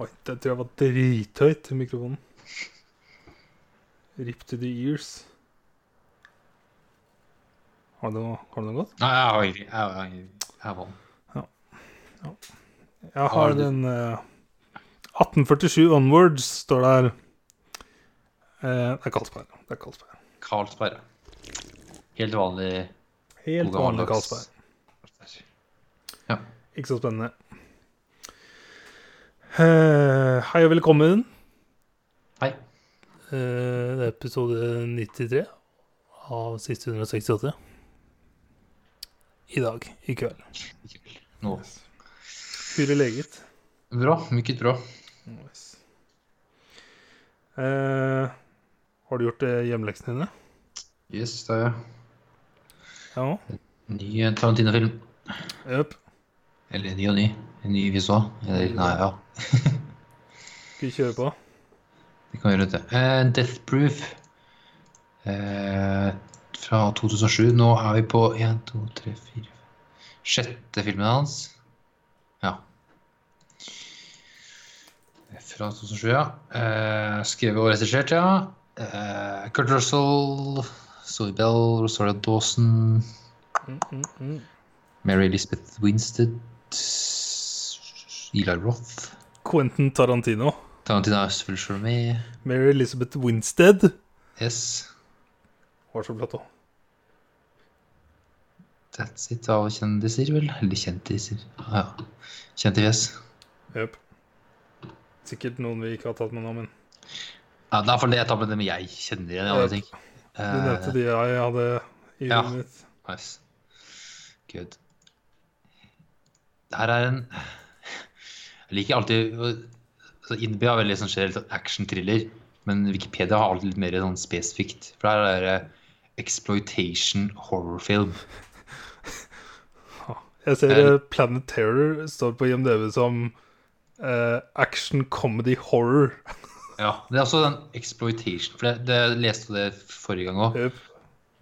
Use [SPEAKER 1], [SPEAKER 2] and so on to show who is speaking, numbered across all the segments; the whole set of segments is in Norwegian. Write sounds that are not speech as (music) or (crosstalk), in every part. [SPEAKER 1] Oi, det tror jeg var drithøyt, mikrofonen. Rip to the ears. Har du noe, har du noe godt?
[SPEAKER 2] Nei, jeg har egentlig jeg, har- jeg, jeg har vann.
[SPEAKER 1] Jeg
[SPEAKER 2] Har
[SPEAKER 1] har
[SPEAKER 2] du-
[SPEAKER 1] den eh, 1847 Onwards står der. Eh, det er Karlsberg. Det er Karlsberg.
[SPEAKER 2] Carlsberg. Helt vanlig
[SPEAKER 1] Helt
[SPEAKER 2] God
[SPEAKER 1] vanlig
[SPEAKER 2] gammeldags.
[SPEAKER 1] Karlsberg. Ikke så spennende. Eh, hei og velkommen.
[SPEAKER 2] Hei.
[SPEAKER 3] Eh, det er episode 93 av siste 168. I dag, i kveld.
[SPEAKER 2] Nå.
[SPEAKER 1] Pure leget.
[SPEAKER 2] Bra. Mycket bra.
[SPEAKER 1] Nice. Eh, har du gjort eh, hjemmeleksene dine?
[SPEAKER 2] Yes, det er
[SPEAKER 1] Ja.
[SPEAKER 2] ny eh, Tarantino-film.
[SPEAKER 1] Jøp.
[SPEAKER 2] Eller ny og ny. En ny vi så. Eller, nei, ja.
[SPEAKER 1] Skal vi kjøre på?
[SPEAKER 2] Vi kan gjøre det. Eh, Death Proof eh, fra 2007. Nå er vi på 1, 2, 3, 4 Sjette filmen hans. Ja. Fra 2007, ja. Eh, skrevet og regissert, ja. Eh, Kurt Russell, Zoe Bell, Rosaria Dawson,
[SPEAKER 1] Mm, mm, mm.
[SPEAKER 2] Mary Elizabeth Winstead, Eli Roth
[SPEAKER 1] Quentin Tarantino.
[SPEAKER 2] Tarantino er selvfølgelig selv med.
[SPEAKER 1] Mary Elizabeth Winstead.
[SPEAKER 2] Yes.
[SPEAKER 1] Var så flott òg.
[SPEAKER 2] That's it av kjendiser, vel? Eller kjentiser. Ja, ja. Kjente fjes.
[SPEAKER 1] Jøp. Sikkert noen vi ikke har tatt med nå, men
[SPEAKER 2] Ja, det er i hvert fall det jeg tar med dem jeg kjenner igjen i
[SPEAKER 1] Yep.
[SPEAKER 2] andre ting.
[SPEAKER 1] du nevnte
[SPEAKER 2] Eh,
[SPEAKER 1] de jeg hadde i
[SPEAKER 2] Ja.
[SPEAKER 1] huet mitt.
[SPEAKER 2] nice. Good. Det her er en Jeg liker alltid altså INB har veldig sånn generelt sånn action-thriller, men Wikipedia har alltid litt mer sånn spesifikt. For her er det exploitation horrorfilm.
[SPEAKER 1] Jeg ser
[SPEAKER 2] Eh.
[SPEAKER 1] eh, Planet Terror står på IMDv som eh, action comedy horror.
[SPEAKER 2] Ja, det er også den exploitation For det, det jeg leste det forrige gang òg.
[SPEAKER 1] Jøp.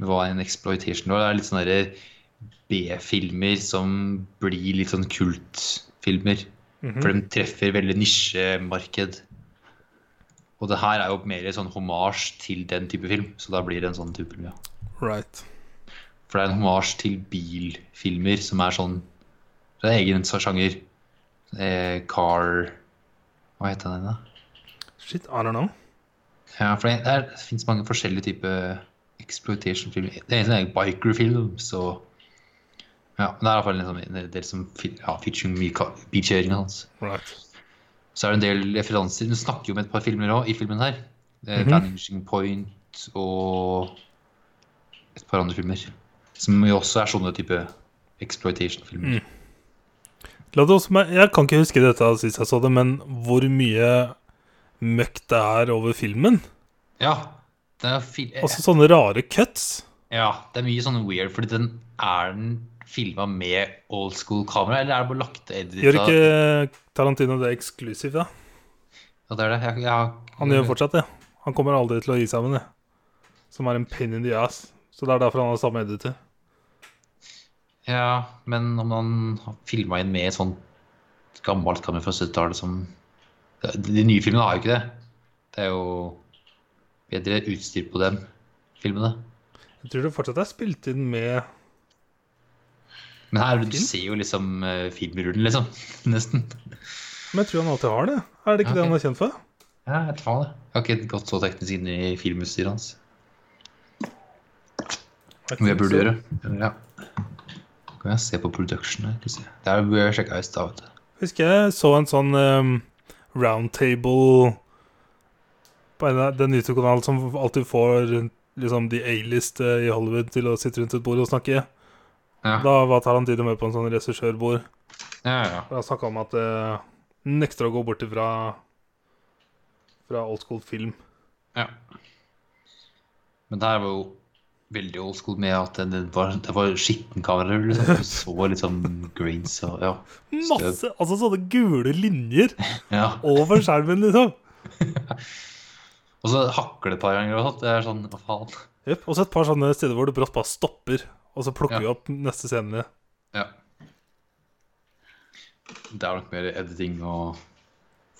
[SPEAKER 2] hva en exploitation var. Det er litt sånne der B-filmer som blir litt sånn kultfilmer.
[SPEAKER 1] Mhm.
[SPEAKER 2] For de treffer veldig nisjemarked. Og det her er jo mer sånn hommage til den type film, så da blir det en sånn type film, ja.
[SPEAKER 1] Right.
[SPEAKER 2] For det er en hommage til bilfilmer som er sånn Det er egen sjanger. Eh, car Hva heter den da?
[SPEAKER 1] Shit, I don't know.
[SPEAKER 2] Ja, for det, der finnes mange forskjellige typer exploitation-filmer. Det er en sånn biker-film, så Ja, men det er i hvert fall en sånn- en del som fi- ja, featuring mye ka- bilkjøringa hans.
[SPEAKER 1] Right.
[SPEAKER 2] Så er det en del referanser. Hun snakker jo om et par filmer òg i filmen her. Mm
[SPEAKER 1] Mhm.
[SPEAKER 2] Vanishing Point og et par andre filmer. Som jo også er sånne type exploitation-filmer.
[SPEAKER 1] Mm. La det også, meg- jeg kan ikke huske dette sist jeg så det, men hvor mye møkk det er over filmen?
[SPEAKER 2] Ja, det er fil eh,
[SPEAKER 1] Altså sånne rare cuts.
[SPEAKER 2] Ja, det er mye sånn weird, fordi den er den filma med old school kamera, eller er det bare lagt edit?
[SPEAKER 1] Gjør ikke Tarantino det eksklusivt, da?
[SPEAKER 2] Ja, det er det. Jeg, jeg, har-
[SPEAKER 1] Han gjør fortsatt det. Han kommer aldri til å gi seg med det. Som er en pain in the ass. Så det er derfor han har samme editor.
[SPEAKER 2] Ja, men om han har filma inn med et sånt gammelt kamera fra 70-tallet som De nye filmene har jo ikke det. Det er jo bedre utstyr på dem, filmene.
[SPEAKER 1] Jeg tror det fortsatt er spilt inn med
[SPEAKER 2] Men her du
[SPEAKER 1] Film?
[SPEAKER 2] ser jo liksom eh, filmrullen, liksom. (laughs) Nesten.
[SPEAKER 1] Men jeg tror han alltid har det. Er det ikke det
[SPEAKER 2] Ok.
[SPEAKER 1] han er kjent for?
[SPEAKER 2] Ja, jeg vet faen det. Jeg har ikke gått så teknisk inn i filmutstyret hans.
[SPEAKER 1] Jeg
[SPEAKER 2] Hva jeg
[SPEAKER 1] tror
[SPEAKER 2] burde
[SPEAKER 1] så.
[SPEAKER 2] gjøre. Ja. Kan jeg se på production her? Skal vi se. Det her burde jeg sjekke i stad, vet du.
[SPEAKER 1] Husker jeg så en sånn um, roundtable på en, av- den YouTube-kanalen som alltid får liksom de A-list eh, i Hollywood til å sitte rundt et bord og snakke.
[SPEAKER 2] Ja,
[SPEAKER 1] Da var Tarantino med på en sånn regissørbord.
[SPEAKER 2] ja, ja.
[SPEAKER 1] Og han snakka om at eh, han nekter å gå bort ifra fra old school film.
[SPEAKER 2] ja. Men det her var jo veldig old school med at det var, det var skittenkameraer. Liksom. Du så litt sånn grains og ja.
[SPEAKER 1] Masse, altså sånne gule linjer
[SPEAKER 2] ja.
[SPEAKER 1] over skjermen, liksom.
[SPEAKER 2] Og så hakker det et par ganger og sånt. Det er sånn, hva faen.
[SPEAKER 1] Jep, Og så et par sånne steder hvor det brått bare stopper, og så plukker
[SPEAKER 2] Ja.
[SPEAKER 1] vi opp neste scene.
[SPEAKER 2] Ja. Det er nok mer editing og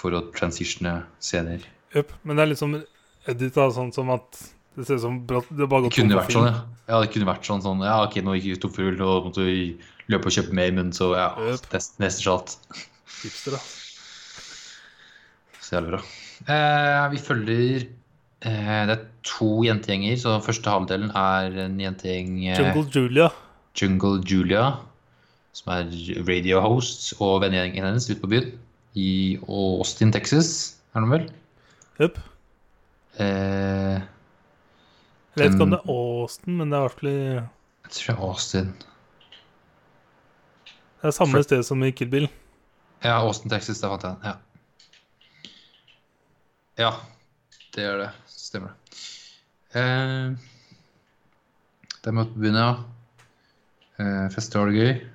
[SPEAKER 2] for å transitione scener.
[SPEAKER 1] Jøp, Men det er liksom edit av sånn som at det ser ut som brat- det bare
[SPEAKER 2] Det
[SPEAKER 1] går tom
[SPEAKER 2] kunne
[SPEAKER 1] for
[SPEAKER 2] vært
[SPEAKER 1] film.
[SPEAKER 2] sånn, ja. ja. Det kunne vært sånn, sånn Ja, ok, nå gikk vi tom for ull, og måtte vi løpe og kjøpe mer, men så ja,
[SPEAKER 1] Yep.
[SPEAKER 2] neste, neste shot.
[SPEAKER 1] Hipster, da.
[SPEAKER 2] Så jævlig bra. Eh, vi følger eh, Det er to jentegjenger, så første halvdelen er en jentegjeng eh,
[SPEAKER 1] Jungle Julia.
[SPEAKER 2] Jungle Julia, som er radio host og vennegjengen hennes ute på byen i Austin, Texas, er det vel?
[SPEAKER 1] Jøp.
[SPEAKER 2] Eh,
[SPEAKER 1] Jeg vet ikke om
[SPEAKER 2] Den-
[SPEAKER 1] det er Austin, men det er i hvert fall i-
[SPEAKER 2] jeg tror det er Austin.
[SPEAKER 1] det er samme sted som i Kill Bill.
[SPEAKER 2] Ja, Austin, Texas, der fant jeg den. Ja. ja, det gjør det. Stemmer det. Eh, der måtte vi begynne, ja. Eh, fester har det gøy.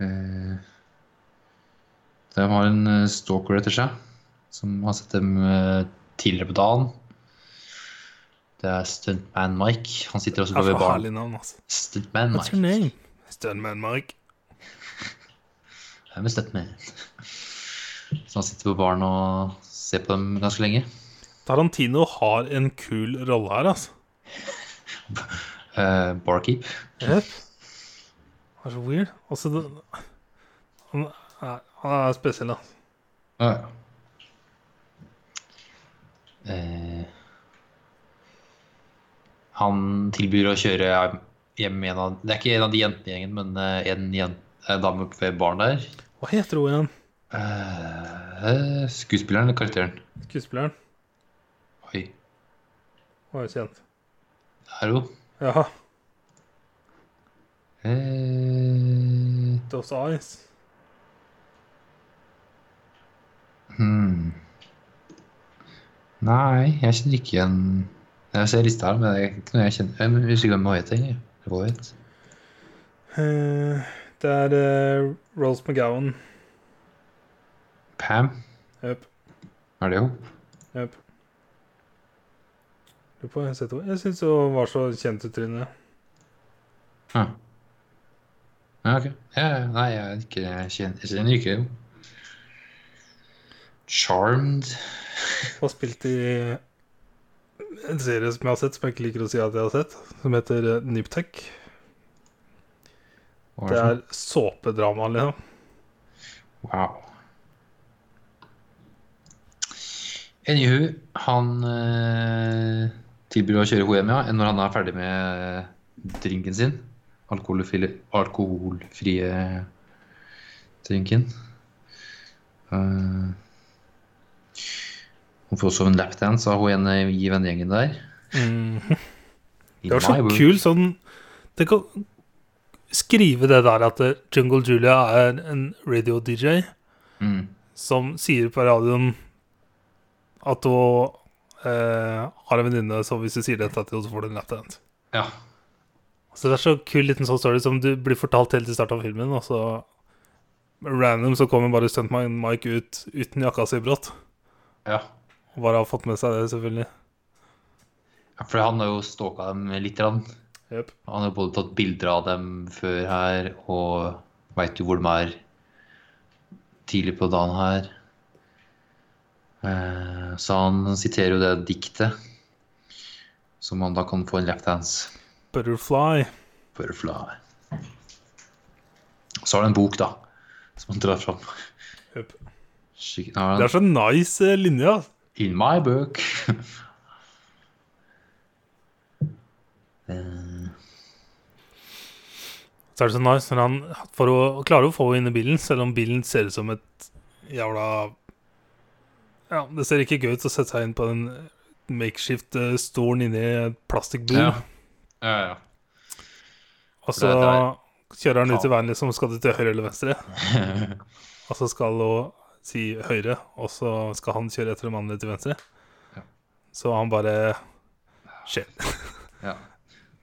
[SPEAKER 2] Eh, de har en eh, stalker etter seg, som har sett dem eh, tidligere på dagen. Det er stuntman Mike. Han sitter også
[SPEAKER 1] Det er
[SPEAKER 2] ved
[SPEAKER 1] så
[SPEAKER 2] baren.
[SPEAKER 1] herlig navn, altså.
[SPEAKER 2] Stuntman
[SPEAKER 1] What's your
[SPEAKER 2] Mike.
[SPEAKER 1] name? Stunman Mike.
[SPEAKER 2] Jeg har bestemt meg. Så han sitter på baren og ser på dem ganske lenge.
[SPEAKER 1] Tarantino har en kul rolle her, altså.
[SPEAKER 2] Eh, barkeep.
[SPEAKER 1] Jep. Det er så weird. Altså, det, han, er, han er spesiell, da.
[SPEAKER 2] Ja, ja. Eh, han tilbyr å kjøre hjem med en av Det er ikke en av de jentene i gjengen, men eh, en jen- eh, dame ved baren der.
[SPEAKER 1] Hva heter hun igjen?
[SPEAKER 2] Eh, skuespilleren eller karakteren?
[SPEAKER 1] Skuespilleren?
[SPEAKER 2] Oi,
[SPEAKER 1] Hun er jo kjent.
[SPEAKER 2] det er hun.
[SPEAKER 1] Ja.
[SPEAKER 2] Eh,
[SPEAKER 1] Those Eyes.
[SPEAKER 2] Hmm. Nei, jeg kjenner ikke igjen Jeg ser lista her, men det er ikke noe jeg kjenner Jeg men husker ikke hvem hun heter, egentlig. Eller hva hun het.
[SPEAKER 1] Eh, det er eh, Rose McGowan.
[SPEAKER 2] Pam?
[SPEAKER 1] Jep.
[SPEAKER 2] Er det hun?
[SPEAKER 1] Jep. Lurer på, jeg har sett henne. Jeg syns hun var så kjent ut, Trine.
[SPEAKER 2] Ja. ja, ok. Ja, ja, nei, jeg, er ikke, jeg, kjenner, jeg kjenner ikke henne. Charmed?
[SPEAKER 1] Hun har spilt i en serie som jeg har sett, som jeg ikke liker å si at jeg har sett, som heter eh, Niptech.
[SPEAKER 2] Hva
[SPEAKER 1] Det
[SPEAKER 2] for
[SPEAKER 1] er såpedrama, liksom.
[SPEAKER 2] noe? Wow. Anywho, han eh, tilbyr å kjøre henne hjem, ja, når han er ferdig med drinken sin. Alkoholfri, alkoholfrie drinken. Eh, hun får også en lapdance av hun ene i vennegjengen der. I
[SPEAKER 1] Det var så
[SPEAKER 2] my world.
[SPEAKER 1] kul sånn Tenk å skrive det der at eh, Jungle Julia er en radio-DJ
[SPEAKER 2] Mm.
[SPEAKER 1] som sier på radioen at hun eh, har en venninne, så hvis du sier dette til henne, så får du en lapdance.
[SPEAKER 2] Ja.
[SPEAKER 1] Så det er så kul liten sånn story som du blir fortalt helt til starten av filmen, og så random så kommer bare stuntman Mike ut uten jakka si brått.
[SPEAKER 2] ja.
[SPEAKER 1] Og bare har fått med seg det, selvfølgelig.
[SPEAKER 2] For han har jo stalka dem litt. grann.
[SPEAKER 1] Jep.
[SPEAKER 2] Han har både tatt bilder av dem før her, og veit jo hvor de er tidlig på dagen her. Eh, Så han siterer jo det diktet, som han da kan få en lapdance
[SPEAKER 1] Butterfly.
[SPEAKER 2] butterfly. Så har han en bok, da, som han drar fram.
[SPEAKER 1] Jep.
[SPEAKER 2] Skikk- Nå har han-
[SPEAKER 1] Det er så nice eh, linje. altså.
[SPEAKER 2] In my book. Eh,
[SPEAKER 1] Så er det så nice når han for å, klarer å få henne inn i bilen, selv om bilen ser ut som et jævla Ja, det ser ikke gøy ut å sette seg inn på eh, den makeshift-stolen inni et plastikkbur.
[SPEAKER 2] ja. ja, ja.
[SPEAKER 1] Og så
[SPEAKER 2] Det er-
[SPEAKER 1] kjører han ut i veien, liksom. Skal du til høyre eller venstre?
[SPEAKER 2] (laughs)
[SPEAKER 1] Og så skal hun si høyre, og så skal han kjøre etter en mann til venstre.
[SPEAKER 2] Ja.
[SPEAKER 1] Så han bare Shit.
[SPEAKER 2] ja.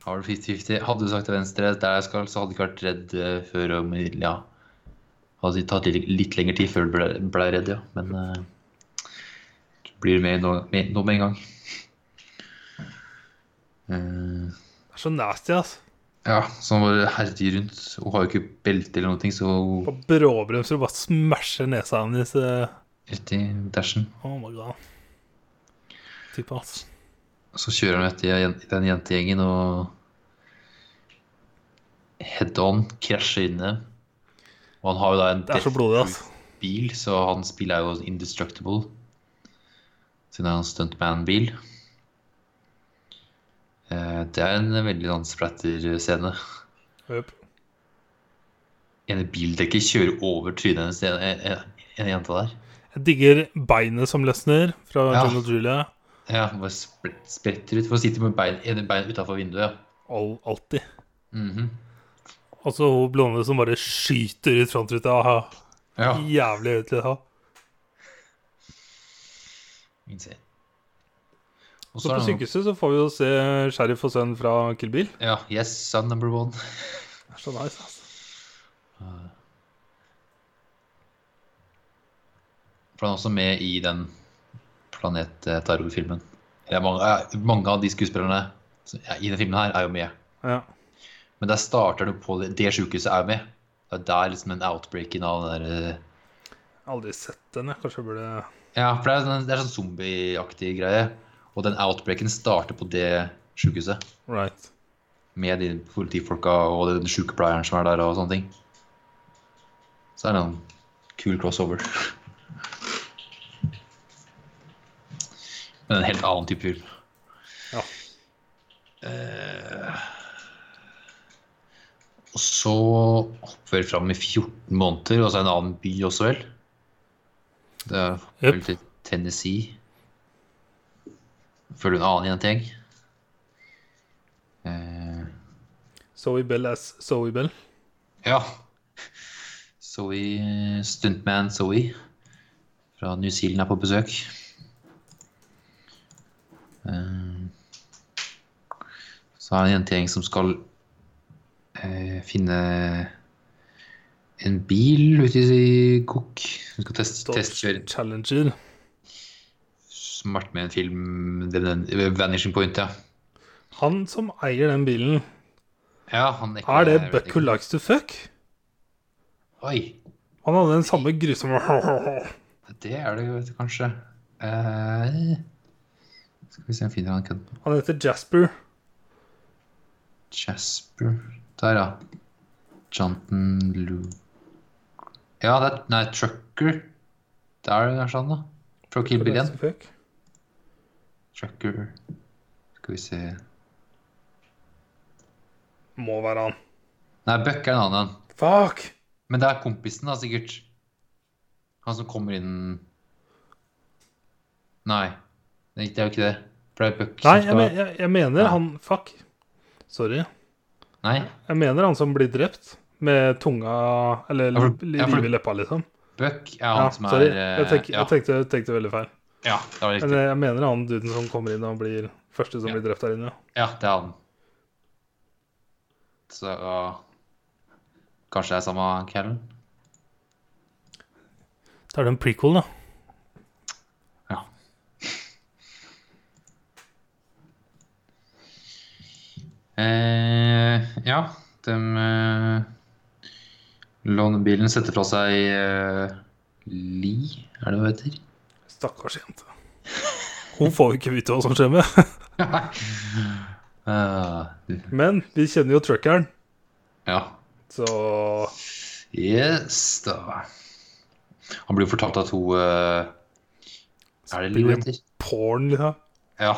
[SPEAKER 2] Har du 50-50? Hadde du sagt til venstre der jeg skal, så hadde du ikke vært redd eh, før om Ja. Hadde tatt litt, litt lengre tid før du ble, ble redd, ja. Men eh, du blir med nå med, nå med en gang. Eh,
[SPEAKER 1] Det er så nasty, ass.
[SPEAKER 2] ja, så han bare herjer rundt. Hun har jo ikke belte eller noe, så
[SPEAKER 1] På bråbremser og bare smasher nesa hennes eh,
[SPEAKER 2] rett i dashen.
[SPEAKER 1] Oh my god. Tippa, ass.
[SPEAKER 2] Så kjører han etter jen- den jentegjengen og head on krasjer inn i dem. Og han har jo da en
[SPEAKER 1] Det er så blodig, ass.
[SPEAKER 2] bil, så han spiller jo indestructible. Siden det er en stuntman-bil. Eh, Det er en veldig sånn splatter-scene.
[SPEAKER 1] Jøp.
[SPEAKER 2] En bildekker kjører over trynet hennes, en, en, en jente der.
[SPEAKER 1] Jeg digger beinet som løsner fra
[SPEAKER 2] Ja.
[SPEAKER 1] John og Julia.
[SPEAKER 2] Ja, hun bare spre- spretter ut. For hun sitter med bein, ene bein utafor vinduet.
[SPEAKER 1] All, alltid.
[SPEAKER 2] Mhm.
[SPEAKER 1] Og så hun blonde som bare skyter ut frontruta. Aha.
[SPEAKER 2] Ja.
[SPEAKER 1] Jævlig høyt liksom. til å ha.
[SPEAKER 2] Insane. Og
[SPEAKER 1] Så
[SPEAKER 2] så
[SPEAKER 1] på
[SPEAKER 2] er det noe-
[SPEAKER 1] sykehuset så får vi jo se Sheriff og sønn fra Kill Bill.
[SPEAKER 2] Ja, yes, son number one.
[SPEAKER 1] Det er så nice, ass.
[SPEAKER 2] For han er også med i den Planet eh, Terror-filmen. Det er Mange, eh, mange av de skuespillerne som er i denne filmen her er jo med.
[SPEAKER 1] Ja.
[SPEAKER 2] Men der starter det på det, det sykehuset er jo med. Det er der liksom den outbreaken av den der eh,
[SPEAKER 1] Aldri sett den, jeg. Kanskje jeg burde
[SPEAKER 2] Ja, for det er, sånn- det er sånn zombieaktig greie. Og den outbreaken starter på det sykehuset.
[SPEAKER 1] Right.
[SPEAKER 2] Med de politifolka og den sykepleieren som er der og sånne ting. Så er det en kul crossover. (laughs) Men en helt annen type film.
[SPEAKER 1] Ja.
[SPEAKER 2] Eh, og så hopper vi fram i 14 måneder, og så er det en annen by også, vel? Det er
[SPEAKER 1] Jep.
[SPEAKER 2] vel til Tennessee. Følger en annen jentegjeng. Eh,
[SPEAKER 1] Zoe Bell as Zoe Bell.
[SPEAKER 2] ja. Zoe, stuntman Zoe fra New Zealand er på besøk. Eh, Så er det en jentegjeng som skal eh, finne en bil ute i Cook. Hun skal test- testkjøre
[SPEAKER 1] Challenger.
[SPEAKER 2] smart med en film, den, den, Vanishing Point, ja.
[SPEAKER 1] Han som eier den bilen,
[SPEAKER 2] ja han
[SPEAKER 1] er det Buck Who Likes To Fuck?
[SPEAKER 2] Oi,
[SPEAKER 1] Han hadde den samme grusomme (laughs)
[SPEAKER 2] Det er det jo vet du, kanskje. Eh, skal vi se om jeg finner han kødden.
[SPEAKER 1] Han heter Jasper.
[SPEAKER 2] Jasper Der, ja. Jonathan Lou Ja, det er Nei, Trucker. Det er det kanskje han, da. Fra Kill Bill igjen.
[SPEAKER 1] Fuck.
[SPEAKER 2] Trucker Skal vi se Nei,
[SPEAKER 1] Må være han.
[SPEAKER 2] Buck er en annen en.
[SPEAKER 1] Fuck!
[SPEAKER 2] Men det er kompisen, da, sikkert. Han som kommer inn Nei. Det er jo ikke det. For det er Buck
[SPEAKER 1] Nei,
[SPEAKER 2] som
[SPEAKER 1] jeg,
[SPEAKER 2] skal
[SPEAKER 1] men, jeg, jeg mener
[SPEAKER 2] Nei.
[SPEAKER 1] han Fuck. Sorry.
[SPEAKER 2] Nei.
[SPEAKER 1] Jeg mener han som blir drept med tunga Eller
[SPEAKER 2] Ja, for-
[SPEAKER 1] li-
[SPEAKER 2] ja, for-
[SPEAKER 1] livet i leppa, liksom.
[SPEAKER 2] Buck er han
[SPEAKER 1] Ja,
[SPEAKER 2] som er
[SPEAKER 1] sorry.
[SPEAKER 2] eh,
[SPEAKER 1] Jeg, tenk,
[SPEAKER 2] ja.
[SPEAKER 1] jeg tenkte, tenkte veldig feil.
[SPEAKER 2] Ja, det var
[SPEAKER 1] Men
[SPEAKER 2] riktig.
[SPEAKER 1] eh, jeg mener han duden som kommer inn og blir første som
[SPEAKER 2] Ja.
[SPEAKER 1] blir drept der inne.
[SPEAKER 2] Ja, det er han. Så ja. Kanskje det er samme kvelden?
[SPEAKER 1] Da er det en prequel, da.
[SPEAKER 2] Ja. Eh, ja, de eh, lånebilen setter fra seg eh, Li, er det hva det heter?
[SPEAKER 1] Stakkars jente. (laughs) Hun får jo ikke vite hva som skjer med.
[SPEAKER 2] Eh,
[SPEAKER 1] (laughs) Men vi kjenner jo truckeren,
[SPEAKER 2] ja.
[SPEAKER 1] så
[SPEAKER 2] Yes, da. Han blir fortalt at hun eh, Er det Li hun heter?
[SPEAKER 1] porn, liksom.
[SPEAKER 2] Ja.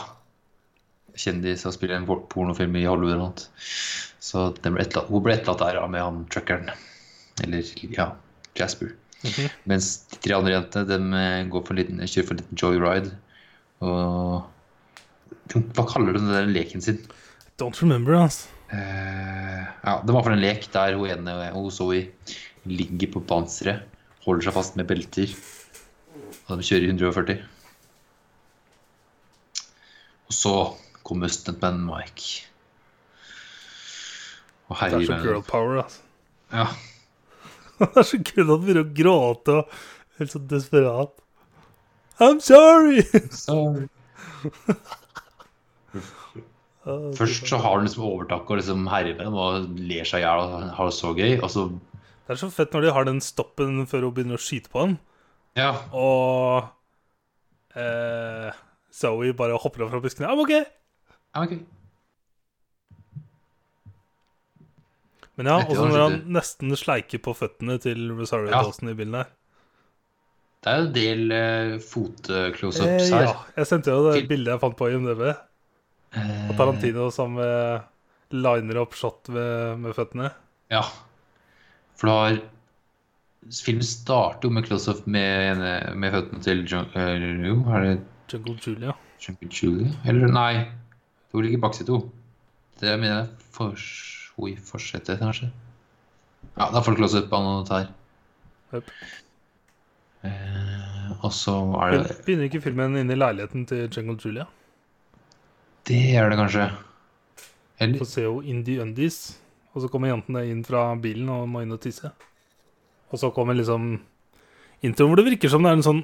[SPEAKER 2] Kjendis og spiller en por- pornofilm i Hollywood eller noe. sånt. Så den ble etterlatt, hun ble etterlatt der ja, med han truckeren. Eller ja, Jasper.
[SPEAKER 1] Mhm.
[SPEAKER 2] Mens de tre andre jentene de eh, går for en liten, kjører for en liten joyride. Og Hva kaller du den der leken sin?
[SPEAKER 1] Don't remember, altså.
[SPEAKER 2] Eh, ja, Det var for en lek der hun ene hun Zoe ligger på panseret, holder seg fast med belter, og de kjører i 140. Og så kommer stuntman Mike. Og
[SPEAKER 1] Det er
[SPEAKER 2] herjer
[SPEAKER 1] så
[SPEAKER 2] med
[SPEAKER 1] girl power, altså.
[SPEAKER 2] Ja,
[SPEAKER 1] (laughs) Det er så gøy at han begynner å gråte og helt så desperat. I'm sorry! (laughs)
[SPEAKER 2] så Først så har han liksom overtaket og liksom herjer med dem og ler seg i hjel og har det så gøy. Og så
[SPEAKER 1] Det er så fett når de har den stoppen før hun begynner å skyte på han.
[SPEAKER 2] Ja.
[SPEAKER 1] Og eh, Zoe bare hopper opp fra buskene. Ah, I'm okay.
[SPEAKER 2] ja ok.
[SPEAKER 1] Men ja,
[SPEAKER 2] Dette
[SPEAKER 1] og så
[SPEAKER 2] var
[SPEAKER 1] når han
[SPEAKER 2] skikkelig.
[SPEAKER 1] nesten sleiker på føttene til Rosario
[SPEAKER 2] Ja.
[SPEAKER 1] Dawson i bilen der.
[SPEAKER 2] Det er jo en del eh, fot-close-ups
[SPEAKER 1] Eh,
[SPEAKER 2] her.
[SPEAKER 1] ja, jeg sendte jo det
[SPEAKER 2] Til-
[SPEAKER 1] bildet jeg fant på IMDb.
[SPEAKER 2] Eh,
[SPEAKER 1] Og Tarantino som eh, liner opp shot med, med føttene.
[SPEAKER 2] Ja. For du har Filmen starter jo med close-up med, med føttene til John, eh, jo, er det
[SPEAKER 1] Jungle Julia.
[SPEAKER 2] Jungle Julie? Eller nei, det ligger bak sitt to. Det mener jeg fors, oi, fortsetter, kanskje. Ja, da får du close-up av noe der.
[SPEAKER 1] Jep.
[SPEAKER 2] Eh, og så er det
[SPEAKER 1] Begynner ikke filmen inne i leiligheten til Jungle Julia?
[SPEAKER 2] Det er det kanskje.
[SPEAKER 1] Så
[SPEAKER 2] Eller
[SPEAKER 1] ser hun Indie Undies, og så kommer jentene inn fra bilen og må inn og tisse. Og så kommer liksom introen hvor det virker som det er en sånn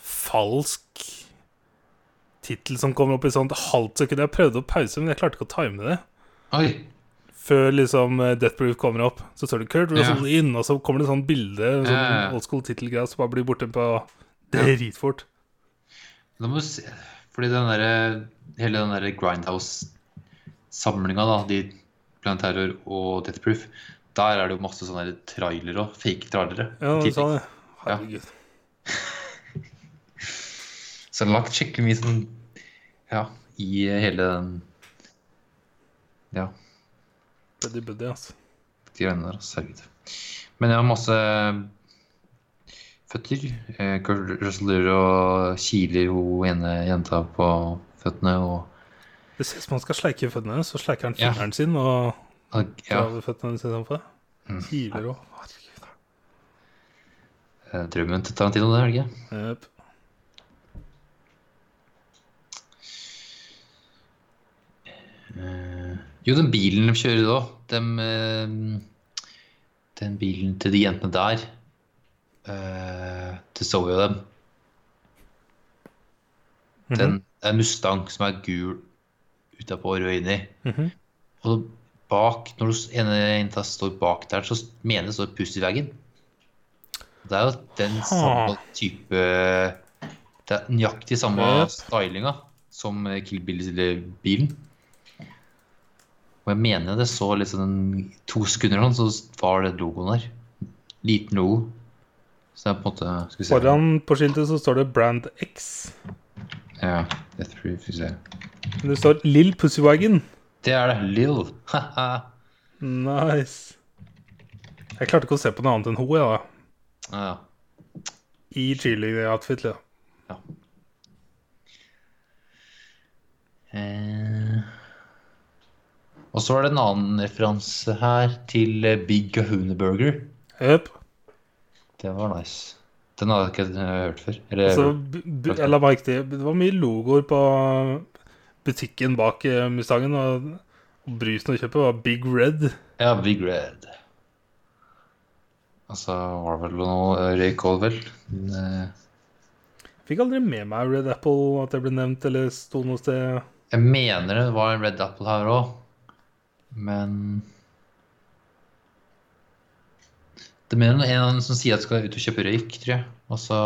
[SPEAKER 1] falsk tittel som kommer opp i sånt halvt sekund. Jeg prøvde å pause, men jeg klarte ikke å time det.
[SPEAKER 2] Oi!
[SPEAKER 1] Før liksom eh, Death Proof kommer opp, så står det Kurt Russell inn, og så kommer det sånn bilde, en
[SPEAKER 2] Ja, ja, ja.
[SPEAKER 1] sånn old school tittelgreie, som bare blir borte på dritfort.
[SPEAKER 2] Da må du se Fordi den derre Hele den derre Grindhouse-samlinga, da, de Plan Terror og Death Proof, der er det jo masse sånne der trailere og fake trailere.
[SPEAKER 1] Ja,
[SPEAKER 2] I tillegg.
[SPEAKER 1] sånn, ja. Herregud.
[SPEAKER 2] Så det er lagt skikkelig mye sånn Ja, i hele den Ja,
[SPEAKER 1] Buddy buddy, altså.
[SPEAKER 2] de greiene der. altså, Herregud. Men jeg har masse føtter. Eh, Kurt Russell Dyer og kiler hun ene jenta på føttene og
[SPEAKER 1] Det ser ut som han skal sleike føttene, hennes, så sleiker han
[SPEAKER 2] Ja.
[SPEAKER 1] fingeren sin og
[SPEAKER 2] og-
[SPEAKER 1] ja.
[SPEAKER 2] Ja,
[SPEAKER 1] føttene sine på det.
[SPEAKER 2] Mm.
[SPEAKER 1] Kiler og Herregud.
[SPEAKER 2] eh, drømmen til Tarantino, det er det ikke?
[SPEAKER 1] Jep.
[SPEAKER 2] Jo, den bilen de kjører da, dem, eh, den bilen til de jentene der, eh, til Zoe og dem, den, det er en Mustang som er gul utapå og rød inni.
[SPEAKER 1] Mhm.
[SPEAKER 2] Og bak, når du ene jenta står bak der, så mener jeg det står pust i veggen. Det er jo den samme type Det er nøyaktig samme
[SPEAKER 1] Yep.
[SPEAKER 2] stylinga som eh, Kill Bill-bilen. Og jeg mener det så litt sånn to sekunder eller noe, så var det logoen der. Liten logo. Så det er på en måte Skal vi se.
[SPEAKER 1] Foran på skiltet så står det Brand X.
[SPEAKER 2] Ja, Death Proof, skal vi se.
[SPEAKER 1] Men det står Lill Pussywagon.
[SPEAKER 2] Det er det. Lill. (laughs)
[SPEAKER 1] Nice. Jeg klarte ikke å se på noe annet enn ho, jeg, da.
[SPEAKER 2] ja, ja.
[SPEAKER 1] I cheerleader-outfit. Ja.
[SPEAKER 2] Eh, Og så var det en annen referanse her til eh, Big Kahuna Burger.
[SPEAKER 1] Jep.
[SPEAKER 2] Det var nice. Den hadde jeg ikke eh, hørt før. Eller,
[SPEAKER 1] Så bu- bu- jeg la merke til Det var mye logoer på butikken bak eh, Mustangen, og og brusen å kjøpe var Big Red.
[SPEAKER 2] Ja, Big Red. Og så var det vel noe eh, røyk òg, vel. Men, eh,
[SPEAKER 1] Fikk aldri med meg Red Apple, at det ble nevnt, eller sto noe sted.
[SPEAKER 2] Jeg mener det var en Red Apple her òg, men Det mener noen- en av dem som sier at skal ut og kjøpe røyk, tror jeg. Og så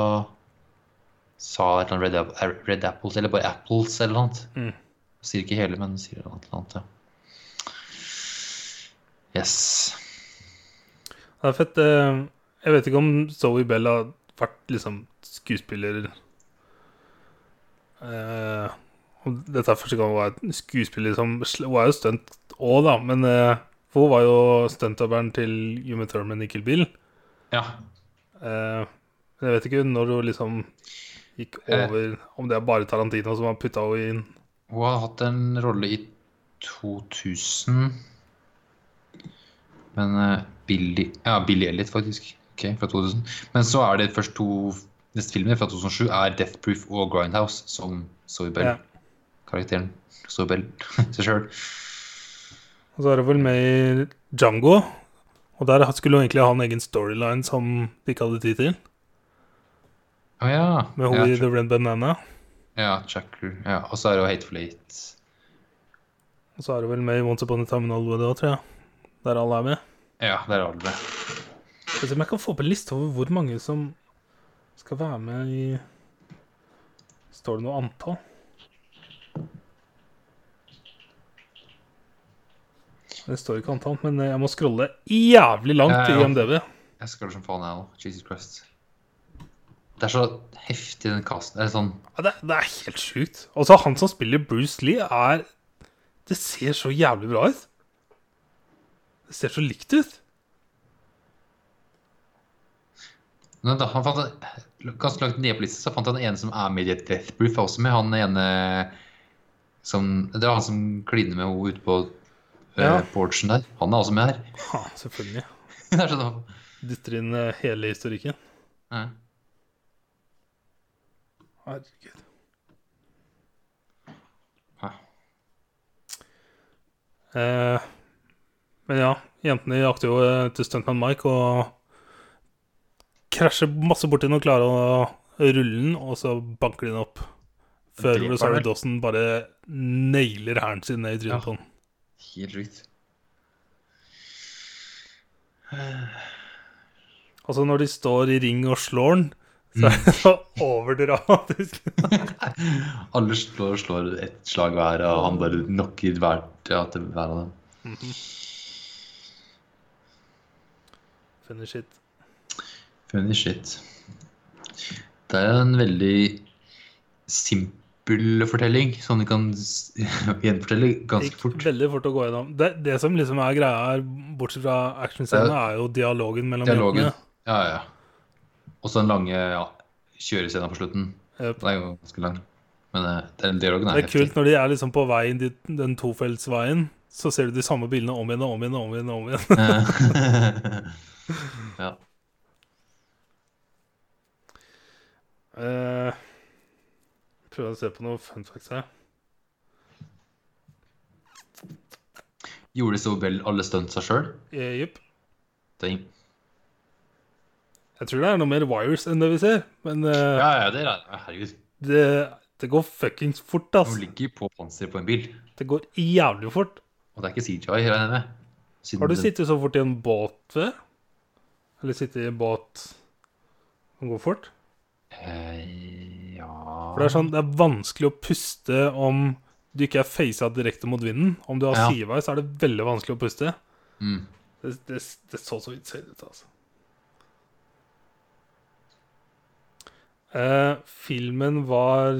[SPEAKER 2] sa et eller annet Red, App- Red Apples, eller bare Apples eller noe annet.
[SPEAKER 1] Mm.
[SPEAKER 2] Sier ikke hele, men sier noe annet. Ja. Yes.
[SPEAKER 1] Det er fett. eh, Jeg vet ikke om Zoe Bell har vært liksom skuespiller eh, og Dette er første gang hun er skuespiller som Hun er jo stunt òg, da, men eh, for hun var jo stuntopperen til Human Thurman i Kill Bill.
[SPEAKER 2] Ja.
[SPEAKER 1] Eh, men jeg vet ikke når hun liksom gikk
[SPEAKER 2] Eh.
[SPEAKER 1] over Om det er bare Tarantino som har putta henne inn.
[SPEAKER 2] Hun har hatt en rolle i 2000 Men eh, Billy Ja, Billy Elliot, faktisk. Ok, fra 2000. Men så er det først to neste filmer fra 2007 er Death Proof og Grindhouse som Zoe
[SPEAKER 1] Ja.
[SPEAKER 2] Bell-karakteren. Zoe Bell (laughs) seg sjøl.
[SPEAKER 1] Og så er hun vel med i Django, og der skulle hun egentlig ha en egen storyline som de ikke hadde tid til,
[SPEAKER 2] Å ja.
[SPEAKER 1] med
[SPEAKER 2] ja,
[SPEAKER 1] hun i
[SPEAKER 2] Chuck-
[SPEAKER 1] The Red Banana.
[SPEAKER 2] ja, Chucker. Ja, og så er det jo Hateful Eight.
[SPEAKER 1] Og så er det vel med i Once Upon a Time in Hollywood òg, tror jeg. Der alle er med. Altså,
[SPEAKER 2] Ja, der har du det.
[SPEAKER 1] Jeg ser om jeg kan få opp en liste over hvor mange som Skal være med i Står det noe antall? Det står ikke antall, men eh, jeg må scrolle jævlig langt
[SPEAKER 2] Ja, ja.
[SPEAKER 1] i IMDb.
[SPEAKER 2] Jeg skal som faen, jeg òg. Jesus Christ. Det er så heftig, den casten. Det er sånn
[SPEAKER 1] Ja, det, det er helt sjukt. Altså, han som spiller Bruce Lee, er Det ser så jævlig bra ut. Det ser så likt ut.
[SPEAKER 2] Men da, han fant, ganske langt ned på listen så fant han en som er med i Death Proof, også med han ene som Det var han som kliner med henne ute på eh,
[SPEAKER 1] Ja.
[SPEAKER 2] porchen der. Han er også med her. (laughs)
[SPEAKER 1] Ha, selvfølgelig.
[SPEAKER 2] det er sånn,
[SPEAKER 1] Dytter inn eh, hele historikken.
[SPEAKER 2] ja.
[SPEAKER 1] Herregud.
[SPEAKER 2] Hæ?
[SPEAKER 1] Eh, men ja, jentene jakter jo eh, til Stuntman Mike og krasjer masse borti den og klarer å rulle den, og så banker de den opp. Før
[SPEAKER 2] Dreper
[SPEAKER 1] Rosario
[SPEAKER 2] den.
[SPEAKER 1] Dawson bare nailer hælen sin ned i trynet
[SPEAKER 2] Ja.
[SPEAKER 1] på den.
[SPEAKER 2] Helt sjukt.
[SPEAKER 1] Altså, når de står i ring og slår den,
[SPEAKER 2] Mm.
[SPEAKER 1] så er det så overdramatisk.
[SPEAKER 2] Alle slår, slår ett slag hver, og han bare knocker hver, ja, til hver av dem.
[SPEAKER 1] Finish it.
[SPEAKER 2] Finish it. Det er jo en veldig simpel fortelling, som du kan s- (laughs) gjenfortelle
[SPEAKER 1] Det
[SPEAKER 2] ganske
[SPEAKER 1] gikk
[SPEAKER 2] fort.
[SPEAKER 1] veldig fort å gå gjennom. Det, det som liksom er greia her, bortsett fra actionscenene, er jo dialogen mellom
[SPEAKER 2] Dialogen.
[SPEAKER 1] jentene.
[SPEAKER 2] Ja, ja. Og så den lange ja, kjørescenen på slutten.
[SPEAKER 1] Yep.
[SPEAKER 2] Den er jo ganske lang. Men eh, den dialogen er,
[SPEAKER 1] Det er kult når de er liksom på veien dit, den tofeltsveien, så ser du de samme bilene om igjen og om igjen og om igjen. og om igjen. (laughs)
[SPEAKER 2] heftig. (laughs) ja.
[SPEAKER 1] Eh, prøver å se på noe fun facts her.
[SPEAKER 2] Gjorde Sobel alle stuntsa sjøl?
[SPEAKER 1] Eh, Jupp.
[SPEAKER 2] Ja,
[SPEAKER 1] Jeg tror det er noe mer wires enn det vi ser, men eh,
[SPEAKER 2] ja, det er Herregud.
[SPEAKER 1] det, det går fuckings fort, ass.
[SPEAKER 2] Hun ligger på panser på en bil.
[SPEAKER 1] Det går jævlig fort.
[SPEAKER 2] Og det er ikke CJI, regner jeg med. Siden
[SPEAKER 1] Har du
[SPEAKER 2] den-
[SPEAKER 1] sittet så fort i en båt før? Eller sittet i en båt som går fort?
[SPEAKER 2] Eh, ja
[SPEAKER 1] For det er sånn, det er vanskelig å puste om du ikke er facet direkte mot vinden. Om du har
[SPEAKER 2] Ja.
[SPEAKER 1] sideveis, så er det veldig vanskelig å puste.
[SPEAKER 2] mm.
[SPEAKER 1] Det, det, det så så insane ut, altså. Eh, filmen var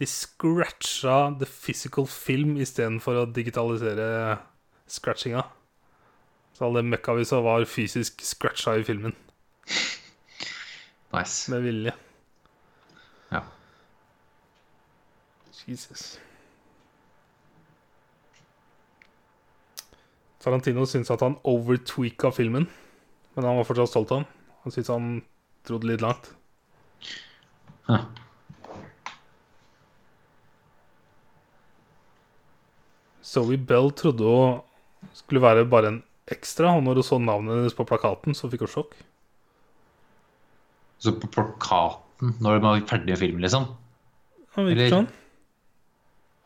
[SPEAKER 1] De scratcha the physical film istedenfor å digitalisere scratchinga. Så all det møkka vi så, var fysisk scratcha i filmen.
[SPEAKER 2] Nice.
[SPEAKER 1] Med vilje.
[SPEAKER 2] Ja.
[SPEAKER 1] Jesus. Tarantino syntes at han overtweaka filmen, men han var fortsatt stolt av den. Han syntes han dro det litt langt.
[SPEAKER 2] Huh.
[SPEAKER 1] Zoe Bell trodde hun skulle være bare en ekstra, og når hun så navnet hennes på plakaten, så fikk hun sjokk.
[SPEAKER 2] Så på plakaten, når man er ferdig med filmen, liksom
[SPEAKER 1] Ja, virker
[SPEAKER 2] Eller-
[SPEAKER 1] sånn.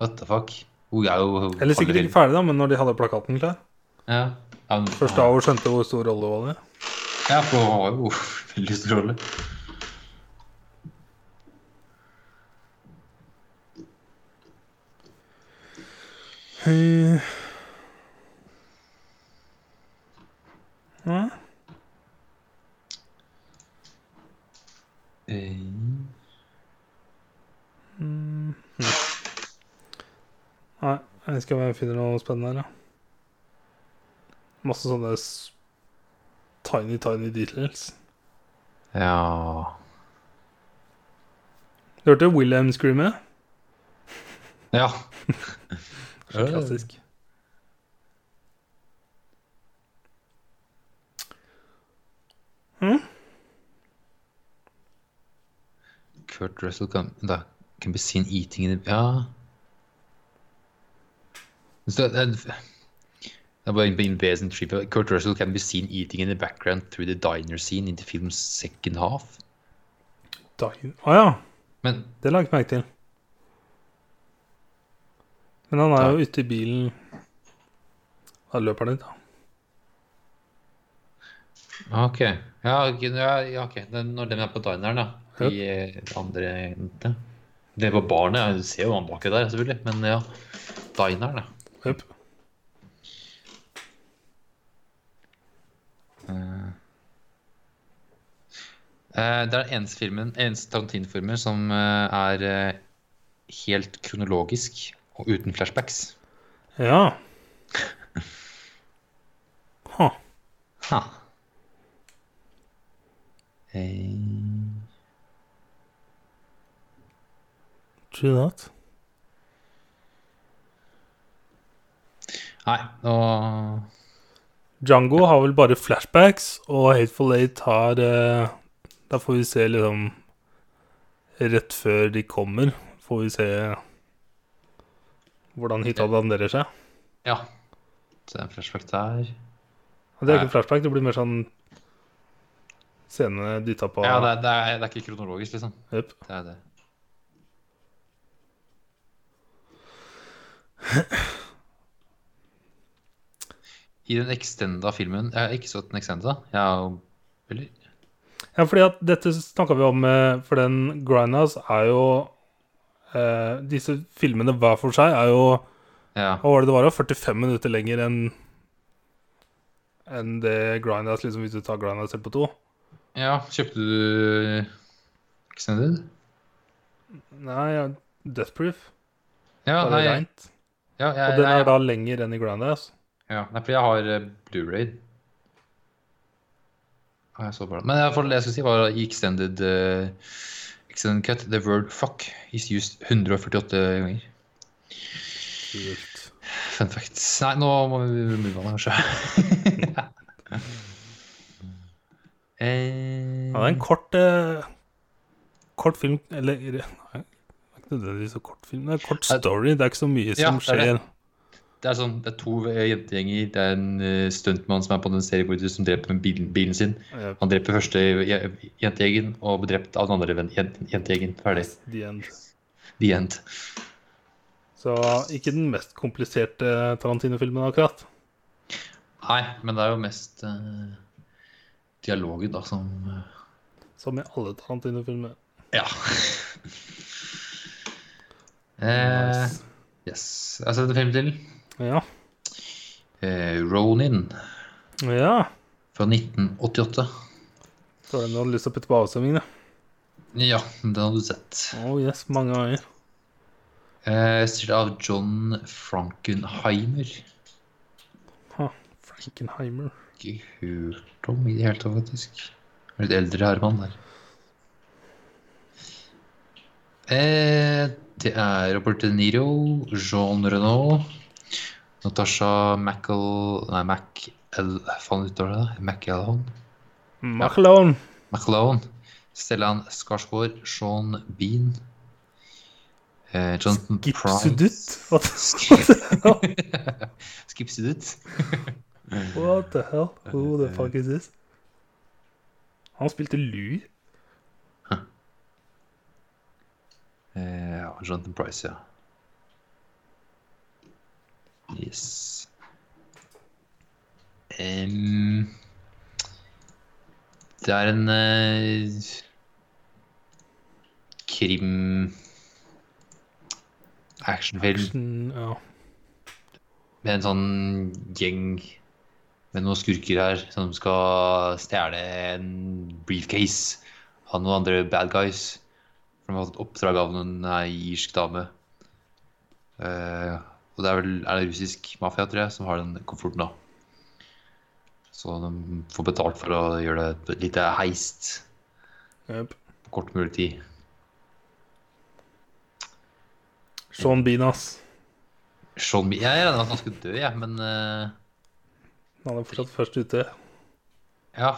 [SPEAKER 2] What the fuck? Hun er jo
[SPEAKER 1] Eller sikkert
[SPEAKER 2] allerede-
[SPEAKER 1] ikke ferdig, da, men når de hadde plakaten klar.
[SPEAKER 2] Ja. Ja, men-
[SPEAKER 1] Først da hun skjønte hvor stor rolle hun hadde.
[SPEAKER 2] Ja, for hun har jo (laughs) veldig stor rolle.
[SPEAKER 1] Eh. Ja.
[SPEAKER 2] Eh,
[SPEAKER 1] Nei, jeg vet ikke om jeg finner noe spennende her, da. Masse sånne s- tiny, tiny details.
[SPEAKER 2] Ja
[SPEAKER 1] Du hørte William screame?
[SPEAKER 2] Ja.
[SPEAKER 1] Så klassisk.
[SPEAKER 2] Kurt Russell can, da, can be seen eating in the, Ja. Så det, det, det er bare inn på Invasion Trip. Kurt Russell can be seen eating in the background through the diner scene in the film's second half.
[SPEAKER 1] Dagen. Å ja,
[SPEAKER 2] Men
[SPEAKER 1] det la jeg ikke merke til. Men han er jo ute i bilen Da løper han ut, da.
[SPEAKER 2] Ok. Ja, ok, ja, ja, ok. Den, når den er på dineren, da. De eh, andre jentene. Det på barnet, ja, du ser jo han baki der, selvfølgelig. Men ja, dineren, da.
[SPEAKER 1] Jep.
[SPEAKER 2] Eh, Det er den eneste filmen, eneste Tarantino-filmen som eh, er eh, helt kronologisk og uten flashbacks.
[SPEAKER 1] Ja. Ha.
[SPEAKER 2] Ha. Eh,
[SPEAKER 1] True that.
[SPEAKER 2] Nei, nå
[SPEAKER 1] Django har vel bare flashbacks, og Hateful Eight har eh, Da får vi se liksom Rett før de kommer, får vi se hvordan hytta danderer seg.
[SPEAKER 2] Ja. Det er en flashback der.
[SPEAKER 1] Og Det er ikke flashback, det blir mer sånn scenene dytta på.
[SPEAKER 2] Ja, det er, det, er, det er ikke kronologisk, liksom.
[SPEAKER 1] Jep.
[SPEAKER 2] Det er det. I den extenda filmen Jeg har ikke sett den extenda. Jeg har jo Eller?
[SPEAKER 1] Ja, fordi at dette snakka vi om, eh, for den Grindhouse er jo eh, Disse filmene hver for seg er jo
[SPEAKER 2] Ja.
[SPEAKER 1] Hva var det det var? da? 45 minutter lenger enn enn det Grindhouse, liksom, hvis du tar Grindhouse selv på to.
[SPEAKER 2] ja kjøpte du Extended?
[SPEAKER 1] Nei, ja, Death Proof.
[SPEAKER 2] Ja,
[SPEAKER 1] Bare
[SPEAKER 2] nei, jeg-
[SPEAKER 1] rent.
[SPEAKER 2] ja, jeg,
[SPEAKER 1] Og den
[SPEAKER 2] nei,
[SPEAKER 1] er da lenger enn i altså. Grindhouse.
[SPEAKER 2] Ja, nei, for jeg har eh, Blu-ray. Ah, jeg så bare. Men i hvert fall det jeg skulle si, var i extended, eh, extended cut The word fuck is used 148 ganger.
[SPEAKER 1] Kult.
[SPEAKER 2] Fun fact. Nei, nå må vi move on, kanskje. (laughs)
[SPEAKER 1] Ja,
[SPEAKER 2] eh,
[SPEAKER 1] det er en kort eh, Kort film Eller nei, det er ikke nødvendigvis så kort film. Det er en kort
[SPEAKER 2] Ja.
[SPEAKER 1] story. Det er ikke så mye
[SPEAKER 2] Ja,
[SPEAKER 1] som
[SPEAKER 2] det er
[SPEAKER 1] skjer.
[SPEAKER 2] det. det er sånn, det er to eh, jentegjenger. Det er en eh, stuntmann som er på den seriemorder som dreper med bilen, bilen sin.
[SPEAKER 1] Yep.
[SPEAKER 2] Han dreper første je- jentegjengen og blir drept av den andre ven- jen- jentegjengen. Ferdig.
[SPEAKER 1] The end.
[SPEAKER 2] The end.
[SPEAKER 1] Så ikke den mest kompliserte Tarantino-filmen akkurat.
[SPEAKER 2] Nei, men det er jo mest eh, dialogen, da, som eh,
[SPEAKER 1] Som i alle Tarantino-filmer.
[SPEAKER 2] Ja. (laughs) Eh,
[SPEAKER 1] Nice.
[SPEAKER 2] yes. Jeg har sett en film til.
[SPEAKER 1] Ja.
[SPEAKER 2] Eh, Ronin
[SPEAKER 1] ja.
[SPEAKER 2] fra 1988.
[SPEAKER 1] Så var det noen lyst til å putte på avstemming, da.
[SPEAKER 2] Ja, den har du sett.
[SPEAKER 1] Oh yes, mange ganger.
[SPEAKER 2] Eh, Stilt av John Frankenheimer.
[SPEAKER 1] Ha, Frankenheimer.
[SPEAKER 2] Ikke hørt om i det hele tatt, faktisk. Det er Litt eldre Herman der. Eh, det er Robert De Niro, Jean Renault, Natasha Macal... Nei, Mac... El, faen uttaler jeg det? McElhone?
[SPEAKER 1] Macalone.
[SPEAKER 2] McElhone. Stellan Skarsgård, Sean Bean. Eh, Jonathan
[SPEAKER 1] Gipsudutt. What,
[SPEAKER 2] Price. (laughs) Skipsudutt.
[SPEAKER 1] what the hell? Who the fuck is this? Han spilte Louis.
[SPEAKER 2] Eh, ja, Jonathan Price, ja. Yes. Em, det er en eh, krim actionfilm
[SPEAKER 1] Action, ja.
[SPEAKER 2] med en sånn gjeng med noen skurker her som skal stjele en briefcase av noen andre bad guys. For de har hatt et oppdrag av noen ei irsk dame. Eh, og det er vel er det russisk mafia, tror jeg, som har den komforten, da. Så de får betalt for å gjøre det et lite heist
[SPEAKER 1] Yep.
[SPEAKER 2] på kort mulig tid.
[SPEAKER 1] Sean Bean, ass.
[SPEAKER 2] Sean Bean Jeg regner med at han skulle dø, jeg, men eh,
[SPEAKER 1] Han er fortsatt først ute.
[SPEAKER 2] Ja.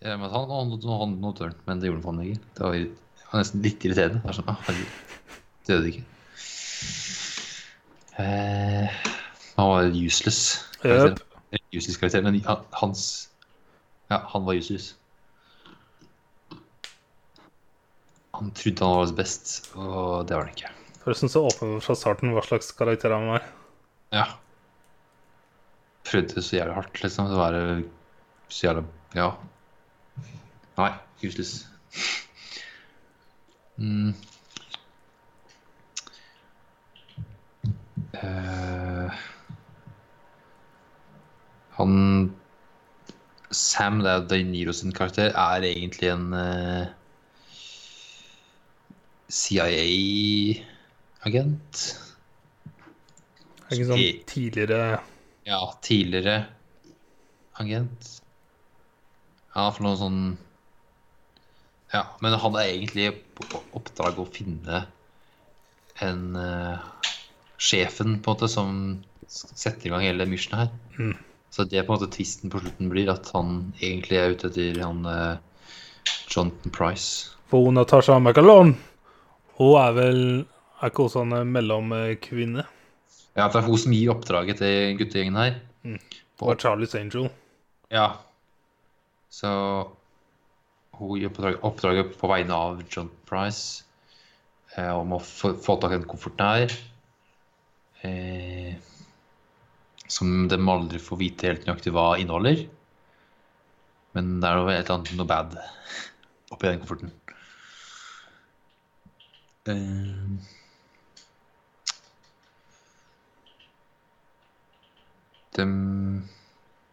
[SPEAKER 2] Jeg regner med at han han- han- han nådde døren, men det gjorde han faen ikke. Det var, irri- det var nesten litt irriterende. Det er sånn, ah, herregud. Døde ikke. Eh, han var useless. karakter.
[SPEAKER 1] Yep.
[SPEAKER 2] Eller Useless karakter, men han- hans Ja, han var useless. Han trodde han var hos best, og det var han ikke.
[SPEAKER 1] Forresten så åpner det fra starten hva slags karakter han var.
[SPEAKER 2] Ja. Prøvde så jævlig hardt, liksom. Det var så jævla Ja. Nei, useless. Mm. Eh, han Sam, det er De Niro sin karakter, er egentlig en eh, CIA-agent.
[SPEAKER 1] Er ikke sånn tidligere
[SPEAKER 2] Ja, tidligere agent. Ja, for noe sånn Ja, men han er egentlig på oppdrag å finne en eh, sjefen, på en måte, som setter i gang hele missionet her.
[SPEAKER 1] Mm.
[SPEAKER 2] Så det er på en måte tvisten på slutten blir at han egentlig er ute etter han eh, Jonathan Price.
[SPEAKER 1] For Natasha McAlone Hun er vel Er ikke hun sånn eh, mellomkvinne?
[SPEAKER 2] Ja, det er hun som gir oppdraget til guttegjengen her.
[SPEAKER 1] Hun er Charlies Angel.
[SPEAKER 2] Ja. Så hun gjør oppdrag, oppdraget på vegne av John Price eh, om å få, få tak i den kofferten her. Eh, som de aldri får vite helt nøyaktig hva inneholder. Men det er noe helt annet enn noe bad (laughs) oppi den kofferten. Eh, de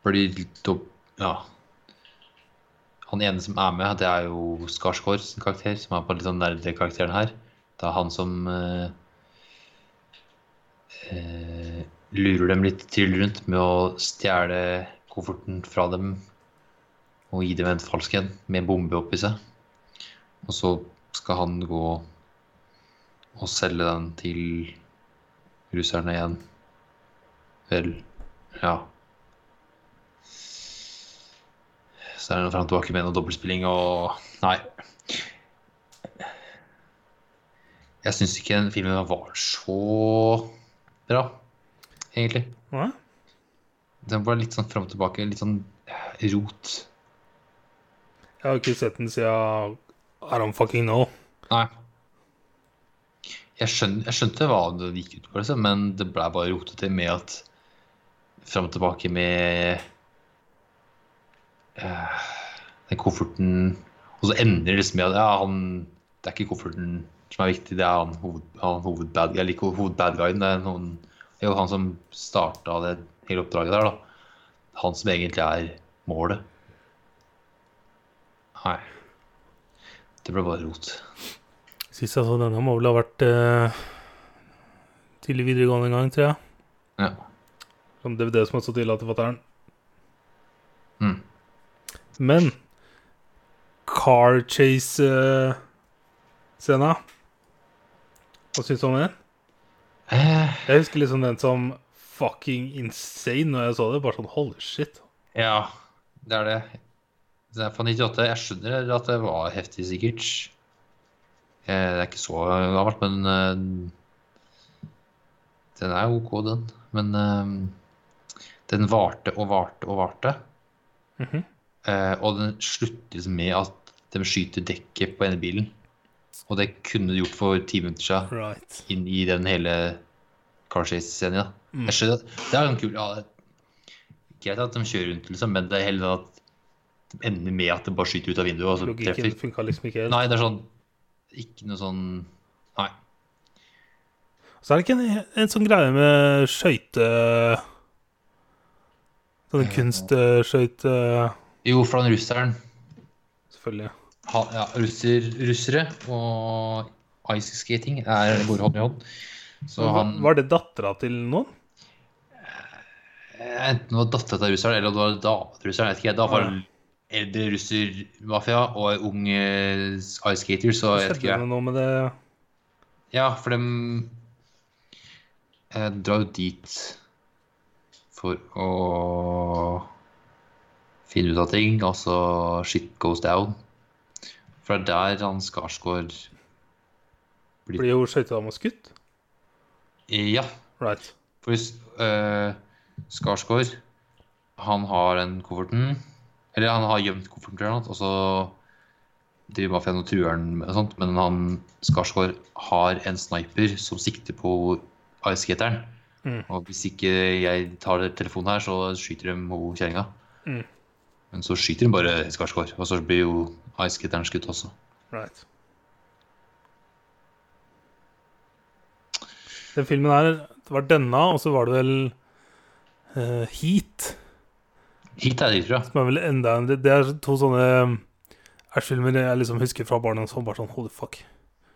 [SPEAKER 2] blir da Ja. Han ene som er med, det er jo Skarsgård sin karakter, som er på litt sånn nerdekarakteren her. Det er han som eh, eh, lurer dem litt til rundt med å stjele kofferten fra dem og gi dem en falsk en med en bombe oppi seg. Og så skal han gå og selge den til russerne igjen. Vel, ja. Så er det noe frem og tilbake med noe dobbeltspilling og Nei. Jeg syns ikke den filmen var så bra, egentlig.
[SPEAKER 1] Hva?
[SPEAKER 2] Den var litt sånn frem og tilbake, litt sånn rot.
[SPEAKER 1] Jeg har ikke sett den siden I don't fucking know.
[SPEAKER 2] Nei. Jeg, skjøn, jeg skjønte hva det gikk ut på, liksom, men det ble bare rotete med at Fram og tilbake med eh, den kofferten Og så ender det liksom med at ja, han, det er ikke kofferten som er viktig, det er han, hoved, han hovedbad guy, eller ikke hovedbad guyen. Det er noen, det er jo han som starta det hele oppdraget der, da. Han som egentlig er målet. Nei. Det ble bare rot.
[SPEAKER 3] Sist jeg så denne, må vel ha vært eh, tidlig videregående en gang, tror jeg.
[SPEAKER 2] Ja.
[SPEAKER 1] Som DVD som har stått ille til fatter'n.
[SPEAKER 2] Mm.
[SPEAKER 1] Men car chase-scena Hva syns du om den?
[SPEAKER 2] Eh,
[SPEAKER 1] Jeg husker liksom den som fucking insane når jeg så det. Bare sånn holy shit.
[SPEAKER 2] Ja, det er det. Det er fra 98. Jeg skjønner at det var heftig, sikkert. Eh, Det er ikke så gammelt, men eh, Den er OK, den. Men eh, den varte og varte og varte.
[SPEAKER 1] Mhm.
[SPEAKER 2] Eh, Og den slutter liksom med at de skyter dekket på ene bilen. Og det kunne de gjort for ti minutter siden
[SPEAKER 1] Right.
[SPEAKER 2] inn i den hele car chase-scenen. da.
[SPEAKER 1] Mm.
[SPEAKER 2] Jeg skjønner, at- det er jo en kul ja, det er Greit at de kjører rundt, liksom, men det er heller at de ender med at det bare skyter ut av vinduet og så
[SPEAKER 1] Logikken
[SPEAKER 2] treffer.
[SPEAKER 1] funka liksom ikke helt.
[SPEAKER 2] Nei, det er sånn Ikke noe sånn Nei.
[SPEAKER 1] Så er det ikke en, en sånn greie med skøyte Sånne eh, kunstskøyte
[SPEAKER 2] Jo, for han russeren
[SPEAKER 1] Selvfølgelig.
[SPEAKER 2] han, ja, russer, Russere og ice skating er, går hånd i hånd. Så han
[SPEAKER 1] Var- Var det dattera til noen?
[SPEAKER 2] Enten det var dattera til russeren eller det var dama til russeren. Jeg vet ikke, da var
[SPEAKER 1] Ja.
[SPEAKER 2] eldre russermafia og en ung eh, ice skater, så jeg vet ikke.
[SPEAKER 1] Skjedde det noe med det?
[SPEAKER 2] Ja, for dem eh, drar jo dit for å finne ut av ting, altså shit goes down. For det er der han Skarsgård
[SPEAKER 1] Blir jo skøytedama skutt?
[SPEAKER 2] Ja,
[SPEAKER 1] Right.
[SPEAKER 2] for hvis, eh, Skarsgård Han har den kofferten Eller han har gjemt kofferten til noe Og så driver mafiaen og truer han med sånt Men han, Skarsgård har en sniper Som sikter på ice-skateren
[SPEAKER 1] Mm.
[SPEAKER 2] Og hvis ikke jeg tar telefonen her Så skyter de ho kjæringa
[SPEAKER 1] Mm.
[SPEAKER 2] Men så skyter hun bare Skarsgård, og så blir jo Ice-gitteren skutt også.
[SPEAKER 1] Right. Den filmen her det var denne, og så var det vel eh, Heat.
[SPEAKER 2] Hit er det ifra.
[SPEAKER 1] Som er vel enda en Det er to sånne Ash-filmer jeg liksom husker fra barna som bare sånn Holy fuck.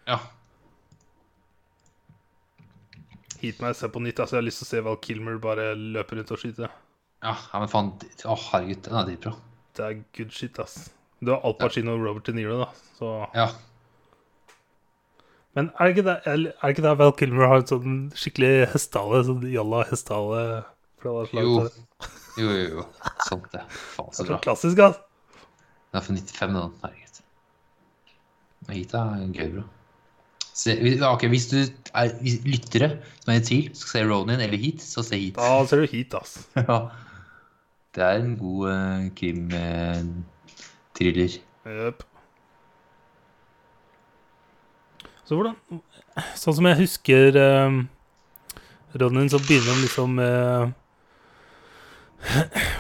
[SPEAKER 2] Ja.
[SPEAKER 1] Heat meg, se på nytt. Altså, jeg har lyst til å se Val Kilmer bare løpe rundt og skyte.
[SPEAKER 2] ja. ja men faen. Å, herregud, den er dritbra.
[SPEAKER 1] Det er good shit, ass. Du har Al Pacino og Robert De Niro, da. Så
[SPEAKER 2] Ja.
[SPEAKER 1] Men er det ikke der, er det ikke der Val Kilmer har et sånn skikkelig hestehale? Sånn jalla hestehale? fra det slaget?
[SPEAKER 2] Jo. Jo, jo, jo. Sant det. Faen,
[SPEAKER 1] Det
[SPEAKER 2] så
[SPEAKER 1] er
[SPEAKER 2] bra.
[SPEAKER 1] så klassisk, ass.
[SPEAKER 2] Den er fra 95, den. Herregud. Men Hit er gøy, bra. Se, vi- ja, ok, Hvis du er hvis lyttere som er i tvil, skal se Ronin eller Heat, så se Heat.
[SPEAKER 1] Da ser du hit, ass.
[SPEAKER 2] (laughs) Ja. Det er en god eh, krim-thriller.
[SPEAKER 1] Jøp. Så hvordan Sånn som jeg husker um, Ronin, så begynner han liksom med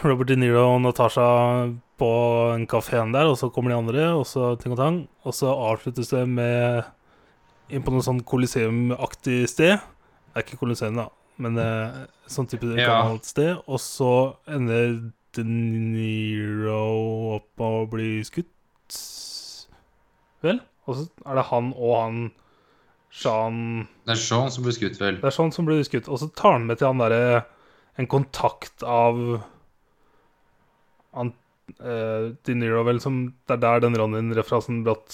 [SPEAKER 1] Robert De Niro og Natasha på en kafeen der, og så kommer de andre, og så ting og tang. Og så avsluttes det med inn på noe sånn Coliseum-aktig sted. Det er ikke Coliseum, da, men eh, sånn type
[SPEAKER 2] Ja.
[SPEAKER 1] gammelt sted. Og så ender De Niro opp med å bli skutt, vel? Og så er det han og han Shan
[SPEAKER 2] Det er Sean som blir skutt, vel?
[SPEAKER 1] det er sånn som blir skutt. Og så tar han med til han derre En kontakt av han, eh, De Niro, vel, som Det er der den Ronin-referansen brått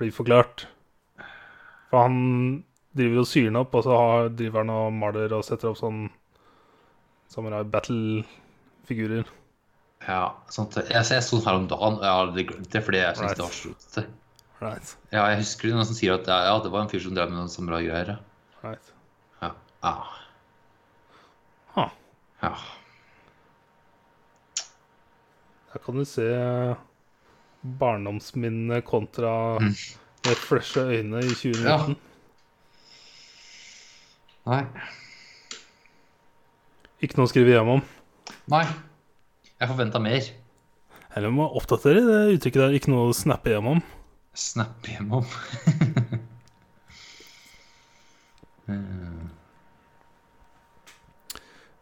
[SPEAKER 1] blir forklart. For han driver og syr den opp, og så har, driver han og maler og setter opp sånn Samurai Battle-figurer.
[SPEAKER 2] Ja, sant det. Jeg, jeg så den her om dagen, og jeg har aldri glemt det, fordi jeg synes det var så rotete.
[SPEAKER 1] Right.
[SPEAKER 2] Ja, jeg husker det noen som sier at det, er- ja, det var en fyr som drev med noen samurai-greier.
[SPEAKER 1] right.
[SPEAKER 2] Ja. Ja.
[SPEAKER 1] Huh.
[SPEAKER 2] ja.
[SPEAKER 1] Der kan du se barndomsminnene kontra
[SPEAKER 2] Mm.
[SPEAKER 1] med flusha øyne i 2019.
[SPEAKER 2] Ja. Nei.
[SPEAKER 1] Ikke noe å skrive hjem om.
[SPEAKER 2] Nei. Jeg forventa mer.
[SPEAKER 1] Eller må oppdatere det uttrykket der. Ikke noe å snappe gjennom.
[SPEAKER 2] Snap hjemom. Mm.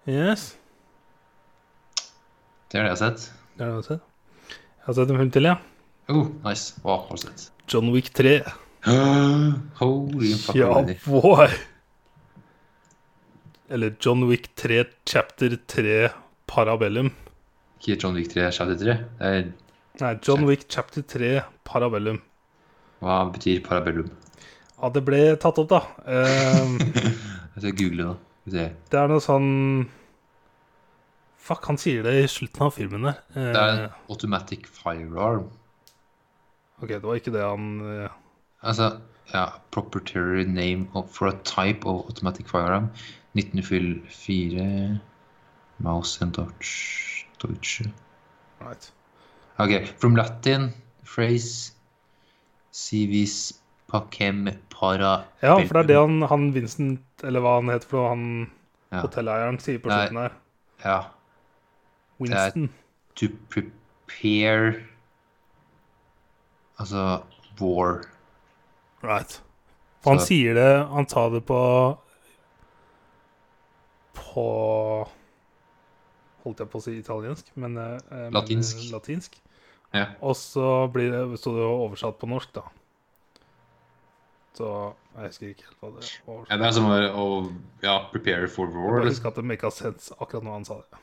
[SPEAKER 1] Yes.
[SPEAKER 2] det er det jeg har sett.
[SPEAKER 1] Det er det jeg har sett. Jeg har sett en film til, ja.
[SPEAKER 2] Oh, nice. Hva har du sett?
[SPEAKER 1] John Wick 3.
[SPEAKER 2] Holy fuck.
[SPEAKER 1] Ja,
[SPEAKER 2] holy.
[SPEAKER 1] boy! Eller John Wick 3 chapter 3 parabellum.
[SPEAKER 2] Ikke John Wick 3, Shadow 3. Det er,
[SPEAKER 1] Nei, John Wick chapter 3 parabellum.
[SPEAKER 2] hva betyr parabellum?
[SPEAKER 1] Ja, det ble tatt opp, da. Ehm, (laughs)
[SPEAKER 2] Jeg skal google det. Skal vi se.
[SPEAKER 1] det er noe sånn Fuck, han sier det i slutten av filmen der.
[SPEAKER 2] Det er en
[SPEAKER 1] Eh,
[SPEAKER 2] automatic firearm.
[SPEAKER 1] ok, det var ikke det han eh,
[SPEAKER 2] Altså, ja, proprietary name of, for a type of automatic firearm. 1904 Mouse and Dodge Deutsche.
[SPEAKER 1] Right.
[SPEAKER 2] Ok, from Latin phrase civis pacem para
[SPEAKER 1] Ja, for det er det han, han Vincent, eller hva han heter for noe, han
[SPEAKER 2] ja.
[SPEAKER 1] hotelleieren sier på
[SPEAKER 2] Nei.
[SPEAKER 1] slutten her.
[SPEAKER 2] ja.
[SPEAKER 1] Winston.
[SPEAKER 2] To prepare Altså war.
[SPEAKER 1] Right. For han
[SPEAKER 2] Så-
[SPEAKER 1] sier det Han sa det på På Holdt jeg på å si italiensk, men eh, eh, men,
[SPEAKER 2] Latinsk.
[SPEAKER 1] eh, latinsk.
[SPEAKER 2] Ja.
[SPEAKER 1] Og så blir det, så det jo oversatt på norsk, da. Så jeg husker ikke helt hva det var.
[SPEAKER 2] Ja, det er som å, å- ja, prepare for
[SPEAKER 1] Jeg
[SPEAKER 2] war.
[SPEAKER 1] bare
[SPEAKER 2] liksom.
[SPEAKER 1] husker at det make a sense akkurat når han sa det.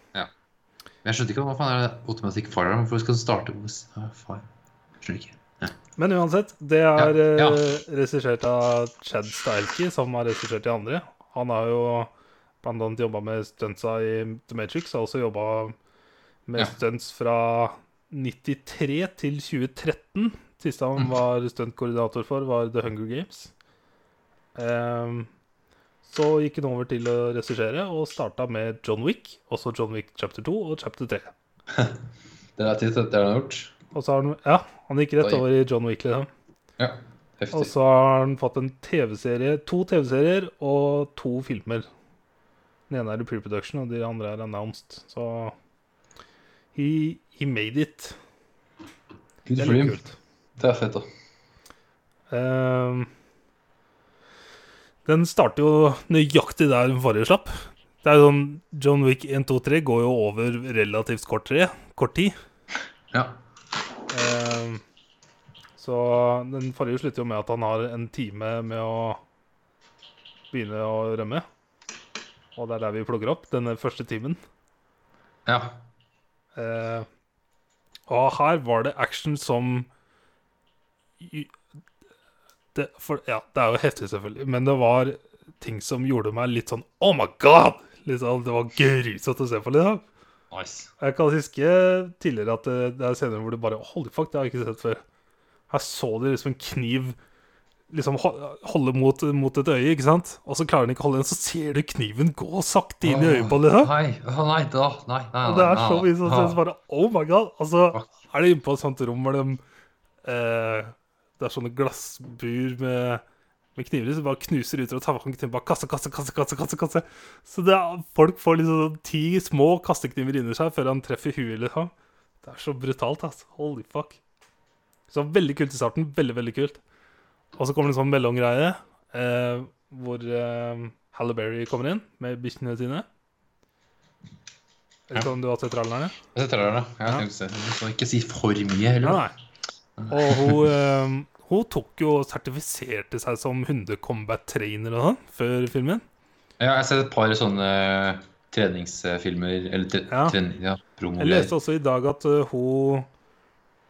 [SPEAKER 2] Men Jeg skjønte ikke hva faen er det automatic firearm. Hvorfor skal den starte på ja, fire? Skjønner ikke.
[SPEAKER 1] Men uansett, det er
[SPEAKER 2] Ja, ja.
[SPEAKER 1] eh, regissert av Chad Stahelski, som har regissert de andre. Han har jo blant annet jobba med stuntsa i The Matrix, og også jobba med
[SPEAKER 2] Ja.
[SPEAKER 1] stunts fra 93 til 2013. Siste han
[SPEAKER 2] Mm.
[SPEAKER 1] var stuntkoordinator for, var The Hunger Games. Ehm, så gikk han over til å regissere, og starta med John Wick, også John Wick chapter 2 og chapter 3.
[SPEAKER 2] Det er tid til det han har gjort.
[SPEAKER 1] Og så har han, ja, han gikk rett
[SPEAKER 2] Oi.
[SPEAKER 1] over i John Wick, liksom.
[SPEAKER 2] Ja,
[SPEAKER 1] Og
[SPEAKER 2] heftig.
[SPEAKER 1] så har han fått en TV-serie, to TV-serier og to filmer. Den ene er i pre-production, og de andre er announced. Så he, He made it.
[SPEAKER 2] Good
[SPEAKER 1] Det er
[SPEAKER 2] for
[SPEAKER 1] litt
[SPEAKER 2] him.
[SPEAKER 1] kult.
[SPEAKER 2] Det er fett, da.
[SPEAKER 1] Ehm, den starter jo nøyaktig der den forrige slapp. Det er jo sånn John Wick 1, 2, 3 går jo over relativt kort, tre, kort tid.
[SPEAKER 2] Ja.
[SPEAKER 1] Ehm, så den forrige slutter jo med at han har en time med å begynne å rømme. Og det er der vi plukker opp denne første timen.
[SPEAKER 2] ja.
[SPEAKER 1] Eh, og her var det action som det, for, Ja, det er jo heftig, selvfølgelig, men det var ting som gjorde meg litt sånn Oh my god! Litt sånn, det var grusomt å se på. Liksom.
[SPEAKER 2] Nice.
[SPEAKER 1] Jeg kan huske tidligere at eh, det, det er scener hvor det bare Holy fuck, det har jeg ikke sett før. Her så de liksom en kniv liksom ho- holde mot, mot et øye, ikke sant? Og så klarer den ikke å holde den, så ser du kniven gå sakte
[SPEAKER 2] Ah.
[SPEAKER 1] inn i øyet på den. Liksom.
[SPEAKER 2] Nei, å, nei, da. Nei, nei, nei.
[SPEAKER 1] Og det er så
[SPEAKER 2] nei,
[SPEAKER 1] mye sånn
[SPEAKER 2] nei.
[SPEAKER 1] som bare Oh my god! Og så
[SPEAKER 2] Fuck.
[SPEAKER 1] er de inne på et sånt rom hvor de eh, Det er sånne glassbur med, med kniver som bare knuser ut og tar vekk til bare kasse, kasse, kasse, kasse, kasse, kasse. Så det er, folk får liksom sånn ti små kastekniver inni seg før han treffer huet, liksom. Det er så brutalt, ass. Holy fuck. Så veldig kult i starten. Veldig, veldig kult. Og så kommer det en sånn mellomgreie eh, hvor eh, Halle Berry kommer inn med bikkjene sine. Jeg vet ikke om du har sett trallerne?
[SPEAKER 2] Jeg ser trailerne. Jeg
[SPEAKER 1] Ja.
[SPEAKER 2] tenkte å se. Du skal ikke si for mye heller.
[SPEAKER 1] Nei, nei. Og hun, eh, hun tok jo og sertifiserte seg som hundekombat-trainer og sånn før filmen.
[SPEAKER 2] Ja, jeg har sett et par sånne eh, treningsfilmer Eller tre, ja.
[SPEAKER 1] Ja.
[SPEAKER 2] trening, ja, promo
[SPEAKER 1] Jeg leste også i dag at eh, hun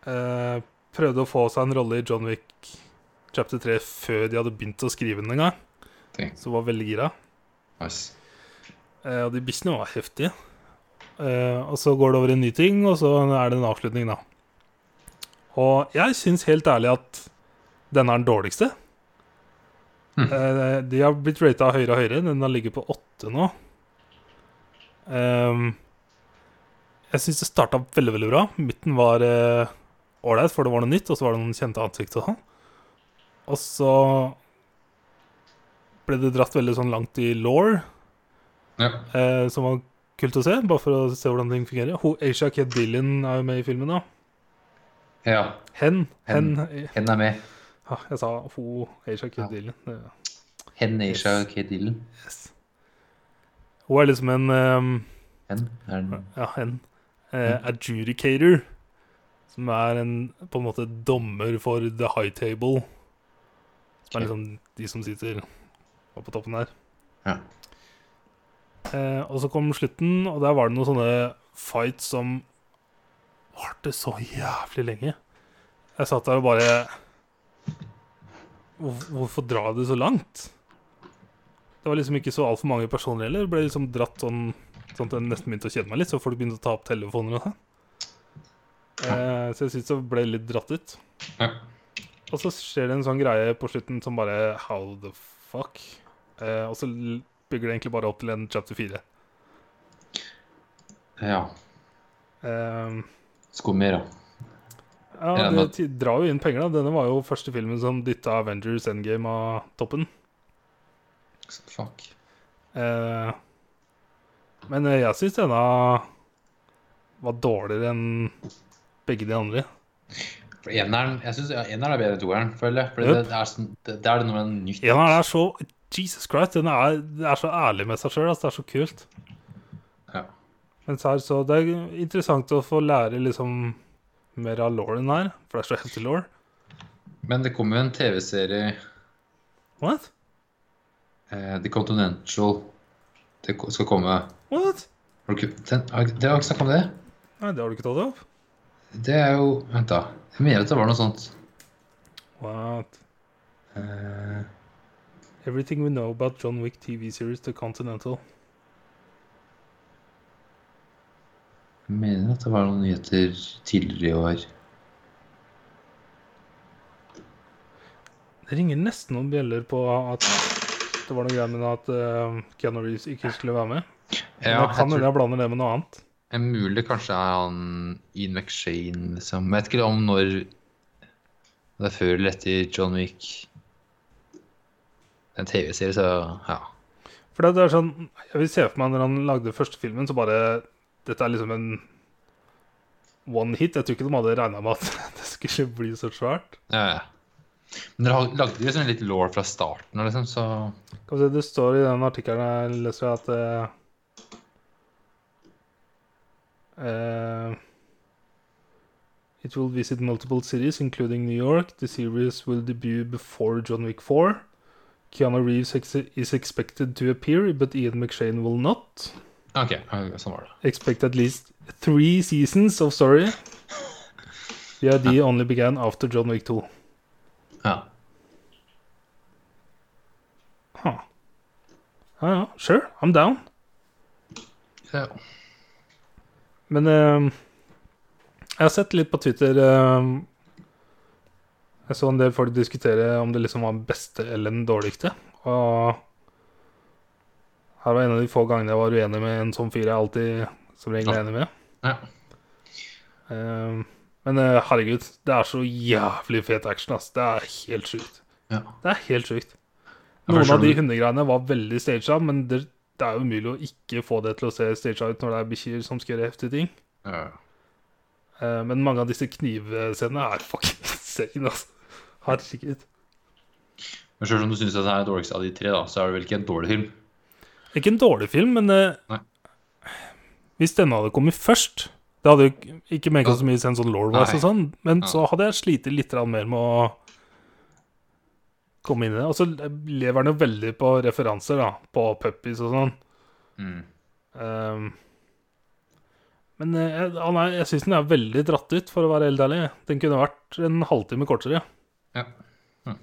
[SPEAKER 1] eh, prøvde å få seg en rolle i John Wick chapter 3 før de hadde begynt å skrive den en gang.
[SPEAKER 2] Tenk.
[SPEAKER 1] Så hun var veldig gira.
[SPEAKER 2] Nice.
[SPEAKER 1] Eh, og de bikkjene var heftige. Eh, og så går det over i en ny ting, og så er det en avslutning, da. Og jeg syns helt ærlig at denne er den dårligste.
[SPEAKER 2] Hmm.
[SPEAKER 1] Eh, de har blitt rata høyere og høyere. Den har ligget på åtte nå. Ehm, jeg syns det starta veldig, veldig bra. Midten var eh, ålreit, for det var noe nytt, og så var det noen kjente ansikt og sånn. Og så ble det dratt veldig sånn langt i law
[SPEAKER 2] Ja.
[SPEAKER 1] eh, som var kult å se, bare for å se hvordan ting fungerer. Ho, Asia Ked Dylan er jo med i filmen, da.
[SPEAKER 2] ja.
[SPEAKER 1] Hen. Hen.
[SPEAKER 2] Hen. Hen er med.
[SPEAKER 1] Ah, jeg sa ho, Asia Ked
[SPEAKER 2] Ja.
[SPEAKER 1] Dylan. Det-
[SPEAKER 2] Hen Asia
[SPEAKER 1] Yes.
[SPEAKER 2] og Kate Dylan.
[SPEAKER 1] Yes. Hun er liksom en ehm,
[SPEAKER 2] Hen er den
[SPEAKER 1] Ja, hen. Eh, adjudicator. Som er en på en måte dommer for the high table. Som er
[SPEAKER 2] Ok.
[SPEAKER 1] liksom de som sitter oppe på toppen der.
[SPEAKER 2] Ja.
[SPEAKER 1] Eh, og så kom slutten, og der var det noen sånne fights som varte så jævlig lenge. Jeg satt der og bare Hvor, Hvorfor dra det så langt? Det var liksom ikke så altfor mange personer heller. Det ble liksom dratt sånn sånn at jeg nesten begynte å kjede meg litt, så folk begynte å ta opp telefoner og sånn. Eh, så jeg syns det ble litt dratt ut.
[SPEAKER 2] Ja.
[SPEAKER 1] Og så skjer det en sånn greie på slutten som bare How the fuck? Eh, og så l- bygger det egentlig bare opp til en chapter 4.
[SPEAKER 2] ja.
[SPEAKER 1] Eh,
[SPEAKER 2] Skummer, ja.
[SPEAKER 1] ja,
[SPEAKER 2] Ja,
[SPEAKER 1] det
[SPEAKER 2] men-
[SPEAKER 1] ti- drar jo inn penger, da. Denne var jo første filmen som dytta Avengers Endgame av toppen.
[SPEAKER 2] Fuck.
[SPEAKER 1] Eh, men eh, jeg syns denne var dårligere enn begge de andre.
[SPEAKER 2] For eneren, jeg synes ja, eneren er bedre enn toeren, føler jeg. For det,
[SPEAKER 1] Jøpp.
[SPEAKER 2] det, er sånn, det, det er noe med nytt.
[SPEAKER 1] En av dem er så Jesus Christ, den er, den er så ærlig med seg sjøl. Altså, det er så kult.
[SPEAKER 2] Ja.
[SPEAKER 1] Mens her, så det er interessant å få lære liksom mer av Lauren her, for det er så heftig law.
[SPEAKER 2] Men det kom jo en TV-serie,
[SPEAKER 1] What?
[SPEAKER 2] eh, The Continental. Det ko- skal komme Har
[SPEAKER 1] What?
[SPEAKER 2] du ikke den, har ikke- Dere har ikke snakket om det?
[SPEAKER 1] Nei, det har du ikke tatt opp?
[SPEAKER 2] Det er jo Vent, da. Jeg mener at det var noe sånt.
[SPEAKER 1] What?
[SPEAKER 2] Eh,
[SPEAKER 1] Everything we know about John Wick TV series The Continental.
[SPEAKER 2] Jeg mener at det var noen nyheter tidligere i år.
[SPEAKER 1] Det ringer nesten noen bjeller på at det var noe greier med at eh, Keanu Reeves ikke skulle være med. Men
[SPEAKER 2] Ja,
[SPEAKER 1] jeg
[SPEAKER 2] jeg
[SPEAKER 1] kan hende
[SPEAKER 2] tror,
[SPEAKER 1] jeg blander det med noe annet.
[SPEAKER 2] det er mulig kanskje er han Ian McShane, liksom. Jeg vet ikke om når om Det er før eller etter John Wick. Det er en TV-serie, så ja.
[SPEAKER 1] For det, det er sånn Jeg vil se for meg når han lagde første filmen, så bare Dette er liksom en one hit. Jeg tror ikke de hadde regna med at (laughs) det skulle bli så svært.
[SPEAKER 2] Ja, ja. Men dere har- lagde liksom litt law fra starten av, liksom, så
[SPEAKER 1] Skal vi se, Det står i den artikkelen jeg leser, at eh, eh, It will visit multiple cities, including New York. The series will debut before John Wick 4. Keanu Reeves ex is expected to appear, but Ian McShane will not.
[SPEAKER 2] OK, ja, sånn var det.
[SPEAKER 1] Expect at least three seasons of story. The idea only began after John Wick 2.
[SPEAKER 2] Ja.
[SPEAKER 1] Huh. Ah, Ja, ja, sure, I'm down.
[SPEAKER 2] ja.
[SPEAKER 1] Men eh, jeg har sett litt på Twitter eh, Jeg så en del folk diskutere om det liksom var den beste eller den dårligste. Og her var en av de få gangene jeg var uenig med en sånn fyr jeg alltid som regel er enig med.
[SPEAKER 2] ja.
[SPEAKER 1] Eh, men eh, herregud, det er så jævlig fet action, ass. Det er helt sjukt.
[SPEAKER 2] ja.
[SPEAKER 1] Det er helt sjukt.
[SPEAKER 2] Ja, for
[SPEAKER 1] Noen av de
[SPEAKER 2] skjønner-
[SPEAKER 1] hundegreiene var veldig staged, men det, det er jo umulig å ikke få det til å se staged ut når det er bikkjer som skal gjøre heftige ting.
[SPEAKER 2] ja. ja.
[SPEAKER 1] Eh, Men mange av disse knivscenene er fucking (laughs) insane, altså. Herregud.
[SPEAKER 2] Men selv om du syns det er dårligst av de tre, da, så er det vel ikke en dårlig film?
[SPEAKER 1] Ikke en dårlig film, men eh,
[SPEAKER 2] Nei.
[SPEAKER 1] Hvis denne hadde kommet først Det hadde jo ikke- ikke merka så mye sense sånn lore-wise og
[SPEAKER 2] Nei.
[SPEAKER 1] sånn, men
[SPEAKER 2] Nei.
[SPEAKER 1] så hadde jeg slitt litt grann mer med å komme inn i det. Og så lever den jo veldig på referanser, da, på puppies og sånn.
[SPEAKER 2] Mm.
[SPEAKER 1] Ehm, men eh, han er, jeg syns den er veldig dratt ut, for å være helt ærlig. Den kunne vært en halvtime kortere.
[SPEAKER 2] Ja. Hm.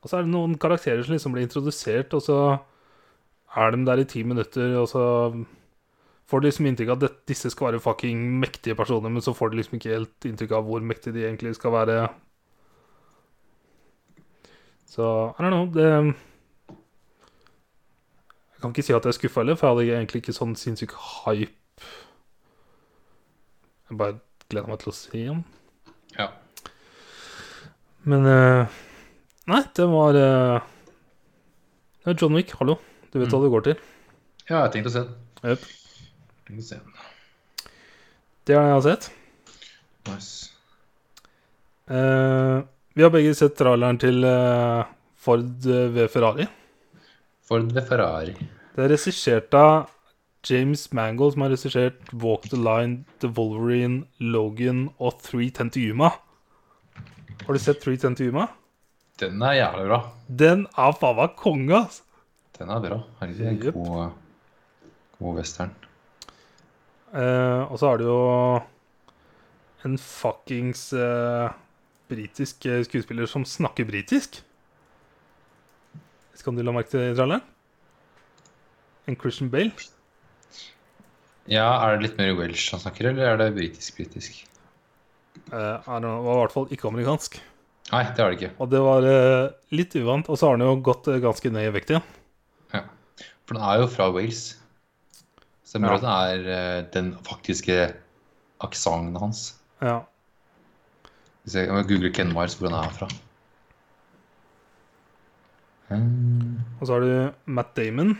[SPEAKER 1] Og så er det noen karakterer som liksom blir introdusert, og så er de der i ti minutter, og så får de liksom inntrykk av at det- disse skal være fucking mektige personer, men så får de liksom ikke helt inntrykk av hvor mektige de egentlig skal være. Så I don't know. Det Jeg kan ikke si at jeg er skuffa heller, for jeg hadde egentlig ikke sånn sinnssyk hype. Jeg bare gleder meg til å se den.
[SPEAKER 2] ja.
[SPEAKER 1] Men eh, Nei, det var eh, det er John Wick, hallo. Du vet hva det går til.
[SPEAKER 2] Ja, jeg tenkte å se den.
[SPEAKER 1] Jep.
[SPEAKER 2] Tenkte å se den.
[SPEAKER 1] Det har jeg sett.
[SPEAKER 2] Nice.
[SPEAKER 1] Eh, vi har begge sett traileren til eh, Ford eh, ved Ferrari.
[SPEAKER 2] Ford ved Ferrari.
[SPEAKER 1] Det er regissert av James Mangold, som har regissert Walk the Line, The Wolverine, Logan og 310 to Yuma. Har du sett 310 to Yuma?
[SPEAKER 2] Den er jævlig bra.
[SPEAKER 1] Den er faen meg konge, altså!
[SPEAKER 2] Den er bra. Herregud, en
[SPEAKER 1] Jep.
[SPEAKER 2] god, god western.
[SPEAKER 1] Eh, og så er det jo en fuckings eh, britisk eh, skuespiller som snakker britisk. Skal du la merke til traileren? En Christian Bale.
[SPEAKER 2] Ja, Er det litt mer welsh han snakker, eller er det britisk-britisk?
[SPEAKER 1] Eh, I don't know, var i hvert fall ikke amerikansk.
[SPEAKER 2] Nei, det er det ikke.
[SPEAKER 1] Og det var eh, litt uvant. Og så har han jo gått eh, ganske ned i vekt igjen.
[SPEAKER 2] Ja. For den er jo fra Wales. Stemmer
[SPEAKER 1] Ja.
[SPEAKER 2] at det er eh, den faktiske aksenten hans.
[SPEAKER 1] Ja.
[SPEAKER 2] Hvis jeg, jeg googler Ken Miles, hvor han er fra. Hmm,
[SPEAKER 1] Og så har du Matt Damon.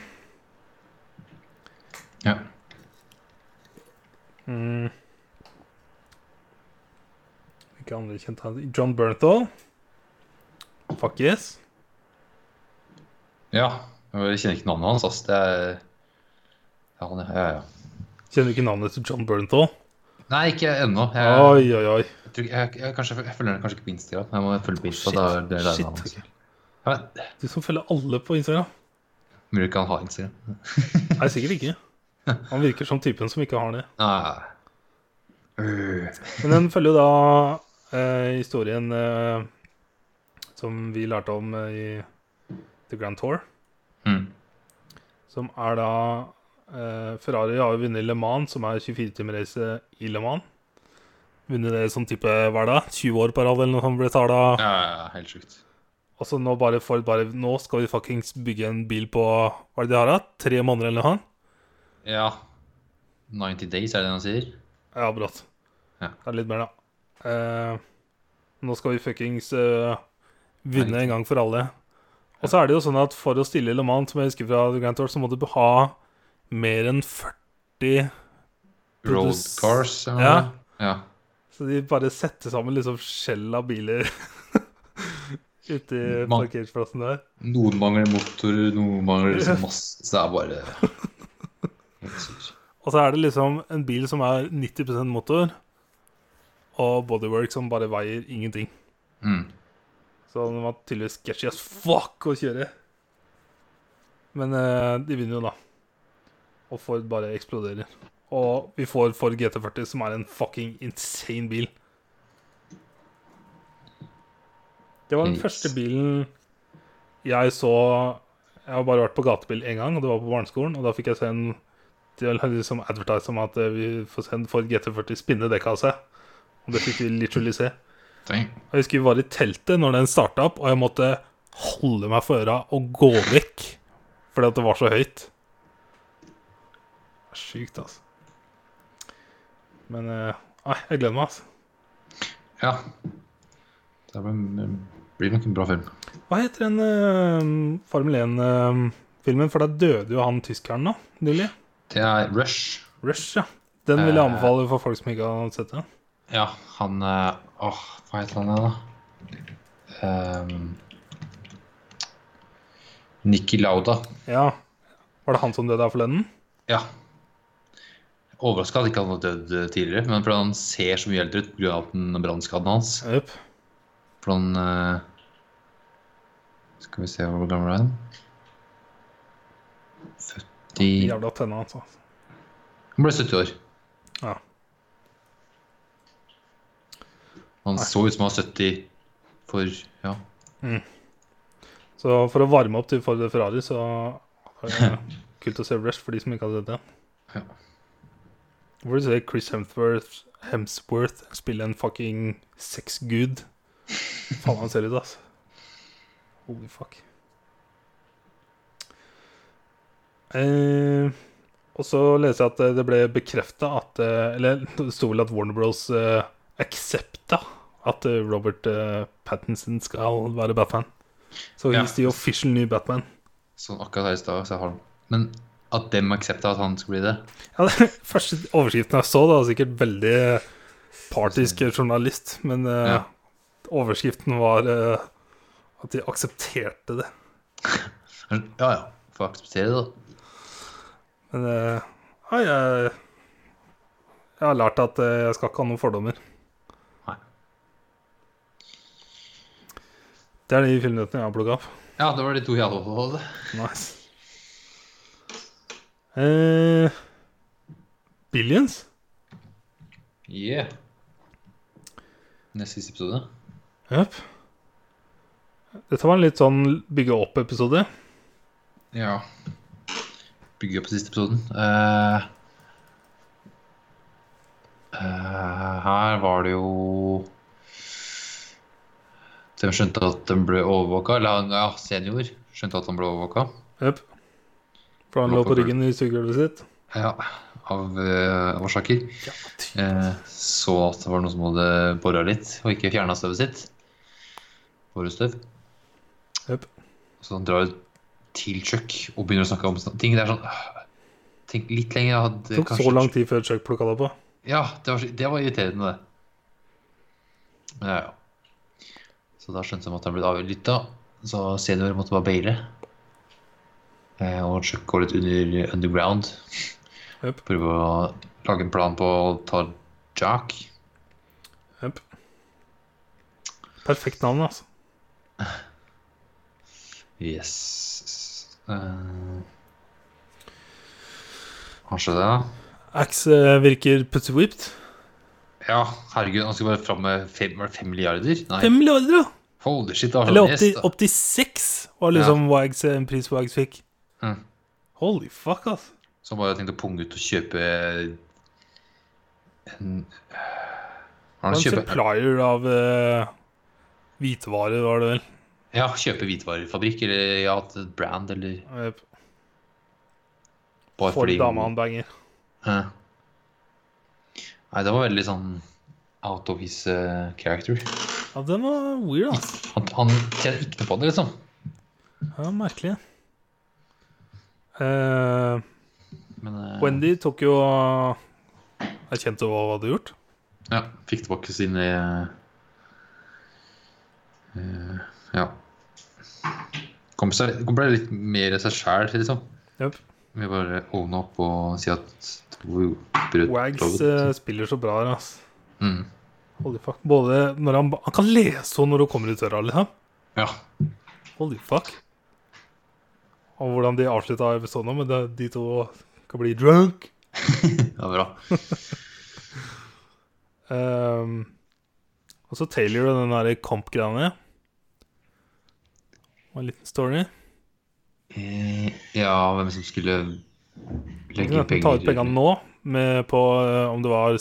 [SPEAKER 2] Ja.
[SPEAKER 1] Mm. Ikke andre kjente han John Bernthal. Fuck yes.
[SPEAKER 2] ja. Jeg kjenner ikke navnet hans, ass. Det er ja, han, ja, ja.
[SPEAKER 1] Kjenner du ikke navnet til John Bernthal?
[SPEAKER 2] Nei, ikke ennå. Jeg,
[SPEAKER 1] Oi, oi, oi.
[SPEAKER 2] jeg, tror- jeg, jeg, kanskje- jeg følger den kanskje ikke på Instagram. Jeg må følge på Insta.
[SPEAKER 1] Shit,
[SPEAKER 2] da er det
[SPEAKER 1] shit.
[SPEAKER 2] der navnet hans. Ja, men,
[SPEAKER 1] Du som følger alle på Instagram?
[SPEAKER 2] Mulig ikke han har Instagram.
[SPEAKER 1] Nei, sikkert
[SPEAKER 2] (laughs)
[SPEAKER 1] ikke. Han virker som typen som ikke har det.
[SPEAKER 2] Nei. Øh.
[SPEAKER 1] Men den følger jo da eh, historien eh, som vi lærte om eh, i The Grand Tour.
[SPEAKER 2] Mm.
[SPEAKER 1] Som er da eh, Ferrari har jo vunnet Le Mans, som er 24-timereise i Le Mans. Vunnet det som type hva er det? 20 år på rad eller noe sånt ble tala.
[SPEAKER 2] Ja, ja, ja, helt sjukt.
[SPEAKER 1] Og så nå bare Ford bare Nå skal vi fuckings bygge en bil på Hva er det de har, da? Tre måneder eller noe sånt?
[SPEAKER 2] Ja. 90 days, er det det han sier?
[SPEAKER 1] Ja, brått.
[SPEAKER 2] Ja.
[SPEAKER 1] Det er litt mer, da. Eh, nå skal vi fuckings eh, vinne
[SPEAKER 2] Nei.
[SPEAKER 1] en gang for alle. Og så er det jo sånn at for å stille Le Mans, som jeg husker fra Grand Tour, så må du ha mer enn 40
[SPEAKER 2] Road
[SPEAKER 1] Produs-
[SPEAKER 2] cars? eller
[SPEAKER 1] Ja.
[SPEAKER 2] noe? Ja.
[SPEAKER 1] Så de bare setter sammen liksom skjell av biler (laughs) ute i
[SPEAKER 2] Man-
[SPEAKER 1] parkeringsplassen der.
[SPEAKER 2] Noen mangler motor, noen
[SPEAKER 1] (laughs)
[SPEAKER 2] mangler liksom masse Så det er bare Helt sykt.
[SPEAKER 1] Og så er det liksom en bil som er 90 motor, og bodywork som bare veier ingenting.
[SPEAKER 2] Mm.
[SPEAKER 1] Så den var tydeligvis sketchy as fuck å kjøre. Men eh, de vinner jo, da. Og Ford bare eksploderer. Og vi får Ford GT40, som er en fucking insane bil. Det var den
[SPEAKER 2] Yes.
[SPEAKER 1] første bilen jeg så Jeg har bare vært på gatebil én gang, og det var på barneskolen. Og da fikk jeg se en De hadde liksom advertise om at eh, vi får se en Ford GT40 spinne dekka av seg. Og det fikk vi literally se.
[SPEAKER 2] Tenk.
[SPEAKER 1] Jeg husker vi var i teltet når den starta opp, og jeg måtte holde meg for øra og gå vekk. Fordi at det var så høyt. Sjukt, altså. Men eh, Nei, jeg gleder meg, altså.
[SPEAKER 2] Ja. Det blir, blir nok en bra film.
[SPEAKER 1] Hva heter den eh, Formel 1-filmen? For der døde jo han tyskeren nå, nylig.
[SPEAKER 2] Det er Rush.
[SPEAKER 1] Rush, ja. Den vil jeg anbefale for folk som ikke har sett den.
[SPEAKER 2] Ja, han eh, Åh, hva heter han igjen, da? Ehm, Niki Lauda.
[SPEAKER 1] Ja. Var det han som døde her forleden?
[SPEAKER 2] Ja. Overraska at ikke han hadde dødd eh, tidligere, men fordi han ser så mye eldre ut pga. brannskaden hans.
[SPEAKER 1] Jepp.
[SPEAKER 2] For han eh, Skal vi se hvor gammel er han? 70
[SPEAKER 1] Jævla tenna, altså.
[SPEAKER 2] Han ble 70 år.
[SPEAKER 1] Ja.
[SPEAKER 2] Han så ut som han var 70 for Ja.
[SPEAKER 1] Så for å varme opp til Ford Ferrari, så var
[SPEAKER 2] (laughs)
[SPEAKER 1] det kult å se Rush for de som ikke hadde sett det.
[SPEAKER 2] Ja.
[SPEAKER 1] Hvor du ser Chris Hemsworth, Hemsworth spille en fucking sexgud. Faen, han ser ut, altså. Holy fuck. Eh, og så leser jeg at eh, det- det ble bekrefta at eh, Eller (laughs) det sto vel at Warner Bros. Eh, aksepta at eh, Robert eh, Pattinson skal være Batman. Så
[SPEAKER 2] Ja.
[SPEAKER 1] he's the official new Batman.
[SPEAKER 2] Sånn akkurat her i stad, så har han Men at dem aksepta at han skulle bli det
[SPEAKER 1] Ja, det, (laughs) første overskriften jeg så, det var sikkert veldig partisk journalist, men eh,
[SPEAKER 2] Ja.
[SPEAKER 1] overskriften var eh, at de aksepterte det.
[SPEAKER 2] Ja, ja. Får akseptere det, da.
[SPEAKER 1] Men eh, ja, jeg, jeg har lært at eh, jeg skal ikke ha noen fordommer.
[SPEAKER 2] Nei.
[SPEAKER 1] Det er de filmnyhetene jeg har plukka opp.
[SPEAKER 2] Ja, det var de to jeg hadde overholdt.
[SPEAKER 1] Nice. Eh, Billions?
[SPEAKER 2] Yeah. Neste siste episode.
[SPEAKER 1] Jepp. Dette var en litt sånn bygge opp-episode.
[SPEAKER 2] Ja. Bygge opp på siste episoden. Eh, eh, her var det jo De skjønte at de ble overvåka. Eller han- ja, senior skjønte at han ble overvåka.
[SPEAKER 1] Jepp. For han lå på ryggen i sugegulvet sitt.
[SPEAKER 2] Ja, av eh, årsaker. Eh, så at det var noen som hadde bora litt og ikke fjerna støvet sitt. Borestøv.
[SPEAKER 1] Jepp.
[SPEAKER 2] Så han drar til Chuck og begynner å snakke om sånne ting. Det er sånn øh, Tenk litt lenger. Jeg hadde
[SPEAKER 1] Det tok
[SPEAKER 2] kanskje-
[SPEAKER 1] så lang tid før Chuck plukka det på.
[SPEAKER 2] Ja, det var, så- det var irriterende, det. Men ja, ja. Så da skjønte de at han ble avlytta. Så senior måtte bare baile. Eh, og Chuck går litt under underground.
[SPEAKER 1] Jepp.
[SPEAKER 2] Prøver å lage en plan på å ta Jack.
[SPEAKER 1] Jepp. Perfekt navn, altså.
[SPEAKER 2] Yes. Eh, hva skjedde da?
[SPEAKER 1] Axe eh, virker pussy whipped.
[SPEAKER 2] Ja, herregud, han skulle bare fram med fem, var det fem milliarder? Nei,
[SPEAKER 1] Fem milliarder, da!
[SPEAKER 2] holy shit, det var sånn
[SPEAKER 1] Eller opptil
[SPEAKER 2] gjest, da.
[SPEAKER 1] opp til seks var liksom Wags, eh, en pris Wags fikk.
[SPEAKER 2] Mm.
[SPEAKER 1] Holy fuck, altså.
[SPEAKER 2] Så han bare tenkte å punge ut og kjøpe en Har
[SPEAKER 1] Han var
[SPEAKER 2] han
[SPEAKER 1] en
[SPEAKER 2] kjøpe,
[SPEAKER 1] supplier av eh, hvitvarer, var det vel.
[SPEAKER 2] ja, kjøpe hvitvarefabrikk eller ja, til et brand eller
[SPEAKER 1] Jepp.
[SPEAKER 2] bare
[SPEAKER 1] For
[SPEAKER 2] fordi
[SPEAKER 1] dama han banger.
[SPEAKER 2] Ja. Nei, det var veldig sånn out of his eh, character.
[SPEAKER 1] Ja, den var weird, altså.
[SPEAKER 2] Han, han tjener ikke noe på det, liksom.
[SPEAKER 1] Ja, merkelig. Eh,
[SPEAKER 2] Men eh,
[SPEAKER 1] Wendy tok jo Erkjente hva hun hadde gjort.
[SPEAKER 2] Ja, fikk tilbake sine eh, Ja. Kom seg, kom ble litt mer seg sjæl, liksom.
[SPEAKER 1] Japp.
[SPEAKER 2] Vi bare ovne opp og si at det var jo brød-
[SPEAKER 1] Wags
[SPEAKER 2] brød.
[SPEAKER 1] eh, spiller så bra her, ass.
[SPEAKER 2] Mm.
[SPEAKER 1] Holy fuck. Både når han, ba- han kan lese og når hun kommer ut døra, liksom.
[SPEAKER 2] Ja.
[SPEAKER 1] Holy fuck. Og hvordan de avslutta episoden med de, de to skal bli drunk.
[SPEAKER 2] Det var bra.
[SPEAKER 1] Ehm, og så Taylor og den der comp-greiene. Og en liten story.
[SPEAKER 2] Eh, ja, hvem som skulle legge
[SPEAKER 1] Ikke sant? Ta ut
[SPEAKER 2] penger
[SPEAKER 1] pengene nå, med på eh, om det var 60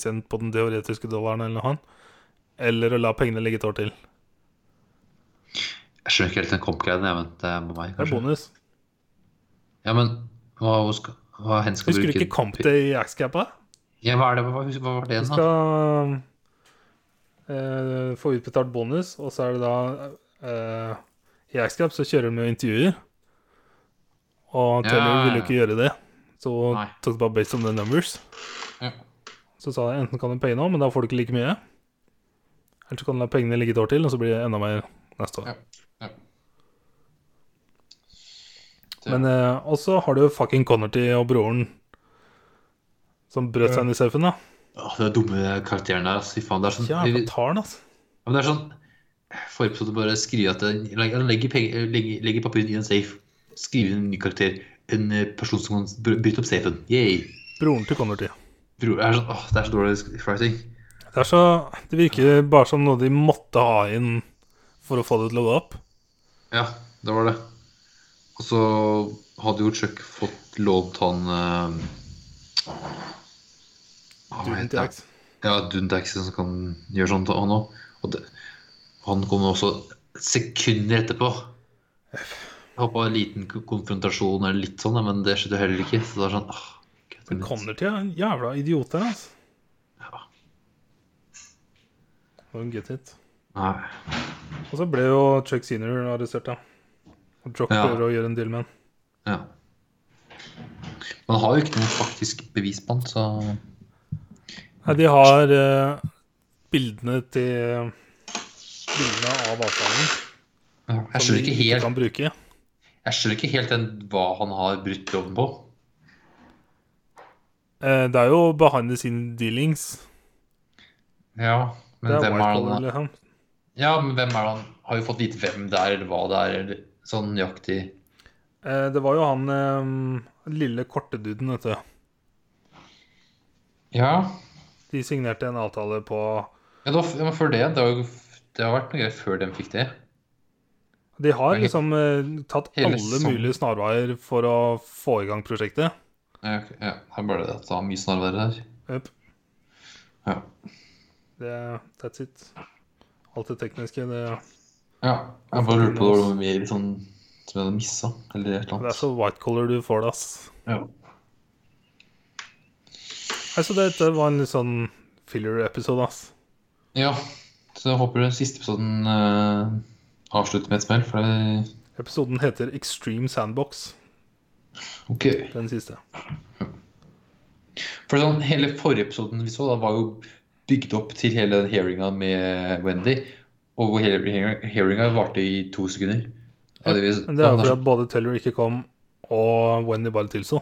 [SPEAKER 1] cent på den teoretiske dollaren eller noe annet. Eller å la pengene ligge et år til.
[SPEAKER 2] Jeg skjønner ikke helt den komp-greien, jeg, men det er med meg,
[SPEAKER 1] Det er
[SPEAKER 2] kanskje.
[SPEAKER 1] bonus.
[SPEAKER 2] Ja, men hva, hva skal, hva hen skal
[SPEAKER 1] Husker du
[SPEAKER 2] bruke
[SPEAKER 1] ikke Comp Day i Axcapa?
[SPEAKER 2] Ja, hva er det? Hva, hva hva var det
[SPEAKER 1] Du
[SPEAKER 2] igjen, da?
[SPEAKER 1] skal eh, få utbetalt bonus, og så er det da eh, I Axcap så kjører de med intervjuer, og
[SPEAKER 2] Ja,
[SPEAKER 1] Taylor
[SPEAKER 2] ja,
[SPEAKER 1] ville
[SPEAKER 2] ja.
[SPEAKER 1] jo ikke gjøre det. Så
[SPEAKER 2] Nei.
[SPEAKER 1] tok det bare based on the numbers.
[SPEAKER 2] Ja.
[SPEAKER 1] Så sa jeg enten kan du paye nå, men da får du ikke like mye. Eller så kan du la pengene ligge et år til, og så blir det enda mer neste år.
[SPEAKER 2] Ja, ja. Det-
[SPEAKER 1] Men eh, også har du jo fucking Connerty og broren som brøt seg inn i safen, da.
[SPEAKER 2] Åh, det er dumme karakteren der, altså. Fy faen, det er sånn
[SPEAKER 1] Jævla tarn, altså.
[SPEAKER 2] Ja, men det er sånn Forrige episode bare skrive at den legger, legger, penger- eh, legger, legger papir i en safe. Skrive inn en ny karakter. En eh, person som kan bry- bryte opp safen. Yay.
[SPEAKER 1] Broren til Connerty.
[SPEAKER 2] Bror, det er sånn, åh, det er så dårlig sk- writing.
[SPEAKER 1] Det, er så, det virker bare som noe de måtte ha inn for å få det til å gå opp.
[SPEAKER 2] Ja, det var det. Og så hadde jo Chuck fått lånt han eh, hva
[SPEAKER 1] Duden
[SPEAKER 2] heter
[SPEAKER 1] til
[SPEAKER 2] han?
[SPEAKER 1] Axe.
[SPEAKER 2] Ja, Dundaxen som kan gjøre sånt, han òg. Og det, han kom også sekunder etterpå. Jeg håpa en liten k- konfrontasjon eller litt sånn, men det skjedde jo heller ikke. Så det er sånn ah, gutter
[SPEAKER 1] Men
[SPEAKER 2] mitt.
[SPEAKER 1] Connerty er en jævla idiot der, altså.
[SPEAKER 2] Ja.
[SPEAKER 1] Don't get it.
[SPEAKER 2] Nei.
[SPEAKER 1] Og så ble jo Chuck Senior arrestert, da. Og Jock
[SPEAKER 2] Ja.
[SPEAKER 1] prøver å gjøre en deal med han.
[SPEAKER 2] Ja. Man har jo ikke noe faktisk bevis på han, så
[SPEAKER 1] Nei, de har eh, bildene til Bildene av avtalen
[SPEAKER 2] ja, jeg skjønner ikke helt,
[SPEAKER 1] kan bruke.
[SPEAKER 2] jeg skjønner ikke helt den, hva han har brutt loven på.
[SPEAKER 1] Eh, det er jo behind the scene dealings.
[SPEAKER 2] Ja, men
[SPEAKER 1] det er
[SPEAKER 2] hvem er
[SPEAKER 1] white collar,
[SPEAKER 2] han
[SPEAKER 1] liksom.
[SPEAKER 2] Ja, men hvem er han Har jo fått vite hvem det er, eller hva det er, eller sånn nøyaktig
[SPEAKER 1] Eh, det var jo han eh, lille korte duden, vet du.
[SPEAKER 2] Ja.
[SPEAKER 1] De signerte en avtale på
[SPEAKER 2] Ja, da, ja, men før det, det har, jo, det har vært noe greier før de fikk det.
[SPEAKER 1] De har
[SPEAKER 2] Ok.
[SPEAKER 1] liksom eh, tatt
[SPEAKER 2] Hele
[SPEAKER 1] alle
[SPEAKER 2] sesongen.
[SPEAKER 1] mulige snarveier for å få i gang prosjektet.
[SPEAKER 2] Ja, ok, ja her ble det at det var mye snarveier her.
[SPEAKER 1] Jep.
[SPEAKER 2] Ja.
[SPEAKER 1] Det, that's it. Alt det tekniske. Det,
[SPEAKER 2] ja. Jeg bare lurte på om det var mer sånn som jeg hadde missa, eller et eller
[SPEAKER 1] det er
[SPEAKER 2] annet.
[SPEAKER 1] så white collar du får det, ass.
[SPEAKER 2] Ja.
[SPEAKER 1] Nei, så dette var en litt sånn filler-episode, ass.
[SPEAKER 2] ja. Så jeg håper den siste episoden eh, avslutter med et smell, for det
[SPEAKER 1] Episoden heter Extreme Sandbox,
[SPEAKER 2] OK.
[SPEAKER 1] den siste.
[SPEAKER 2] For sånn, hele forrige episoden vi så, da var jo bygd opp til hele den hearinga med Wendy. Og hvor hele hearing- hearinga varte i to sekunder. Ja, det, vi-
[SPEAKER 1] Men det er jo
[SPEAKER 2] sånn,
[SPEAKER 1] fordi at både Teller ikke kom, og Wendy bare tilsto.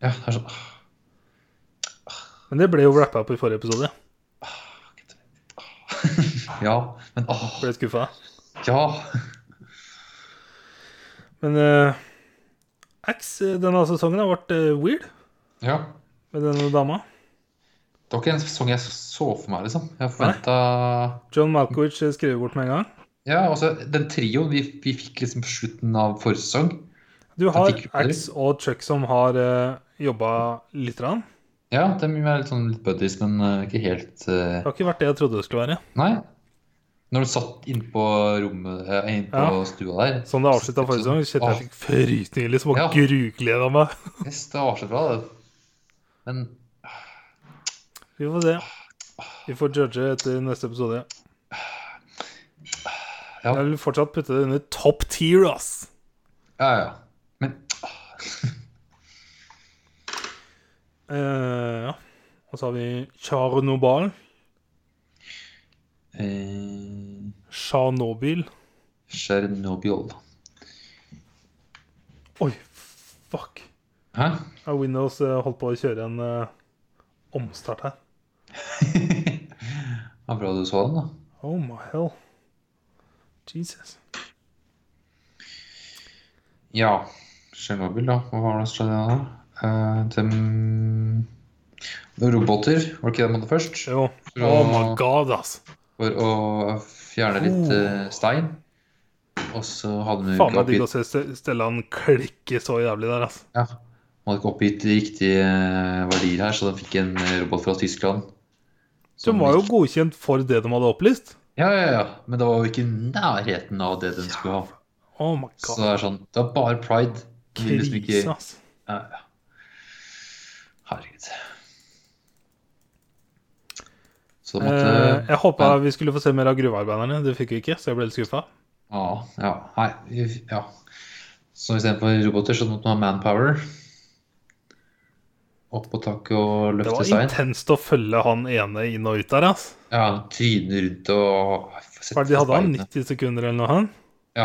[SPEAKER 2] Ja, det er sånn ah,
[SPEAKER 1] Men det ble jo wrappa opp i forrige episode.
[SPEAKER 2] Ja, men åh,
[SPEAKER 1] Ble litt skuffa.
[SPEAKER 2] ja.
[SPEAKER 1] Men uh, Axe eh, denne sesongen har vært eh, weird
[SPEAKER 2] Ja.
[SPEAKER 1] med denne dama.
[SPEAKER 2] Det var ikke en sesong jeg så for meg, liksom. Jeg forventa
[SPEAKER 1] John Malkowicz eh, skriver bort med en gang.
[SPEAKER 2] Ja, altså, den trioen vi, vi fikk liksom på slutten av forrige sesong
[SPEAKER 1] Du har
[SPEAKER 2] fikk jo bedre.
[SPEAKER 1] Axe og Chuck som har uh, jobba lite grann.
[SPEAKER 2] Ja, de er litt sånn litt buddies, men eh, ikke helt eh,
[SPEAKER 1] Det har ikke vært det jeg trodde det skulle være.
[SPEAKER 2] Nei. Når du satt innpå rommet eh, innpå
[SPEAKER 1] Ja.
[SPEAKER 2] stua der
[SPEAKER 1] Sånn det avslutta forrige sesong, kjente jeg fikk frysninger liksom og
[SPEAKER 2] Ja.
[SPEAKER 1] grugleda meg.
[SPEAKER 2] Yes, det avslører bra, det. Men
[SPEAKER 1] Vi får se. Vi får judge etter neste episode.
[SPEAKER 2] Ja.
[SPEAKER 1] Jeg vil fortsatt putte det under top tier, ass.
[SPEAKER 2] Ja, ja. Men
[SPEAKER 1] Eh, ja. Og så har vi Tsjernobyl.
[SPEAKER 2] Eh,
[SPEAKER 1] Tsjernobyl.
[SPEAKER 2] Tsjernobyl.
[SPEAKER 1] Oi, fuck.
[SPEAKER 2] Hæ?
[SPEAKER 1] Ja, Windows eh, holdt på å kjøre en eh, omstart her.
[SPEAKER 2] Det var bra du så den, da.
[SPEAKER 1] Oh my hell. Jesus.
[SPEAKER 2] Ja, Tsjernobyl, da. Hva var det som skjedde da? Eh, dem- roboter, var det ikke det man hadde først?
[SPEAKER 1] Jo.
[SPEAKER 2] For å,
[SPEAKER 1] Oh my god, ass.
[SPEAKER 2] for å fjerne litt eh, stein. Og så hadde man
[SPEAKER 1] Oh. Faen
[SPEAKER 2] ikke
[SPEAKER 1] meg digg å se
[SPEAKER 2] oppgitt,
[SPEAKER 1] Ste- Stellan klikke så jævlig der, ass.
[SPEAKER 2] ja, man hadde ikke oppgitt riktige eh, verdier her, så de fikk en eh, robot fra Tyskland.
[SPEAKER 1] De
[SPEAKER 2] Som
[SPEAKER 1] var jo
[SPEAKER 2] ikke-
[SPEAKER 1] godkjent for det de hadde opplyst.
[SPEAKER 2] Ja, ja, ja. Men det var jo ikke i nærheten av det den skulle ha.
[SPEAKER 1] Oh my
[SPEAKER 2] Så
[SPEAKER 1] god.
[SPEAKER 2] det er sånn Det er bare pride. De vil liksom ikke-
[SPEAKER 1] Krise, ass.
[SPEAKER 2] Ja, ja. Herregud. Så da måtte
[SPEAKER 1] Eh, jeg håpa
[SPEAKER 2] men-
[SPEAKER 1] vi skulle få se mer av gruvearbeiderne. Det fikk vi ikke, så jeg ble litt skuffa.
[SPEAKER 2] Ja. ja, Nei, vi- ja. Så istedenfor roboter, så måtte man ha manpower. Opp på taket og
[SPEAKER 1] Det
[SPEAKER 2] løfte
[SPEAKER 1] var
[SPEAKER 2] stein.
[SPEAKER 1] intenst å følge han ene inn og ut der, ass.
[SPEAKER 2] Ja, tryne rundt og
[SPEAKER 1] Hva er det de hadde han?
[SPEAKER 2] Steinene.
[SPEAKER 1] 90 sekunder eller noe? Han?
[SPEAKER 2] Ja.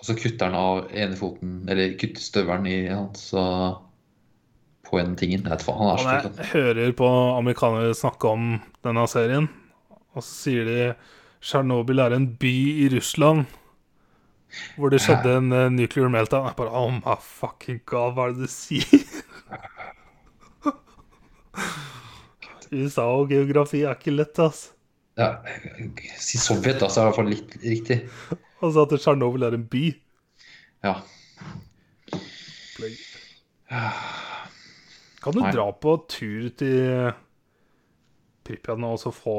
[SPEAKER 2] Og så kutter han av ene foten, eller kutter støvelen i han, så på en tingen. Jeg vet faen, han er så
[SPEAKER 1] Og
[SPEAKER 2] flink,
[SPEAKER 1] når jeg hører på amerikanere snakke om denne serien, og så sier de Tsjernobyl er en by i Russland hvor det skjedde en eh, nuclear meltdown. Jeg bare Oh my fucking god, hva er det du sier? (laughs) USA og geografi er ikke lett, ass.
[SPEAKER 2] han. Ja, si Sovjet, da, så er det i hvert fall litt riktig.
[SPEAKER 1] Og så Altså, at Tsjernobyl er en by.
[SPEAKER 2] Ja.
[SPEAKER 1] Kan du
[SPEAKER 2] Nei.
[SPEAKER 1] dra på tur til Pripjat nå og så få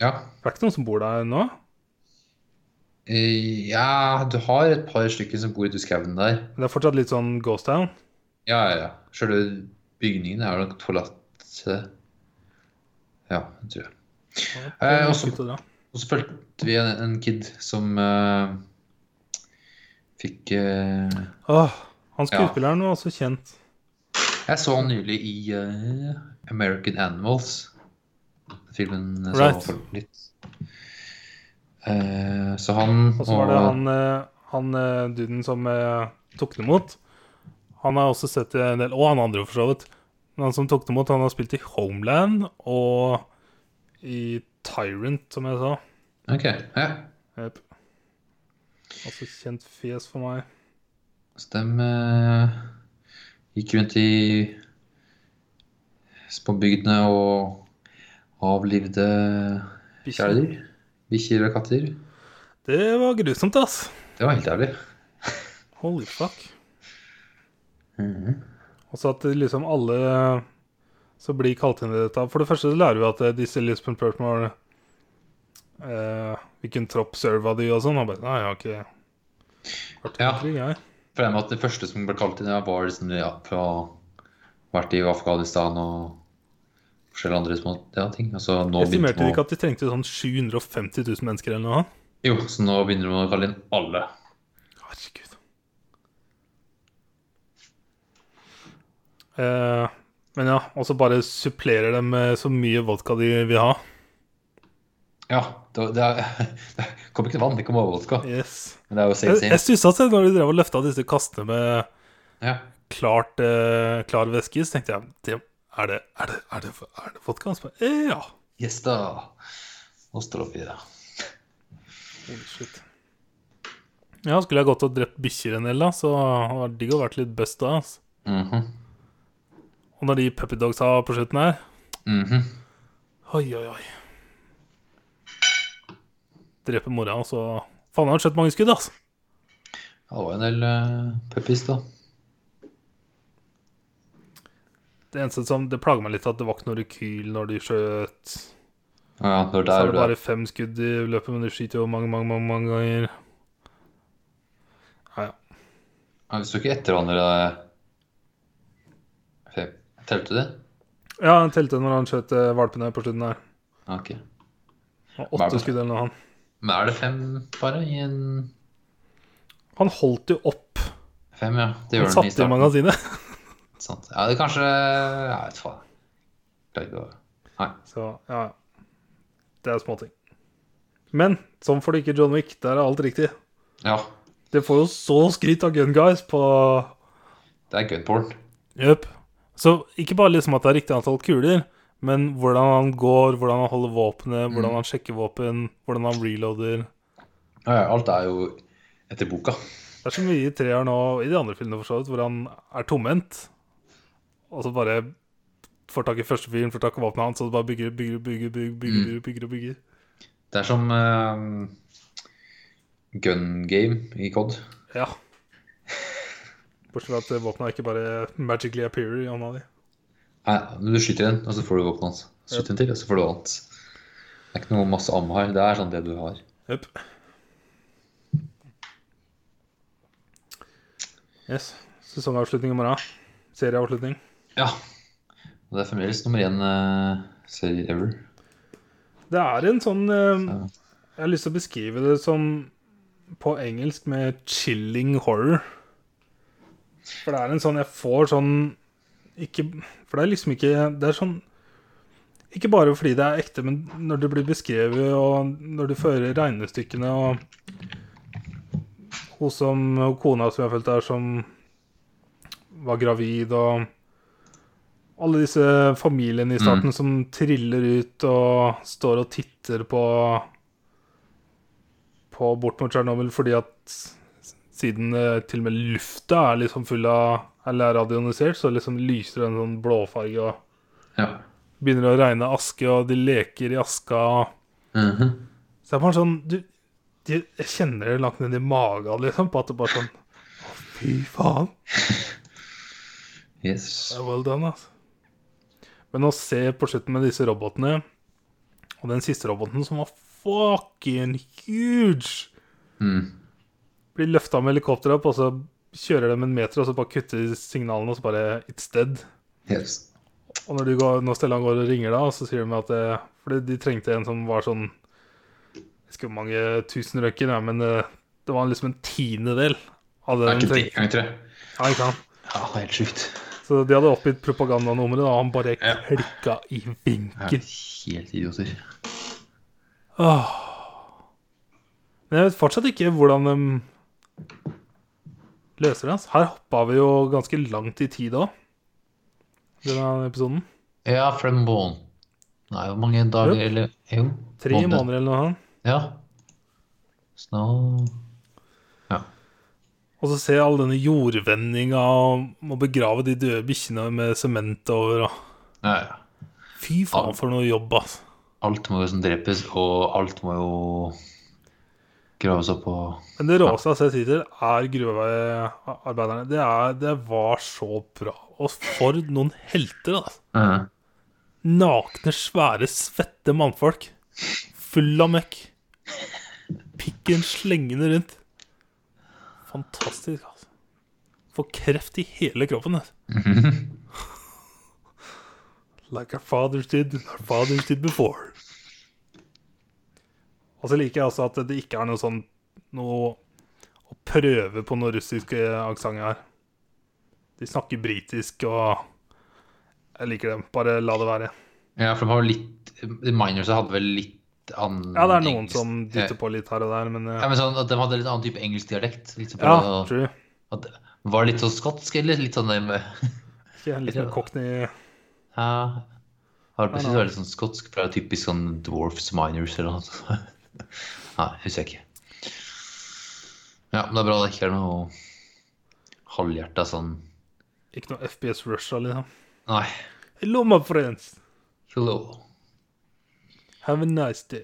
[SPEAKER 2] Ja.
[SPEAKER 1] Det er ikke noen som bor der nå?
[SPEAKER 2] Eh, ja, du har et par stykker som bor ute i skauen der.
[SPEAKER 1] Men det er fortsatt litt sånn ghost town?
[SPEAKER 2] Ja, ja, ja. Sjølve bygningen er jo nok forlatt. eh, Ja, det tror jeg. Eh, også-
[SPEAKER 1] Ut og dra.
[SPEAKER 2] Og så fulgte vi en, en kid som eh, fikk eh,
[SPEAKER 1] Åh, han
[SPEAKER 2] Ja.
[SPEAKER 1] skuespilleren var også kjent.
[SPEAKER 2] Jeg så han nylig i eh, American Animals. Filmen jeg så
[SPEAKER 1] Right.
[SPEAKER 2] for litt. Eh, så han
[SPEAKER 1] Og så var det han, eh, han eh, duden som eh, tok det imot. Han har jeg også sett i en del, og han andre for så vidt. Men han som tok det imot, han har spilt i Homeland og i Tyrant, som jeg sa.
[SPEAKER 2] Ok, ja.
[SPEAKER 1] Jep. Altså kjent fjes for meg.
[SPEAKER 2] Så de eh, gikk rundt i småbygdene og avlivde
[SPEAKER 1] Bikkje.
[SPEAKER 2] kjæledyr. Bikkjer og katter.
[SPEAKER 1] Det var grusomt, ass.
[SPEAKER 2] Det var helt jævlig.
[SPEAKER 1] Holy fuck.
[SPEAKER 2] Mhm.
[SPEAKER 1] Og så at det liksom alle så blir kalt inn i dette. For det første så lærer vi at eh, disse Lisbon Perthmore eh, Hvilken tropp serva de og sånn? Og bare Nei, jeg har ikke vært i
[SPEAKER 2] Ja.
[SPEAKER 1] krig, jeg.
[SPEAKER 2] For det med at det første som ble kalt inn, ja, var liksom ja, fra vært i Afghanistan og forskjellige andre små ja, ting. Altså, nå
[SPEAKER 1] Estimerte de
[SPEAKER 2] begynte
[SPEAKER 1] ikke
[SPEAKER 2] de å,
[SPEAKER 1] at de trengte sånn 750 000 mennesker eller noe? annet?
[SPEAKER 2] jo, så nå begynner de å kalle inn alle.
[SPEAKER 1] Herregud. Eh, men ja, og så bare supplerer de med så mye vodka de vil ha.
[SPEAKER 2] Ja, det, det, er, (laughs) det kommer ikke til vann, det kommer bare vodka.
[SPEAKER 1] Yes.
[SPEAKER 2] Men det er jo same,
[SPEAKER 1] Jeg, jeg
[SPEAKER 2] same.
[SPEAKER 1] stussa selv når de drev og løfta disse kastene med
[SPEAKER 2] Ja.
[SPEAKER 1] klart eh, klar væske, så tenkte jeg det, er, det, er, det, er, det, er det vodka? Og så bare, eh, ja.
[SPEAKER 2] Yes, da. Nå står det opp i det.
[SPEAKER 1] Holy shit. Ja, skulle jeg gått og drept bikkjer en del, da, så hadde det vært digg å vært litt bust da. ass.
[SPEAKER 2] Mhm,
[SPEAKER 1] Og når de puppydogsa på slutten her
[SPEAKER 2] mhm.
[SPEAKER 1] Oi, oi, oi. Drepe mora, og så Faen, jeg har skjøtt mange skudd, altså. ass.
[SPEAKER 2] Ja, det var jo en del uh, puppies, da.
[SPEAKER 1] Det eneste som Det plager meg litt at det var ikke noe rekyl når de skjøt.
[SPEAKER 2] Ja, ja, det
[SPEAKER 1] Så
[SPEAKER 2] var der
[SPEAKER 1] er det
[SPEAKER 2] det
[SPEAKER 1] bare fem skudd i løpet, men de skyter jo mange, mange, mange, mange ganger. Ja, ja.
[SPEAKER 2] ja, Vi så ikke etter hverandre. eh, Fem. Telte du det?
[SPEAKER 1] Ja, han telte når han skjøt eh, valpene på slutten der.
[SPEAKER 2] Ja, ok.
[SPEAKER 1] Han har Åtte
[SPEAKER 2] Hva er det?
[SPEAKER 1] skudd eller noe. Han
[SPEAKER 2] Men er det fem bare i en
[SPEAKER 1] Han holdt jo opp.
[SPEAKER 2] Fem, ja. Det gjør
[SPEAKER 1] Han
[SPEAKER 2] den i
[SPEAKER 1] satte i
[SPEAKER 2] starten.
[SPEAKER 1] magasinet.
[SPEAKER 2] Sant. Ja, det kanskje Jeg vet faen. Klarte ikke å Nei.
[SPEAKER 1] (laughs) Så ja, ja. Det er småting. Men sånn får du ikke John Wick. Der er alt riktig.
[SPEAKER 2] Ja,
[SPEAKER 1] Det får jo så skryt av Gun Guys på
[SPEAKER 2] det er gunporn.
[SPEAKER 1] Jøp. Så ikke bare liksom at det er riktig antall kuler, men hvordan han går, hvordan han holder
[SPEAKER 2] Mm.
[SPEAKER 1] våpenet, hvordan han sjekker våpen, hvordan han reloader.
[SPEAKER 2] Ja, ja, alt er jo etter boka.
[SPEAKER 1] Det er så mye i treer nå, i de andre filmene for så vidt, hvor han er tomhendt. Og så bare får tak i første fyren, får tak i våpenet hans, og så bare bygger, bygger, bygger, bygger, bygger, bygger, bygger og bygger.
[SPEAKER 2] Det er som eh, gun game i COD.
[SPEAKER 1] Ja. Bortsett fra at det våpenet ikke bare magically appear i hånda di.
[SPEAKER 2] Nei, men du skyter en, og så får du våpenet hans. Skyter en til, og så får du annet. Det er ikke noe masse ammo her. Det er sånn det du har.
[SPEAKER 1] Jøp. Yes. Sesongavslutning i morgen. Serieavslutning.
[SPEAKER 2] Ja. Og det er fremdeles nummer én eh, serie ever.
[SPEAKER 1] Det er en sånn eh,
[SPEAKER 2] Ja.
[SPEAKER 1] Jeg har lyst til å beskrive det som på engelsk med 'chilling horror'. For det er en sånn Jeg får sånn ikke, For det er liksom ikke Det er sånn Ikke bare fordi det er ekte, men når det blir beskrevet, og når du fører regnestykkene, og hun som hun kona som jeg følte er som var gravid, og alle disse familiene i staten som triller ut og står og titter på på bort mot Tsjernobyl fordi at s- siden eh, til og med lufta er liksom full av Eller er radionisert, så liksom lyser det en sånn blåfarge og
[SPEAKER 2] ja.
[SPEAKER 1] begynner å regne aske, og de leker i aska.
[SPEAKER 2] Mhm.
[SPEAKER 1] Så det er bare sånn du, de, Jeg kjenner det langt ned i magen, liksom, på at det bare sånn Å, fy faen.
[SPEAKER 2] Yes.
[SPEAKER 1] Det er well done, altså. Men å se på slutten med disse robotene, og den siste roboten som var fucking huge
[SPEAKER 2] Mm.
[SPEAKER 1] blir løfta med helikopter opp, og så kjører de en meter, og så bare kutter de signalene, og så bare It's dead.
[SPEAKER 2] Yes.
[SPEAKER 1] Og når, de går, når Stellan går og ringer da, så sier de at det, Fordi de trengte en som var sånn Jeg husker hvor mange tusen røyker, ja, men eh, det var liksom en tiendedel av det
[SPEAKER 2] Det er
[SPEAKER 1] de
[SPEAKER 2] ikke det
[SPEAKER 1] trengte.
[SPEAKER 2] engang, tror jeg.
[SPEAKER 1] Ja, ikke sant?
[SPEAKER 2] Ja, det er helt sjukt.
[SPEAKER 1] Så de hadde oppgitt propagandanummeret, og han bare
[SPEAKER 2] Ja.
[SPEAKER 1] klikka i
[SPEAKER 2] Ja,
[SPEAKER 1] vinkel.
[SPEAKER 2] Helt idioter.
[SPEAKER 1] Åh. Men jeg vet fortsatt ikke hvordan de løser det. ass. Her hoppa vi jo ganske langt i tid òg, denne episoden.
[SPEAKER 2] Ja, for en måned Nei, hvor mange dager
[SPEAKER 1] Jo.
[SPEAKER 2] eller Jo.
[SPEAKER 1] Tre måneder eller noe sånt.
[SPEAKER 2] Ja. Så nå Ja.
[SPEAKER 1] Og så ser jeg all denne jordvendinga og må begrave de døde bikkjene med sement over og
[SPEAKER 2] ja, ja.
[SPEAKER 1] Fy faen, for noe jobb, ass.
[SPEAKER 2] Alt må jo som drepes, og alt må jo graves opp og
[SPEAKER 1] Men det råeste jeg har sett hittil, er gruvearbeiderne. Det, er, det var så bra. Og for noen helter, altså.
[SPEAKER 2] Ja,
[SPEAKER 1] Nakne, svære, svette mannfolk. Full av møkk. Pikken slengende rundt. Fantastisk, altså. Får kreft i hele kroppen. altså. vet du. (laughs) like our fathers did, our fathers did before. Og så liker jeg også at det ikke er noe sånn noe å prøve på noen russiske aksenter her. De snakker britisk og Jeg liker dem. Bare la det være.
[SPEAKER 2] ja for de har jo litt The Miners hadde vel litt annen
[SPEAKER 1] Ja, det er noen
[SPEAKER 2] engelsk-
[SPEAKER 1] som dytter på litt her og der, men eh,
[SPEAKER 2] Ja, men sånn at De hadde litt annen type engelsk dialekt. Litt sånn
[SPEAKER 1] Ja,
[SPEAKER 2] på-
[SPEAKER 1] true.
[SPEAKER 2] at, var det litt sånn skotsk, eller? Litt sånn der med (laughs)
[SPEAKER 1] Ikke litt mer cockney
[SPEAKER 2] Ja. Har det
[SPEAKER 1] Ja,
[SPEAKER 2] plutselig
[SPEAKER 1] da.
[SPEAKER 2] vært litt sånn skotsk? For det er jo typisk sånn dwarfs miners eller noe sånt. (laughs) Nei, husker jeg ikke. Ja, men det er bra det ikke er noe halvhjerta sånn
[SPEAKER 1] Ikke noe FPS Russia, liksom.
[SPEAKER 2] Nei.
[SPEAKER 1] Hello, my friends.
[SPEAKER 2] Hello.
[SPEAKER 1] Have a nice day.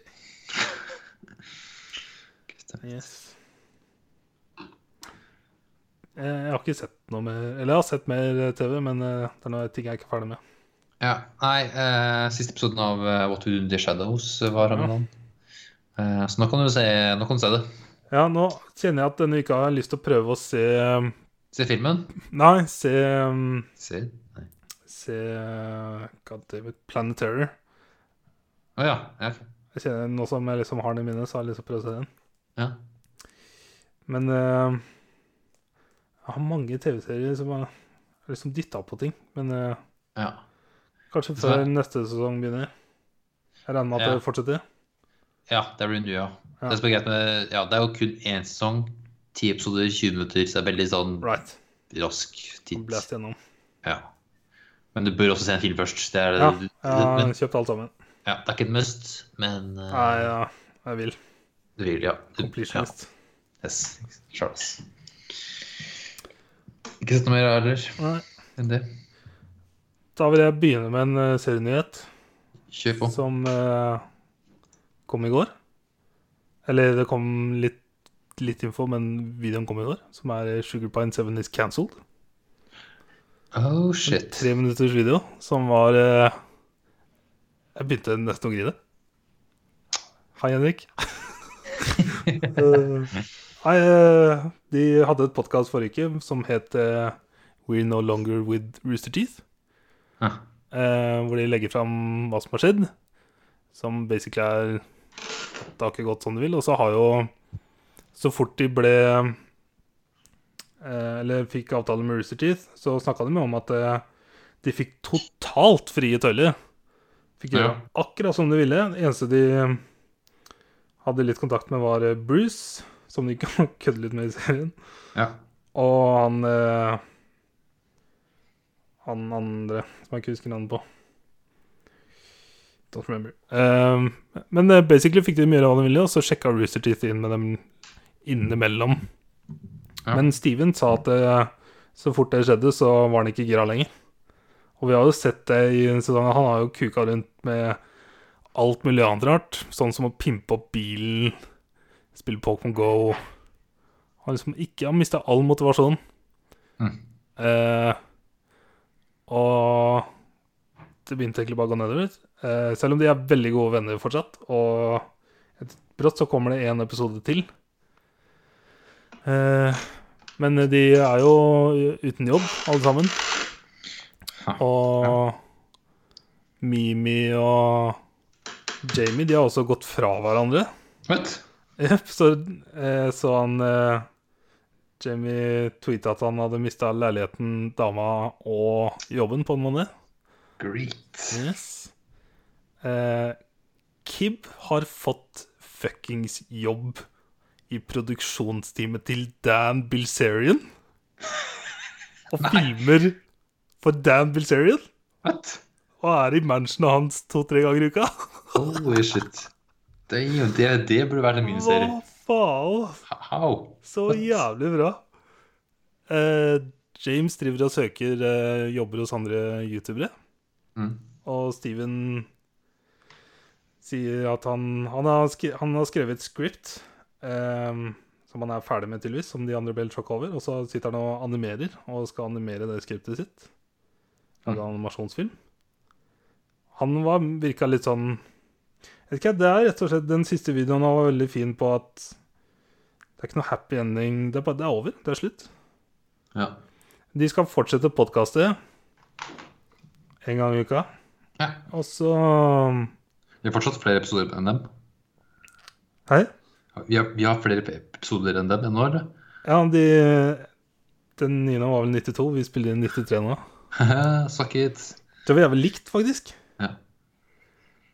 [SPEAKER 2] Stemmer.
[SPEAKER 1] Yes. Eh, Jeg har ikke sett noe mer Eller jeg har sett mer eh, TV, men eh, det er noe ting jeg ikke er ferdig med.
[SPEAKER 2] Ja, nei, eh, siste episoden av eh, What We Do in the Shadows var ramadan. Eh, så nå kan du se, nå kan du se det.
[SPEAKER 1] Ja, nå kjenner jeg at denne uka har jeg lyst til å prøve å se um,
[SPEAKER 2] Se filmen.
[SPEAKER 1] Nei, se um,
[SPEAKER 2] Se. Nei.
[SPEAKER 1] Se uh, God damn it, Planet Terror.
[SPEAKER 2] Å ja. ja, ok.
[SPEAKER 1] Jeg kjenner Nå som jeg liksom har den i minnet, så har jeg lyst til å prøve å se den.
[SPEAKER 2] ja.
[SPEAKER 1] Men eh, jeg har mange TV-serier som har liksom dytta på ting. Men eh,
[SPEAKER 2] Ja.
[SPEAKER 1] Kanskje før neste sesong begynner. Jeg regner med at
[SPEAKER 2] Ja.
[SPEAKER 1] det fortsetter.
[SPEAKER 2] Ja, det blir nå, ja.
[SPEAKER 1] Ja.
[SPEAKER 2] Det, som er greit med, ja. det er jo kun én sesong. Ti episoder, 20 minutter. Så det er veldig sånn
[SPEAKER 1] Right.
[SPEAKER 2] rask titt.
[SPEAKER 1] Blæst gjennom.
[SPEAKER 2] Ja. Men du bør også se en film først. Det er,
[SPEAKER 1] Ja,
[SPEAKER 2] det,
[SPEAKER 1] jeg
[SPEAKER 2] Eh, men,
[SPEAKER 1] har kjøpt alt sammen.
[SPEAKER 2] ja, det er ikke et must, men eh,
[SPEAKER 1] Nei, ja, jeg vil.
[SPEAKER 2] du vil, ja. Du-
[SPEAKER 1] Completionist.
[SPEAKER 2] Ja. Yes. Charles. Ikke sett noe mer heller
[SPEAKER 1] Nei.
[SPEAKER 2] enn det.
[SPEAKER 1] Da vil jeg begynne med en eh, serienyhet
[SPEAKER 2] Kjør på.
[SPEAKER 1] som eh, kom i går. Eller det kom litt, litt info, men videoen kom i går. Som er eh, Sugar Pine 7 is cancelled.
[SPEAKER 2] Oh shit.
[SPEAKER 1] Tre minutters video som var eh, Jeg begynte nesten å grine. Hei,
[SPEAKER 2] (laughs)
[SPEAKER 1] Henrik. Eh, Nei, eh, de hadde et podkast forrige uke som het eh, We're No Longer With Rooster Teeth.
[SPEAKER 2] Ja.
[SPEAKER 1] eh, hvor de legger fram hva som har skjedd. Som basically er at det har ikke gått som de vil. Og så har jo Så fort de ble eh, Eller fikk avtale med Rooster Teeth, så snakka de om at eh, de fikk totalt frie tøyler. Fikk gjøre
[SPEAKER 2] Ja.
[SPEAKER 1] akkurat som de ville. Det eneste de hadde litt kontakt med, var eh, Bruce, som de (laughs) kødde litt med i serien.
[SPEAKER 2] ja.
[SPEAKER 1] Og han eh, Han andre som jeg ikke husker navnet på. Don't remember. Ehm, men eh, basically fikk de mye av hva de ville, og så sjekka Rooster Teeth inn med dem innimellom.
[SPEAKER 2] Ja.
[SPEAKER 1] Men Steven sa at eh, så fort det skjedde, så var han ikke gira lenger. Og vi har jo sett det i sesongen. Han har jo kuka rundt med alt mulig annet rart. Sånn som å pimpe opp bilen, spille Pokémon Go. Han liksom ikke har mista all motivasjon.
[SPEAKER 2] Mm.
[SPEAKER 1] Eh, og det begynte egentlig bare å gå nedover. Eh, selv om de er veldig gode venner fortsatt. Og et, brått så kommer det én episode til. Eh, men de er jo uten jobb, alle sammen.
[SPEAKER 2] Ja.
[SPEAKER 1] Og Mimi og Jamie de har også gått fra hverandre.
[SPEAKER 2] Vet.
[SPEAKER 1] Jepp, så, eh, så han eh, Jamie tweeta at han hadde mista leiligheten, dama og jobben på en måned.
[SPEAKER 2] Great.
[SPEAKER 1] Yes. Eh, Kib har fått fuckings jobb i produksjonsteamet til Dan Bilzerian. Og filmer for Dan Bilzerian.
[SPEAKER 2] What?
[SPEAKER 1] Og er i mansionet hans to-tre ganger i uka.
[SPEAKER 2] Holy shit. Det, er jo- det, det burde vært en miniserie.
[SPEAKER 1] Hva faen?
[SPEAKER 2] How?
[SPEAKER 1] Så jævlig bra. Eh, James driver og søker eh, jobber hos andre youtubere.
[SPEAKER 2] Mm.
[SPEAKER 1] Og Steven sier at han, han, har, skre, han har skrevet et script ehm, som han er ferdig med, tydeligvis, som de andre ble helt sjokka over. Og så sitter han og animerer, og skal animere det skriptet sitt. Lage animasjonsfilm. Han var, virka litt sånn Jeg vet ikke, det er rett og slett Den siste videoen han var veldig fin på at det er ikke noe happy ending. Det er, bare, det er over. Det er slutt.
[SPEAKER 2] Ja.
[SPEAKER 1] De skal fortsette podkastet en gang i uka.
[SPEAKER 2] ja.
[SPEAKER 1] Og så um,
[SPEAKER 2] Vi har fortsatt flere episoder enn dem.
[SPEAKER 1] Hei?
[SPEAKER 2] Vi har, vi har flere episoder enn dem ennå, eller?
[SPEAKER 1] Ja, de Den niende var vel 92. Vi spiller inn 93 nå.
[SPEAKER 2] (laughs) Suck it.
[SPEAKER 1] Det var jævlig likt, faktisk.
[SPEAKER 2] Ja.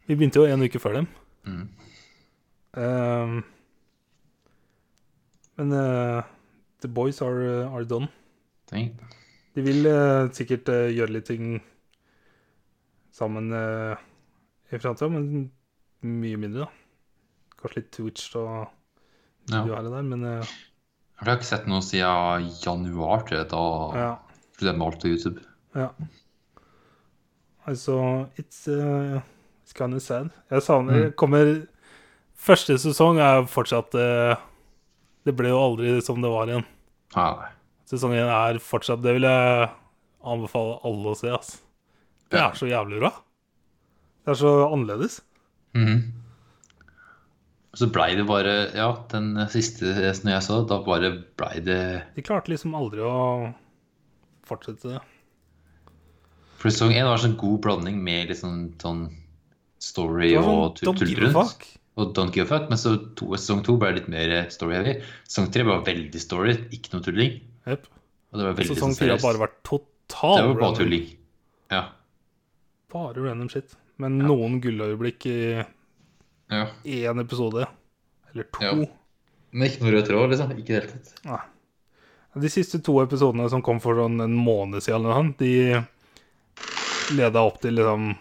[SPEAKER 1] Vi begynte jo en uke før dem.
[SPEAKER 2] Mm.
[SPEAKER 1] Ehm, men eh, the boys are, uh, are done.
[SPEAKER 2] Tenk.
[SPEAKER 1] De vil eh, sikkert eh, gjøre litt ting sammen eh, i framtida, men mye mindre, da. Kanskje litt Twitch og
[SPEAKER 2] Ja.
[SPEAKER 1] du her og der, men eh,
[SPEAKER 2] For Jeg har ikke sett noe siden januar, tror jeg, da
[SPEAKER 1] ja.
[SPEAKER 2] fordi de valgte YouTube.
[SPEAKER 1] Ja. Altså, it's, uh, it's kinda sad. Jeg savner
[SPEAKER 2] Mm.
[SPEAKER 1] jeg kommer, Første sesong er fortsatt eh, Det ble jo aldri som det var igjen.
[SPEAKER 2] Ja, nei.
[SPEAKER 1] Sesong én er fortsatt Det vil jeg anbefale alle å se, ass. Det
[SPEAKER 2] Ja.
[SPEAKER 1] er så jævlig bra. Det er så annerledes.
[SPEAKER 2] Mhm. Så blei det bare Ja, den siste resten jeg så, da bare blei det
[SPEAKER 1] De klarte liksom aldri å fortsette det.
[SPEAKER 2] For sesong én var en sånn god blanding med litt sånn, sånn story
[SPEAKER 1] Det var sånn,
[SPEAKER 2] og tu-
[SPEAKER 1] don't
[SPEAKER 2] tull
[SPEAKER 1] give a
[SPEAKER 2] rundt.
[SPEAKER 1] fuck.
[SPEAKER 2] Og don't give a fuck. Men så to, sesong to ble litt mer story-heavy. Sesong tre var veldig story, ikke noe tulling.
[SPEAKER 1] Jep.
[SPEAKER 2] Og det var veldig
[SPEAKER 1] Sesong
[SPEAKER 2] sånn
[SPEAKER 1] fire har
[SPEAKER 2] seriøst.
[SPEAKER 1] bare vært total
[SPEAKER 2] Det var bare
[SPEAKER 1] random.
[SPEAKER 2] tulling. Ja.
[SPEAKER 1] Bare random shit. Men
[SPEAKER 2] Ja.
[SPEAKER 1] noen gulløyeblikk i
[SPEAKER 2] Ja.
[SPEAKER 1] én episode, eller to.
[SPEAKER 2] Ja. Men ikke noe rød tråd, liksom. Ikke i det hele tatt.
[SPEAKER 1] De siste to episodene som kom for sånn en måned siden, eller noe sånt, de leda opp til liksom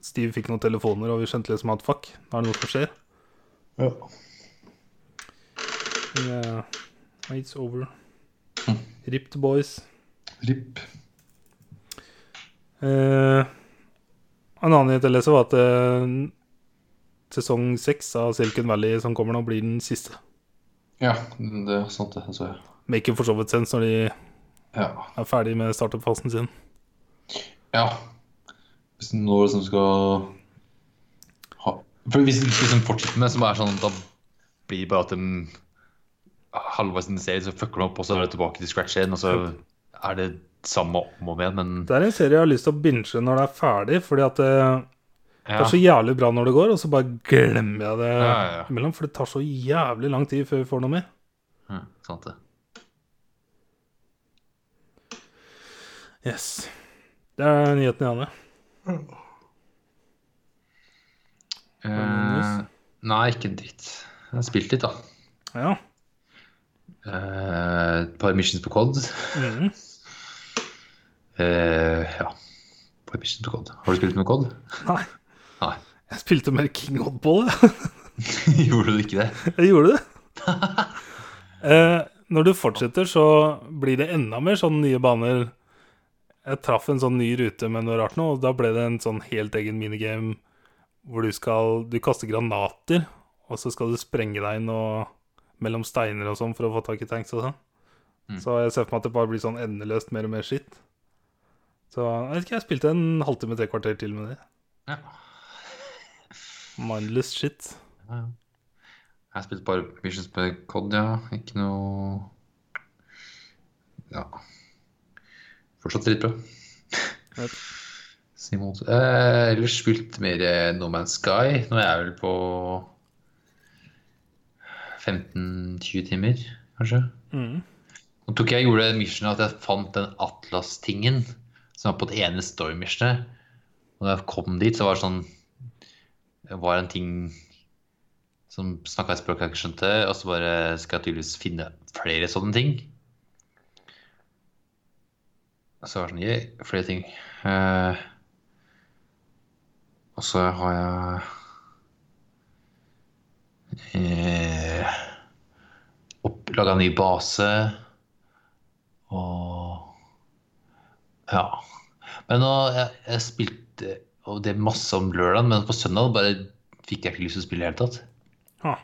[SPEAKER 1] Steve fikk noen telefoner, og vi skjønte liksom at fuck, nå er det noe som skjer.
[SPEAKER 2] Ja.
[SPEAKER 1] Yeah. Eh, It's over.
[SPEAKER 2] Hm.
[SPEAKER 1] Rip the boys.
[SPEAKER 2] Ripp.
[SPEAKER 1] Eh, en annen nyhet jeg leser, var at eh, sesong seks av Silicon Valley som kommer nå, blir den siste.
[SPEAKER 2] Ja, det er sant, det. Så jeg.
[SPEAKER 1] Maker for så vidt sens når de
[SPEAKER 2] Ja.
[SPEAKER 1] er ferdig med startup-fasen sin.
[SPEAKER 2] ja. Hvis du nå liksom skal ha For hvis du liksom fortsetter med det, så bare er sånn da blir det bare at de halvveis inn i serien, så fucker de opp, og så er det tilbake til scratch igjen, og så er det samme om og med, men
[SPEAKER 1] Det er en serie jeg har lyst til å binge når det er ferdig, fordi at det, det
[SPEAKER 2] ja.
[SPEAKER 1] er så jævlig bra når det går, og så bare glemmer jeg det
[SPEAKER 2] Ja, ja, ja.
[SPEAKER 1] imellom, for det tar så jævlig lang tid før vi får noe mer.
[SPEAKER 2] ja, sant, det.
[SPEAKER 1] Yes. Det er nyheten jeg hadde. det noe
[SPEAKER 2] Eh, nei, ikke en dritt. Jeg har spilt litt, da.
[SPEAKER 1] Ja.
[SPEAKER 2] Eh, Et par missions på Cod.
[SPEAKER 1] Mhm.
[SPEAKER 2] Eh, ja. Et par missions på Cod. Har du spilt med Cod?
[SPEAKER 1] Nei.
[SPEAKER 2] Nei.
[SPEAKER 1] Jeg spilte mer King Oddball, jeg.
[SPEAKER 2] (laughs) Gjorde du ikke det?
[SPEAKER 1] Jeg gjorde det.
[SPEAKER 2] (laughs)
[SPEAKER 1] eh, når du fortsetter, så blir det enda mer sånne nye baner. Jeg traff en sånn ny rute med noe rart nå, og da ble det en sånn helt egen minigame hvor du skal Du kaster granater, og så skal du sprenge deg inn og mellom steiner og sånn for å få tak i tanks og sånn.
[SPEAKER 2] Mm.
[SPEAKER 1] Så jeg ser for meg at det bare blir sånn endeløst mer og mer skitt. Så jeg vet ikke, jeg spilte en halvtime, tre kvarter til med det.
[SPEAKER 2] Ja.
[SPEAKER 1] Mindless shit.
[SPEAKER 2] Ja, ja. Jeg har spilt et par missions på Cod, ja. Ikke noe Ja. Fortsatt dritbra.
[SPEAKER 1] Yep.
[SPEAKER 2] (laughs) Simon eh, Ellers spilt mer eh, No Man's Sky. Nå er jeg vel på 15-20 timer, kanskje.
[SPEAKER 1] Mm.
[SPEAKER 2] Nå tok jeg gjorde en mission at jeg fant den Atlas-tingen som var på det ene Storm-missionet. Og da jeg kom dit, så var det sånn Det var en ting som snakka et språk jeg ikke skjønte, og så bare skal jeg tydeligvis finne flere sånne ting. Så var det sånn yeah, flere ting. Eh, og så har jeg eh, opp, laga en ny base. Og Ja. Men nå, jeg, jeg spilte og det er masse om lørdagen, men på søndag bare fikk jeg ikke lyst til å spille i det hele tatt.
[SPEAKER 1] Ah.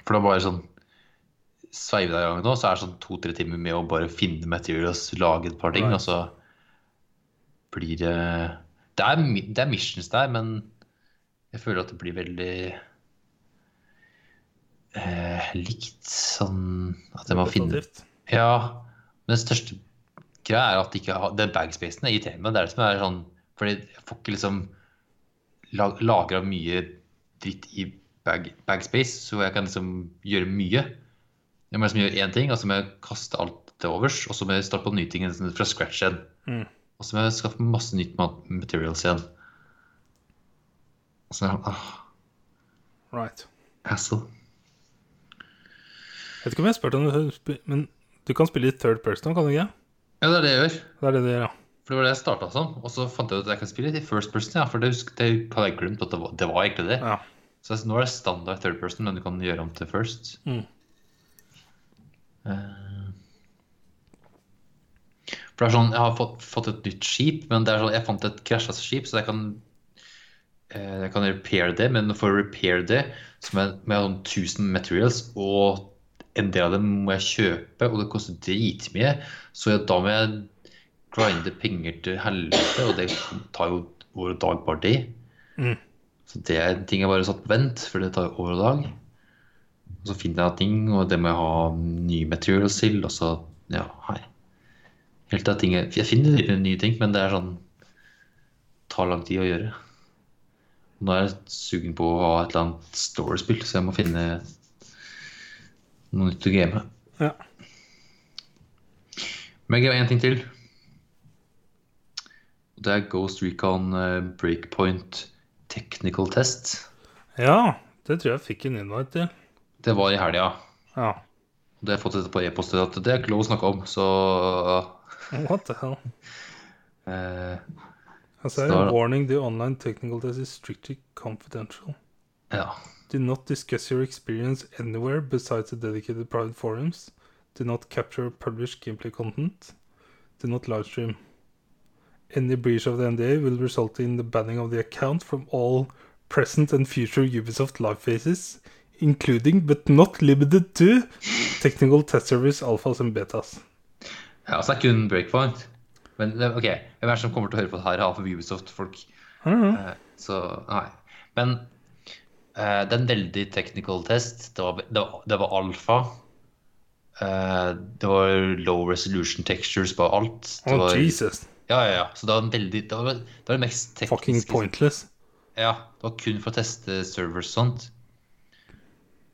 [SPEAKER 2] For da bare sånn sveive deg i gang nå, så er det sånn to-tre timer med å bare finne materials, lage et par ting,
[SPEAKER 1] Right.
[SPEAKER 2] og så blir det det er, mi- det er missions der, men jeg føler at det blir veldig eh, likt sånn at jeg må finne
[SPEAKER 1] Repetitivt.
[SPEAKER 2] ja, men den største greia er at de ikke har, den bagspacen er irriterende. Det er det som er sånn Fordi jeg får ikke liksom lag, lagra mye dritt i bag, bagspace, så jeg kan liksom gjøre mye. Jeg må liksom gjøre én ting, og så må jeg kaste alt til overs, og så må jeg starte på nye ting liksom, fra scratch igjen.
[SPEAKER 1] Mm.
[SPEAKER 2] Og så må jeg skaffe masse nytt mat- materials igjen. Og så er det ah,
[SPEAKER 1] Right.
[SPEAKER 2] hassle.
[SPEAKER 1] Jeg vet ikke om jeg spurte om du sp- Men du kan spille i third person, kan du ikke?
[SPEAKER 2] Ja, det er det jeg gjør.
[SPEAKER 1] Det er det du gjør, ja.
[SPEAKER 2] For det var det jeg starta som, og så fant jeg ut at jeg kan spille i first person. Ja, for det, husk- det hadde jeg glemt at det var, det var egentlig det.
[SPEAKER 1] Ja.
[SPEAKER 2] Så jeg- nå er det standard third person, men du kan gjøre om til first.
[SPEAKER 1] Mm.
[SPEAKER 2] Eh, For det er sånn, Jeg har fått, fått et nytt skip, men det er sånn, jeg fant et krasja skip, så jeg kan eh, jeg kan repair det. Men for å repair det så må jeg, må jeg ha sånn 1000 materials, og en del av dem må jeg kjøpe, og det koster dritmye. Så jeg, da må jeg grinde penger til helvete, og det tar jo over og dag bare det.
[SPEAKER 1] Mm.
[SPEAKER 2] Så det er en ting jeg bare har satt på vent, for det tar jo over og dag. Og så finner jeg ting, og det må jeg ha nye materials til, og så ja, hei. Helt av ting jeg, jeg finner litt nye ting, men det er sånn tar lang tid å gjøre. Nå er jeg sugen på å ha et eller annet storespill, så jeg må finne noe nytt å game.
[SPEAKER 1] Ja.
[SPEAKER 2] Men jeg har en ting til. Det er Ghost Recon eh, Breakpoint Technical Test.
[SPEAKER 1] Ja, det tror jeg jeg fikk en invite til.
[SPEAKER 2] Det var i helga.
[SPEAKER 1] Ja.
[SPEAKER 2] Det har jeg fått dette på e-post. at Det er ikke lov å snakke om, så
[SPEAKER 1] What the hell?
[SPEAKER 2] eh,
[SPEAKER 1] Altså,
[SPEAKER 2] Står
[SPEAKER 1] er
[SPEAKER 2] det.
[SPEAKER 1] warning the online technical test is strictly confidential.
[SPEAKER 2] Ja.
[SPEAKER 1] Do not discuss your experience anywhere besides the dedicated private forums. Do not capture or publish gameplay content. Do not livestream. Any breach of the NDA will result in the banning of the account from all present and future Ubisoft live phases, including but not limited to technical test service alphas and betas.
[SPEAKER 2] ja, så er det kun Breakpoint. Men det- OK, hvem er det som kommer til å høre på det her av Ubisoft-folk?
[SPEAKER 1] I don't know.
[SPEAKER 2] Eh, Så nei. Men eh, det er en veldig technical test. Det var, det var, det var alfa. Eh, det var low resolution textures på alt. Det
[SPEAKER 1] Oh,
[SPEAKER 2] var,
[SPEAKER 1] Jesus.
[SPEAKER 2] Ja, ja, ja. Så det var en veldig Det var, det var det mest tekniske
[SPEAKER 1] Fucking pointless.
[SPEAKER 2] Ja, det var kun for å teste servers og sånt.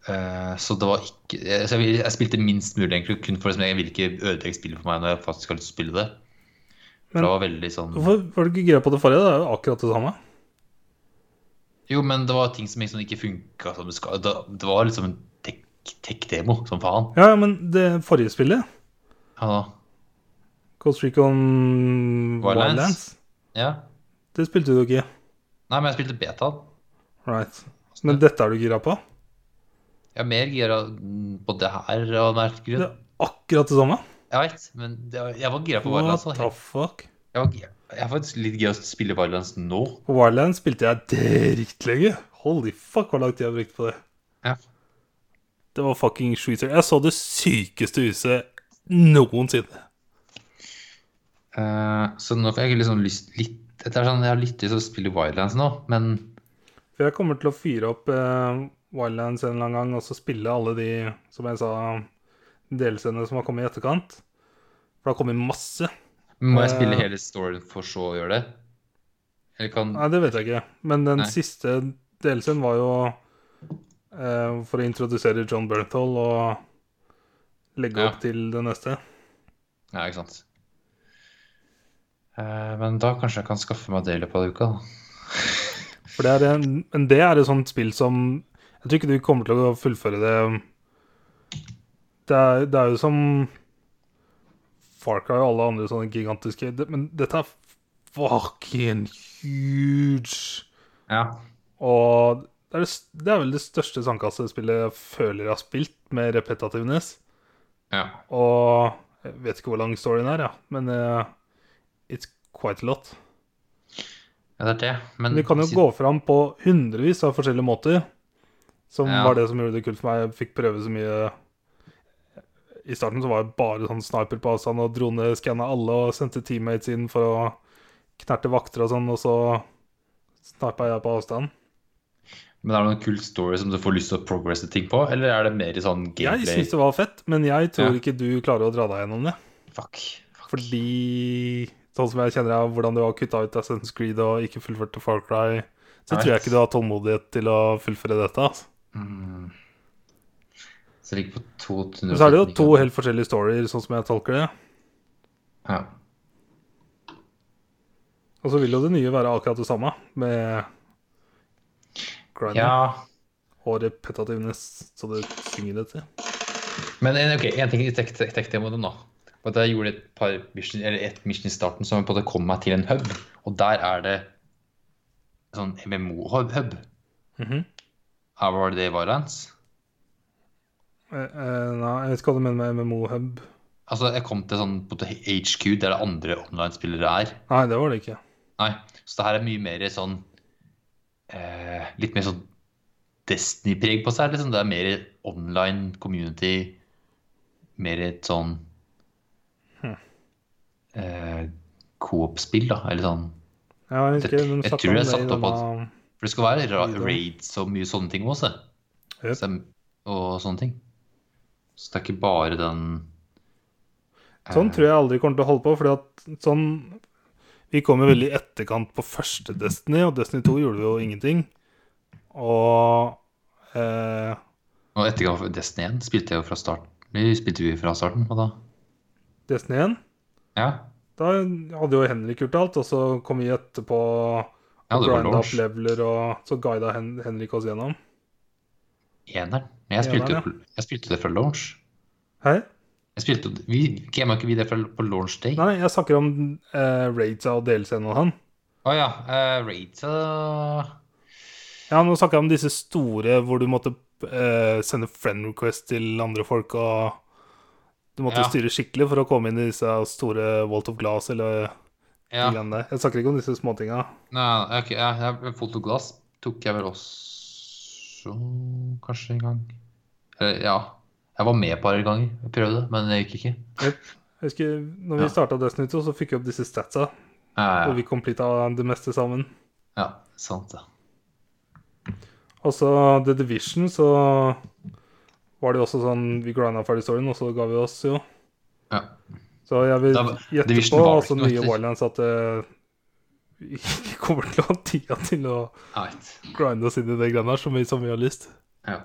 [SPEAKER 2] Eh, så det var ikke jeg, så jeg, vil- jeg spilte minst mulig, egentlig. Kun for liksom, jeg vil ikke ødelegge spillet for meg når jeg faktisk har lyst til å spille det.
[SPEAKER 1] Men-
[SPEAKER 2] det var veldig sånn
[SPEAKER 1] Hvorfor var du ikke gira på det forrige? Det er jo akkurat det samme.
[SPEAKER 2] Jo, men det var ting som liksom ikke funka som det skal. Det, det var liksom en tech- tech-demo som faen.
[SPEAKER 1] Ja, ja, men det forrige spillet
[SPEAKER 2] Ja, da.
[SPEAKER 1] Ghost Recon
[SPEAKER 2] Wildlands.
[SPEAKER 1] Wildlands.
[SPEAKER 2] ja.
[SPEAKER 1] Det spilte du ikke.
[SPEAKER 2] Nei, men jeg spilte beta.
[SPEAKER 1] Right. Men dette er du gira på?
[SPEAKER 2] Jeg er mer gira på det her av merkelig
[SPEAKER 1] Det
[SPEAKER 2] grunn.
[SPEAKER 1] er akkurat det samme?
[SPEAKER 2] Jeg veit, men det, jeg var gira på Wildlands.
[SPEAKER 1] What
[SPEAKER 2] da.
[SPEAKER 1] the fuck?
[SPEAKER 2] Jeg, var, jeg, jeg er faktisk litt gira på å spille Wildlands nå.
[SPEAKER 1] På Wildlands spilte jeg dritlenge. Holy fuck, hvor lang tid jeg brukte på det.
[SPEAKER 2] Ja.
[SPEAKER 1] Det var fucking shooter. Jeg så det sykeste huset noensinne.
[SPEAKER 2] Eh, så nå får jeg liksom lyst litt det er sånn, Jeg har litt lyst til å spille Wildlands nå, men
[SPEAKER 1] For jeg kommer til å fyre opp eh, Wildlands en eller annen gang, og så spille alle de, som jeg sa, delscenene som har kommet i etterkant. For det har kommet masse.
[SPEAKER 2] må jeg spille
[SPEAKER 1] Eh.
[SPEAKER 2] hele storyen for så å gjøre det? Eller kan
[SPEAKER 1] Nei, det vet jeg ikke. Men den
[SPEAKER 2] Nei.
[SPEAKER 1] siste delsen var jo eh, for å introdusere John Bernthal og legge
[SPEAKER 2] Ja.
[SPEAKER 1] opp til det neste.
[SPEAKER 2] Ja, ikke sant. Eh, men da kanskje jeg kan skaffe meg det i løpet av uka, da.
[SPEAKER 1] For det er en, men det er et sånt spill som Jeg tror ikke du kommer til å fullføre det Det er, det er jo som Far Cry og alle andre sånne gigantiske det, Men dette er fucking huge.
[SPEAKER 2] Ja.
[SPEAKER 1] Og det er, det, s- det er vel det største sandkassespillet jeg føler jeg har spilt, med repetativeness.
[SPEAKER 2] ja.
[SPEAKER 1] Og jeg vet ikke hvor lang storyen er, ja. men eh, it's quite a lot.
[SPEAKER 2] Ja, det er det. Men
[SPEAKER 1] Men du kan jo
[SPEAKER 2] siden-
[SPEAKER 1] gå fram på hundrevis av forskjellige måter, som
[SPEAKER 2] Ja.
[SPEAKER 1] var det som gjorde det kult for meg. Jeg fikk prøve så mye I starten så var jeg bare sånn sniper på avstand og droneskanna alle og sendte teammates inn for å knerte vakter og sånn, og så snipa jeg på avstand.
[SPEAKER 2] Men er det noen kul story som du får lyst til å progresse ting på, eller er det mer i sånn
[SPEAKER 1] Jeg
[SPEAKER 2] gameplay?
[SPEAKER 1] syns det var fett, men jeg tror
[SPEAKER 2] Ja.
[SPEAKER 1] ikke du klarer å dra deg gjennom det.
[SPEAKER 2] Fuck. Fuck.
[SPEAKER 1] Fordi sånn som jeg kjenner deg, hvordan du har kutta ut Assassin's Creed og ikke fullført til Far Cry, så
[SPEAKER 2] Nei.
[SPEAKER 1] tror jeg ikke du har tålmodighet til å fullføre dette. Altså.
[SPEAKER 2] Mm. Så det ligger på 200
[SPEAKER 1] Men så er det jo to helt forskjellige storier, sånn som jeg tolker det.
[SPEAKER 2] Ja.
[SPEAKER 1] Og så vil jo det nye være akkurat det samme, med grinding
[SPEAKER 2] ja.
[SPEAKER 1] og repetativeness, så det synger etter.
[SPEAKER 2] Men en- ok, en ting i tech- tech- tech-demoen da. Og der gjorde jeg et par mission, eller et mission i starten som på en måte kom meg til en hub, og der er det sånn MMO-hub.
[SPEAKER 1] Mhm.
[SPEAKER 2] Her var det det i Violence.
[SPEAKER 1] Eh, eh, nei, jeg vet ikke hva du mener med MMO-hub.
[SPEAKER 2] Altså, jeg kom til sånn på en måte HQ, der det andre online-spillere er.
[SPEAKER 1] Nei, det var det ikke.
[SPEAKER 2] Nei, så det her er mye mer sånn eh, Litt mer sånn Destiny-preg på seg. Liksom. Det er mer online community. Mer et sånn
[SPEAKER 1] Hm.
[SPEAKER 2] eh, Coop-spill, da. Eller sånn
[SPEAKER 1] Ja, jeg husker
[SPEAKER 2] Jeg-
[SPEAKER 1] de
[SPEAKER 2] jeg
[SPEAKER 1] snakket
[SPEAKER 2] tror
[SPEAKER 1] om
[SPEAKER 2] jeg
[SPEAKER 1] det i
[SPEAKER 2] satte opp
[SPEAKER 1] denne-
[SPEAKER 2] For det skal være ra
[SPEAKER 1] Videre.
[SPEAKER 2] raids og mye sånne ting også.
[SPEAKER 1] Jep.
[SPEAKER 2] Sem- Og sånne ting. Så det er ikke bare den
[SPEAKER 1] Sånn tror jeg aldri kommer til å holde på, fordi at sånn Vi kom jo veldig i etterkant på første Destiny, og Destiny 2 gjorde jo ingenting. Og eh,
[SPEAKER 2] Og ettergang for Destiny 1 spilte jeg jo fra starten. Vi spilte vi fra starten, og da
[SPEAKER 1] Destiny 1,
[SPEAKER 2] Ja.
[SPEAKER 1] Da hadde jo Henrik gjort alt, og så kom vi etterpå
[SPEAKER 2] Ja,
[SPEAKER 1] og
[SPEAKER 2] det var
[SPEAKER 1] grinda opp
[SPEAKER 2] launch.
[SPEAKER 1] leveler, og så guida Hen Henrik oss gjennom.
[SPEAKER 2] Eneren. Men jeg spilte,
[SPEAKER 1] Eneren,
[SPEAKER 2] jeg spilte det før launch.
[SPEAKER 1] Hei?
[SPEAKER 2] Jeg spilte, vi gama ikke vi det før på launch day? Å
[SPEAKER 1] Nei, jeg snakker om eh, Raidsa og delscenen og sånn.
[SPEAKER 2] ja. eh, Raid eh,
[SPEAKER 1] Ja, nå snakker jeg om disse store hvor du måtte eh, sende friend request til andre folk, og du måtte
[SPEAKER 2] Ja.
[SPEAKER 1] styre skikkelig for å komme inn i disse store Walt of Glass eller de
[SPEAKER 2] Ja.
[SPEAKER 1] greiene der. Jeg snakker ikke om disse småtinga.
[SPEAKER 2] Nei, ok, ja, ja, fotoglass tok jeg vel også kanskje en gang. Eller, ja. Jeg var med et par ganger. Jeg prøvde, men det gikk ikke.
[SPEAKER 1] Jeg husker når
[SPEAKER 2] Ja.
[SPEAKER 1] vi starta Destiny 2, så fikk vi opp disse statsa,
[SPEAKER 2] Ja,
[SPEAKER 1] hvor
[SPEAKER 2] ja,
[SPEAKER 1] vi completa det meste sammen.
[SPEAKER 2] ja sant det.
[SPEAKER 1] Og så The Division, så var det jo også sånn Vi grinda ferdig storyen, og så ga vi oss, jo.
[SPEAKER 2] Ja.
[SPEAKER 1] Så jeg vil
[SPEAKER 2] Da var-
[SPEAKER 1] gjette
[SPEAKER 2] Division
[SPEAKER 1] på,
[SPEAKER 2] var vel
[SPEAKER 1] altså
[SPEAKER 2] ikke noe
[SPEAKER 1] nye
[SPEAKER 2] etter.
[SPEAKER 1] Wildlands, at eh, (laughs) vi ikke kommer til å ha tida til å
[SPEAKER 2] Jeg vet.
[SPEAKER 1] grinde oss inn i det greiene her så mye som vi har lyst.
[SPEAKER 2] Ja.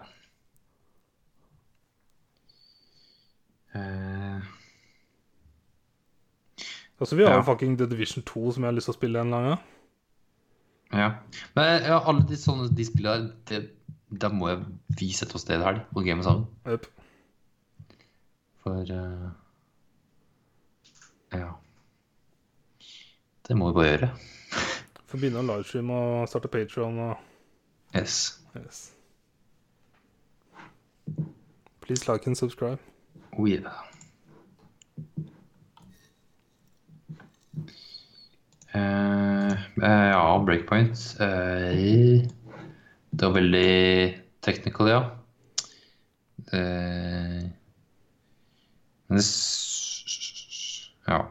[SPEAKER 2] Eh,
[SPEAKER 1] Altså, vi har jo
[SPEAKER 2] Ja.
[SPEAKER 1] fucking The Division 2, som jeg har lyst til å spille en eller annen gang.
[SPEAKER 2] ja. Men ja, alle de sånne de spillene der, det, da må jeg, vi sette oss ned i helg og game sammen.
[SPEAKER 1] Jep.
[SPEAKER 2] For eh, Ja. Det må vi bare gjøre.
[SPEAKER 1] Får begynne å livestreame og starte Patreon og
[SPEAKER 2] Yes.
[SPEAKER 1] yes. Please like and subscribe.
[SPEAKER 2] Oh yeah. Eh, eh, ja, breakpoint. eh, det var veldig technical, ja. Eh, men det s- Ja.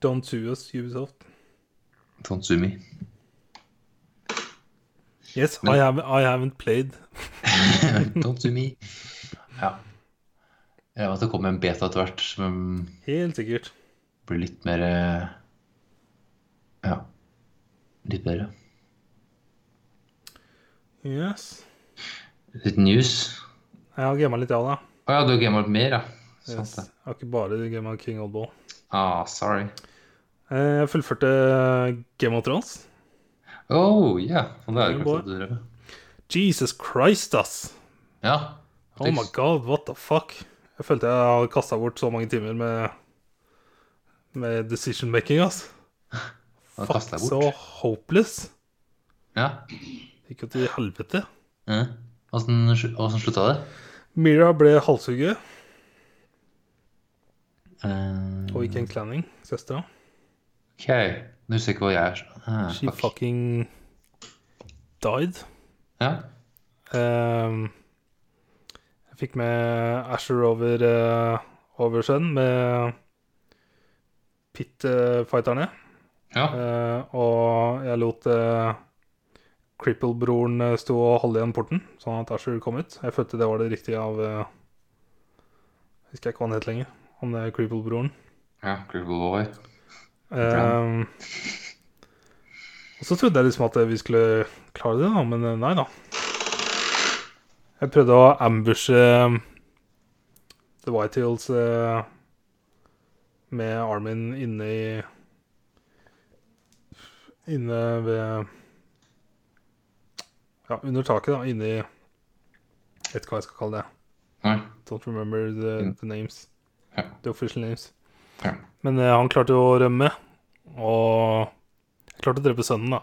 [SPEAKER 1] Don't sue us, Ubisoft.
[SPEAKER 2] Don't sue me. (laughs)
[SPEAKER 1] Yes,
[SPEAKER 2] Men-
[SPEAKER 1] I, have, I haven't played.
[SPEAKER 2] Don't sue me. Ja. Jeg vet det kommer en beta etter hvert som
[SPEAKER 1] Helt sikkert.
[SPEAKER 2] blir litt mer eh, Ja. Litt bedre.
[SPEAKER 1] Yes.
[SPEAKER 2] Litt news.
[SPEAKER 1] Jeg har gama litt, ja da.
[SPEAKER 2] Å ja, du har gamet mer, ja.
[SPEAKER 1] Yes.
[SPEAKER 2] Sant det.
[SPEAKER 1] Jeg har ikke bare gama King Oddball.
[SPEAKER 2] Ah, sorry.
[SPEAKER 1] Eh, Jeg fullførte eh, Game of Thrones.
[SPEAKER 2] Oh, yeah. Og det er jo
[SPEAKER 1] Ja,
[SPEAKER 2] klart at du drev med.
[SPEAKER 1] Jesus Christ, ass!
[SPEAKER 2] Ja.
[SPEAKER 1] Oh my god, what the fuck? Jeg følte jeg hadde kasta bort så mange timer med, med decision making, ass.
[SPEAKER 2] Da kastet jeg
[SPEAKER 1] så
[SPEAKER 2] bort.
[SPEAKER 1] hopeless.
[SPEAKER 2] Ja.
[SPEAKER 1] Gikk jo til helvete.
[SPEAKER 2] ja. Åssen åssen slutta det?
[SPEAKER 1] Mira ble halshugget
[SPEAKER 2] Eh,
[SPEAKER 1] og gikk en clanning, søstera.
[SPEAKER 2] OK. Nå husker jeg ikke hva jeg er. Ah,
[SPEAKER 1] She fucking died.
[SPEAKER 2] Ja.
[SPEAKER 1] Ehm, jeg fikk med Asher over uh, Oversjøen med eh, Pit-fighterne.
[SPEAKER 2] ja.
[SPEAKER 1] Eh, og jeg lot eh, Cripple-broren eh, stå og holde igjen porten, sånn at Asher kom ut. Jeg følte det var det riktige av eh, Husker jeg ikke hva han het lenger. Han er Cripple-broren.
[SPEAKER 2] ja. Cripple Boy.
[SPEAKER 1] Eh, og så trodde jeg liksom at vi skulle klare det, da, men eh, nei da. Jeg prøvde å ambushe eh, The White Hills eh, med Armin inne i Inne ved Ja, under taket, da. Inni Jeg vet ikke hva jeg skal kalle det.
[SPEAKER 2] Nei.
[SPEAKER 1] Don't remember the,
[SPEAKER 2] Mm.
[SPEAKER 1] the names.
[SPEAKER 2] Ja.
[SPEAKER 1] The official names.
[SPEAKER 2] Ja.
[SPEAKER 1] Men eh, han klarte jo å rømme, og jeg klarte å drepe sønnen, da.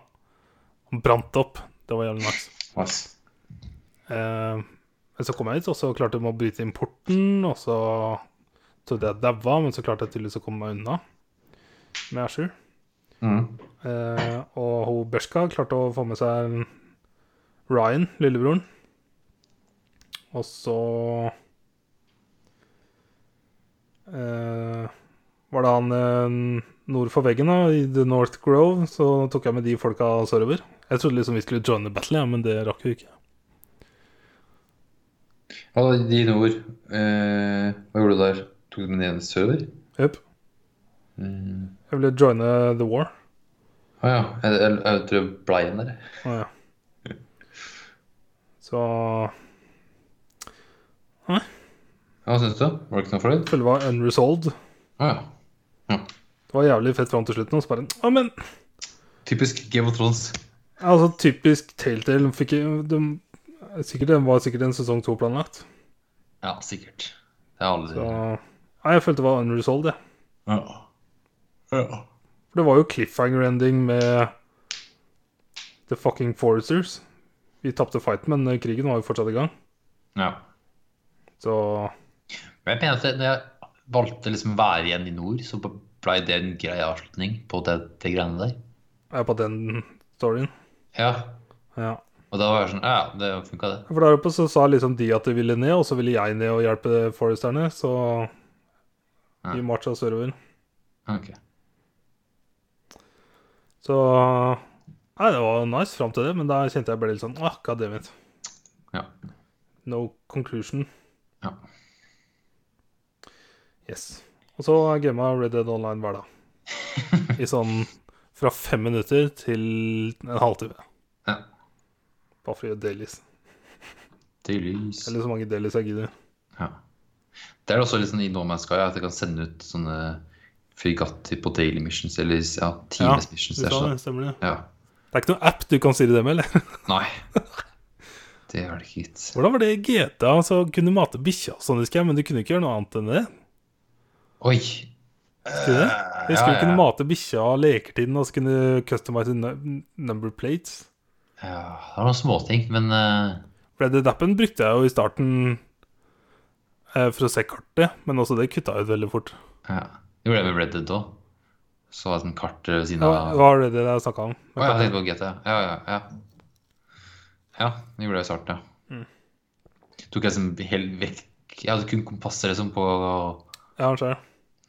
[SPEAKER 1] Han brant opp. Det var jævlig nice.
[SPEAKER 2] Nice.
[SPEAKER 1] Eh, men så kom jeg hit, og så klarte jeg å bryte inn porten, og så trodde jeg daua, men så klarte jeg tydeligvis å komme meg unna med Ashur.
[SPEAKER 2] Mm.
[SPEAKER 1] Eh, og hun Berska klarte å få med seg Ryan, lillebroren. Og så eh, var det han eh, nord for veggen, da, i The North Grove, så tok jeg med de folka sørover. Jeg trodde liksom vi skulle joine battle, ja, men det rakk vi ikke.
[SPEAKER 2] Og dine ord. Eh, hva gjorde du der? Tok du med den ene server?
[SPEAKER 1] Jøp.
[SPEAKER 2] Mm.
[SPEAKER 1] Jeg ville joine The War.
[SPEAKER 2] Å ja. Jeg, jeg, jeg tror jeg blei igjen der. jeg.
[SPEAKER 1] Å ja. Så
[SPEAKER 2] Ja, Hva syns du? Var du ikke noe fornøyd?
[SPEAKER 1] følget var unresolved.
[SPEAKER 2] Å ja. Ja.
[SPEAKER 1] Det var jævlig fett fram til slutten. Og så bare Ja, men
[SPEAKER 2] Typisk Game of Thrones.
[SPEAKER 1] altså, typisk Telltale. de Fikk, de, sikkert, det var sikkert en sesong to planlagt.
[SPEAKER 2] Ja, sikkert. Det er alle
[SPEAKER 1] Så Nei, jeg følte det var unresolved, jeg.
[SPEAKER 2] ja. ja.
[SPEAKER 1] For det var jo cliffhanger ending med The Fucking Foresters. Vi tapte fighten, men eh, krigen var jo fortsatt i gang.
[SPEAKER 2] ja.
[SPEAKER 1] Så
[SPEAKER 2] Men jeg mener at det, når jeg valgte liksom å være igjen i nord, så ble det en grei avslutning på det, det greiene der.
[SPEAKER 1] er jeg på den storyen.
[SPEAKER 2] Ja.
[SPEAKER 1] Ja.
[SPEAKER 2] Og da var jeg sånn Ja, det funka, det.
[SPEAKER 1] For der oppe så sa liksom de at de ville ned, og så ville jeg ned og hjelpe foresterne. Så
[SPEAKER 2] Ja.
[SPEAKER 1] vi marsja sørover.
[SPEAKER 2] Ok.
[SPEAKER 1] Så Nei, det var nice fram til det, men da kjente jeg ble litt sånn ah, God damn it.
[SPEAKER 2] Ja.
[SPEAKER 1] No conclusion.
[SPEAKER 2] Ja.
[SPEAKER 1] Yes. Og så gamma Red Dead Online hver dag. I sånn fra fem minutter til en halvtime.
[SPEAKER 2] Ja.
[SPEAKER 1] Bare for å gjøre dailies.
[SPEAKER 2] Til lys.
[SPEAKER 1] Eller så mange dailies jeg gidder.
[SPEAKER 2] Ja. Det er det også litt sånn i No Man's Sky at jeg kan sende ut sånne fregatter på daily missions eller ja, times missions.
[SPEAKER 1] du
[SPEAKER 2] Det er
[SPEAKER 1] sa
[SPEAKER 2] sånn.
[SPEAKER 1] det, stemmer det.
[SPEAKER 2] Ja.
[SPEAKER 1] Det er ikke noen app du kan styre det med, eller? (laughs)
[SPEAKER 2] Nei. Det er det ikke gitt.
[SPEAKER 1] Hvordan var det i GTA? Så kunne du mate bikkja og sånn, husker jeg, men du kunne ikke gjøre noe annet enn det.
[SPEAKER 2] Oi!
[SPEAKER 1] Husker du det?
[SPEAKER 2] Eh,
[SPEAKER 1] Jeg husker du kunne mate bikkja og lekertiden, og så kunne du customize nu- number plates.
[SPEAKER 2] Ja, det er noen småting, men eh,
[SPEAKER 1] Red Dead Appen brukte jeg jo i starten eh, for å se kartet, men også det kutta jeg ut veldig fort.
[SPEAKER 2] ja. Det gjorde jeg med Red Dead òg. Så hadde jeg sånn kart ved siden
[SPEAKER 1] Ja,
[SPEAKER 2] av
[SPEAKER 1] hva var det det jeg snakka om?
[SPEAKER 2] Å, jeg tenkte på GT. Ja, ja, ja. Ja, det gjorde jeg i starten, ja.
[SPEAKER 1] Mm.
[SPEAKER 2] Tok jeg liksom helt vekk Jeg hadde kun kompasset liksom på
[SPEAKER 1] Ja, han skjer.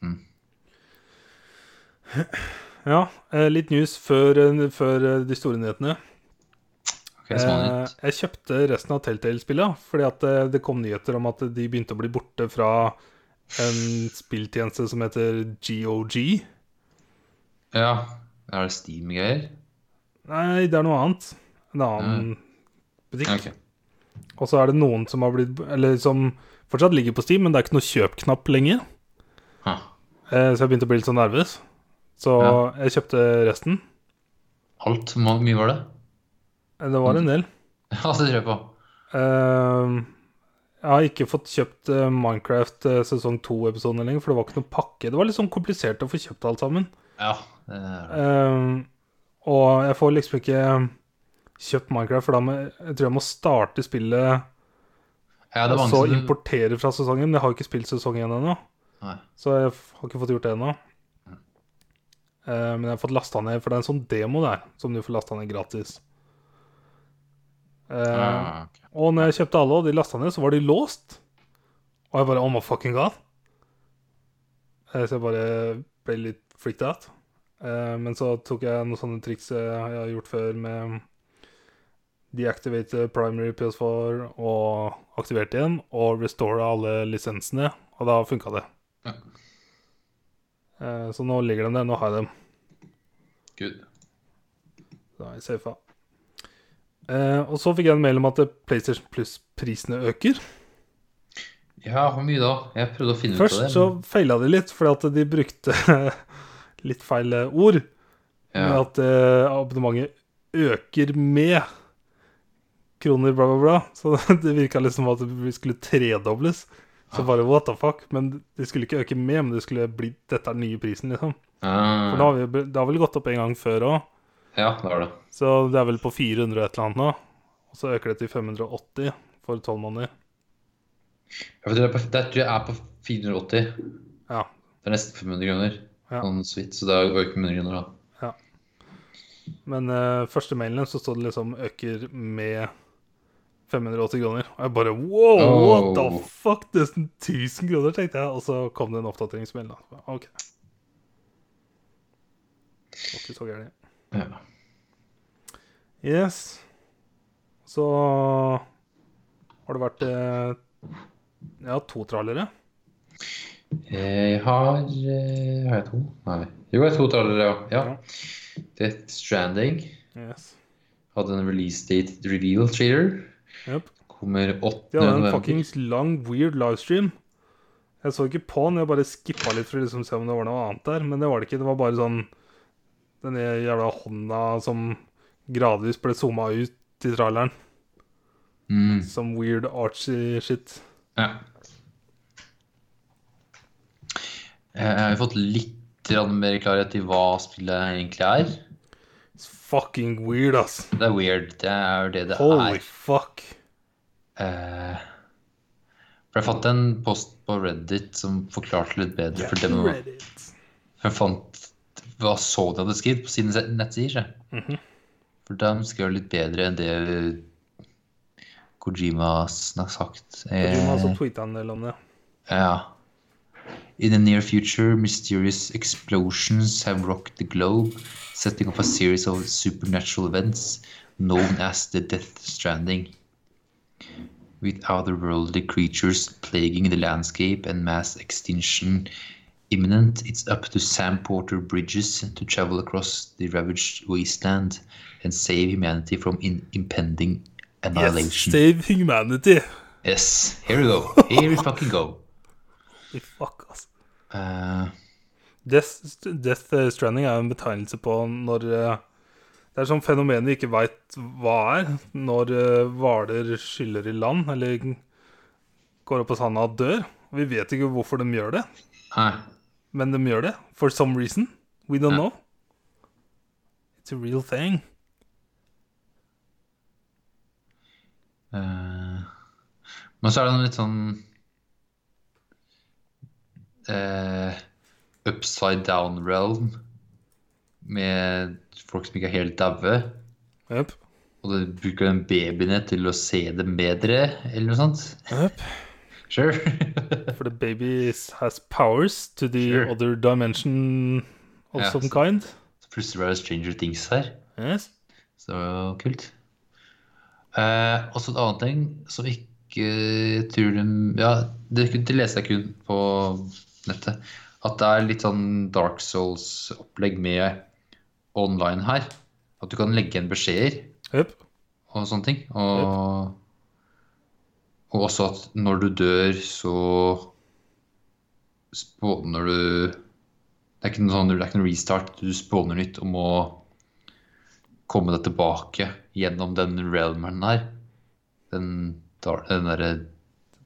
[SPEAKER 2] Mm.
[SPEAKER 1] Ja, eh, litt news før, eh, før eh, de store nyhetene.
[SPEAKER 2] Ok, smånytt.
[SPEAKER 1] Eh, jeg kjøpte resten av Telltale-spillet fordi at eh, det kom nyheter om at de begynte å bli borte fra en spilltjeneste som heter GOG.
[SPEAKER 2] Ja. Er det Steam-greier?
[SPEAKER 1] Nei, det er noe annet. En annen butikk.
[SPEAKER 2] Ja, ok.
[SPEAKER 1] Og så er det noen som har blitt Eller som fortsatt ligger på Steam, men det er ikke noe kjøpknapp lenger.
[SPEAKER 2] Ha.
[SPEAKER 1] Eh, så jeg begynte å bli litt sånn nervøs. Så
[SPEAKER 2] Ja.
[SPEAKER 1] jeg kjøpte resten.
[SPEAKER 2] Alt? Hvor mye var det? (laughs)
[SPEAKER 1] Eh, Det
[SPEAKER 2] Mm.
[SPEAKER 1] var en del.
[SPEAKER 2] Ja, det tror jeg på.
[SPEAKER 1] Eh, jeg har ikke fått kjøpt eh, Minecraft eh, sesong 2-episoden lenger, for det var ikke noen pakke. Det var litt sånn komplisert å få kjøpt alt sammen.
[SPEAKER 2] Ja. Det er...
[SPEAKER 1] Eh, og jeg får liksom ikke kjøpt Minecraft, for da må, jeg tror jeg må starte spillet,
[SPEAKER 2] ja,
[SPEAKER 1] og
[SPEAKER 2] det er mange
[SPEAKER 1] så
[SPEAKER 2] som
[SPEAKER 1] importere fra sesongen. Men jeg har jo ikke spilt sesong én ennå.
[SPEAKER 2] Nei.
[SPEAKER 1] Så jeg f- har ikke fått gjort det ennå. Eh, men jeg har fått lasta ned, for det er en sånn demo der som du får lasta ned gratis. Eh,
[SPEAKER 2] Ja, ok.
[SPEAKER 1] Og når jeg kjøpte alle, og de lasta ned, så var de låst. Og jeg bare Oh my fucking god. Eh, Så jeg bare ble litt freaked out. Eh, Men så tok jeg noen sånne triks eh, jeg har gjort før med deactivate primary PS4 og aktiverte igjen, og restore alle lisensene, og da funka det.
[SPEAKER 2] Ja.
[SPEAKER 1] Eh, Så nå ligger de der. Nå har jeg dem.
[SPEAKER 2] Gud.
[SPEAKER 1] Da er jeg safa. Eh, Og så fikk jeg en mail om at eh, PlayStation Plus-prisene øker.
[SPEAKER 2] Ja, hvor mye da? Jeg prøvde å finne ut av det.
[SPEAKER 1] Først så
[SPEAKER 2] men-
[SPEAKER 1] feila de litt, fordi at de brukte (laughs) litt feil eh, ord. Med
[SPEAKER 2] ja.
[SPEAKER 1] at eh, abonnementet øker med kroner, bla, bla, (laughs) bla. Så det virka litt som at vi skulle tredobles. Så
[SPEAKER 2] Ah.
[SPEAKER 1] bare what the fuck. Men de skulle ikke øke med, men det skulle bli dette er den nye prisen, liksom. For da
[SPEAKER 2] Ah,
[SPEAKER 1] har vi, det har vel gått opp en gang før òg,
[SPEAKER 2] ja, det var det.
[SPEAKER 1] så det er vel på 400 og et eller annet nå. Og så øker det til 580 for tolv måneder.
[SPEAKER 2] Jeg vet, det, er på, det tror jeg er på 480.
[SPEAKER 1] Ja.
[SPEAKER 2] Det er nesten 500 kroner.
[SPEAKER 1] Ja.
[SPEAKER 2] Sånn sweet, så det er jo ikke 100 kroner, da.
[SPEAKER 1] Men eh, første mailen så stod det liksom øker med 580 kroner. Og jeg bare wow, what
[SPEAKER 2] Oh.
[SPEAKER 1] the fuck? Nesten 1000 kroner, tenkte jeg. Og så kom det en oppdateringsmail, da. OK. Det var ikke så gærent.
[SPEAKER 2] Ja.
[SPEAKER 1] Yes. Så har det vært eh, ja, to trallere.
[SPEAKER 2] Jeg har eh, Har jeg to? Nei. Jo, jeg har to tallere, ja. ja. Death Stranding
[SPEAKER 1] Yes.
[SPEAKER 2] hadde en release date reveal trailer.
[SPEAKER 1] Jep.
[SPEAKER 2] Kommer 8.
[SPEAKER 1] De hadde en
[SPEAKER 2] november.
[SPEAKER 1] fuckings lang, weird livestream. Jeg så ikke på den, jeg bare skippa litt for å liksom se om det var noe annet der. Men det var det ikke. Det var bare sånn Den jævla hånda som gradvis ble zooma ut i traileren.
[SPEAKER 2] Mm.
[SPEAKER 1] Som weird Archie-shit.
[SPEAKER 2] Ja. Eh, Jeg har fått litt grann mer klarhet i hva spillet egentlig er.
[SPEAKER 1] It's fucking weird, ass.
[SPEAKER 2] Det er weird. Det er jo det det
[SPEAKER 1] Holy
[SPEAKER 2] er.
[SPEAKER 1] fuck.
[SPEAKER 2] Eh, for jeg fant en post på Reddit som forklarte litt bedre for dem. For jeg fant hva så de hadde skrevet på sine se- nettsider. se.
[SPEAKER 1] Mhm.
[SPEAKER 2] For de skrev litt bedre enn det Kojima har sagt.
[SPEAKER 1] Kojima har
[SPEAKER 2] Eh,
[SPEAKER 1] også tweetet en del om det.
[SPEAKER 2] Ja. In the near future, mysterious explosions have rocked the globe, setting up a series of supernatural events known as the Death Stranding. With otherworldly creatures plaguing the landscape and mass extinction imminent, it's up to Sam Porter Bridges to travel across the ravaged wasteland and save humanity from in- impending
[SPEAKER 1] Yes,
[SPEAKER 2] annihilation. Yes,
[SPEAKER 1] save humanity.
[SPEAKER 2] here we go. Here we fucking go.
[SPEAKER 1] Holy fuck, ass.
[SPEAKER 2] Eh,
[SPEAKER 1] Death, Death Stranding er jo en betegnelse på når eh, Det er sånn fenomen vi ikke veit hva er. Når eh, hvaler skyller i land, eller går opp på sanda og dør. Vi vet ikke hvorfor de gjør det,
[SPEAKER 2] Nei.
[SPEAKER 1] men de gjør det. For some reason. We don't
[SPEAKER 2] Ja.
[SPEAKER 1] know. It's a real thing.
[SPEAKER 2] eh, men så er det noe litt sånn eh, Upside down realm med folk som ikke er helt daue.
[SPEAKER 1] Jøp.
[SPEAKER 2] Og de bruker den babyene til å se dem bedre, eller noe sånt.
[SPEAKER 1] Jøp.
[SPEAKER 2] Sure. (laughs)
[SPEAKER 1] For the baby is- has powers to the
[SPEAKER 2] Sure.
[SPEAKER 1] other dimension of
[SPEAKER 2] Ja,
[SPEAKER 1] some
[SPEAKER 2] så-
[SPEAKER 1] kind.
[SPEAKER 2] så plutselig ble det Stranger Things her.
[SPEAKER 1] Yes.
[SPEAKER 2] Så det var jo kult. Eh, også en annen ting som ikke eh, tror de Ja, det, det leste jeg kun på nettet. At det er litt sånn Dark Souls-opplegg med online her. At du kan legge igjen beskjeder
[SPEAKER 1] Jøp.
[SPEAKER 2] og sånne ting. Og, og også at når du dør, så spåner du Det er ikke noe sånn, det er ikke noe restart. Du spåner nytt og må komme deg tilbake gjennom den realmen her. Den, dar- den derre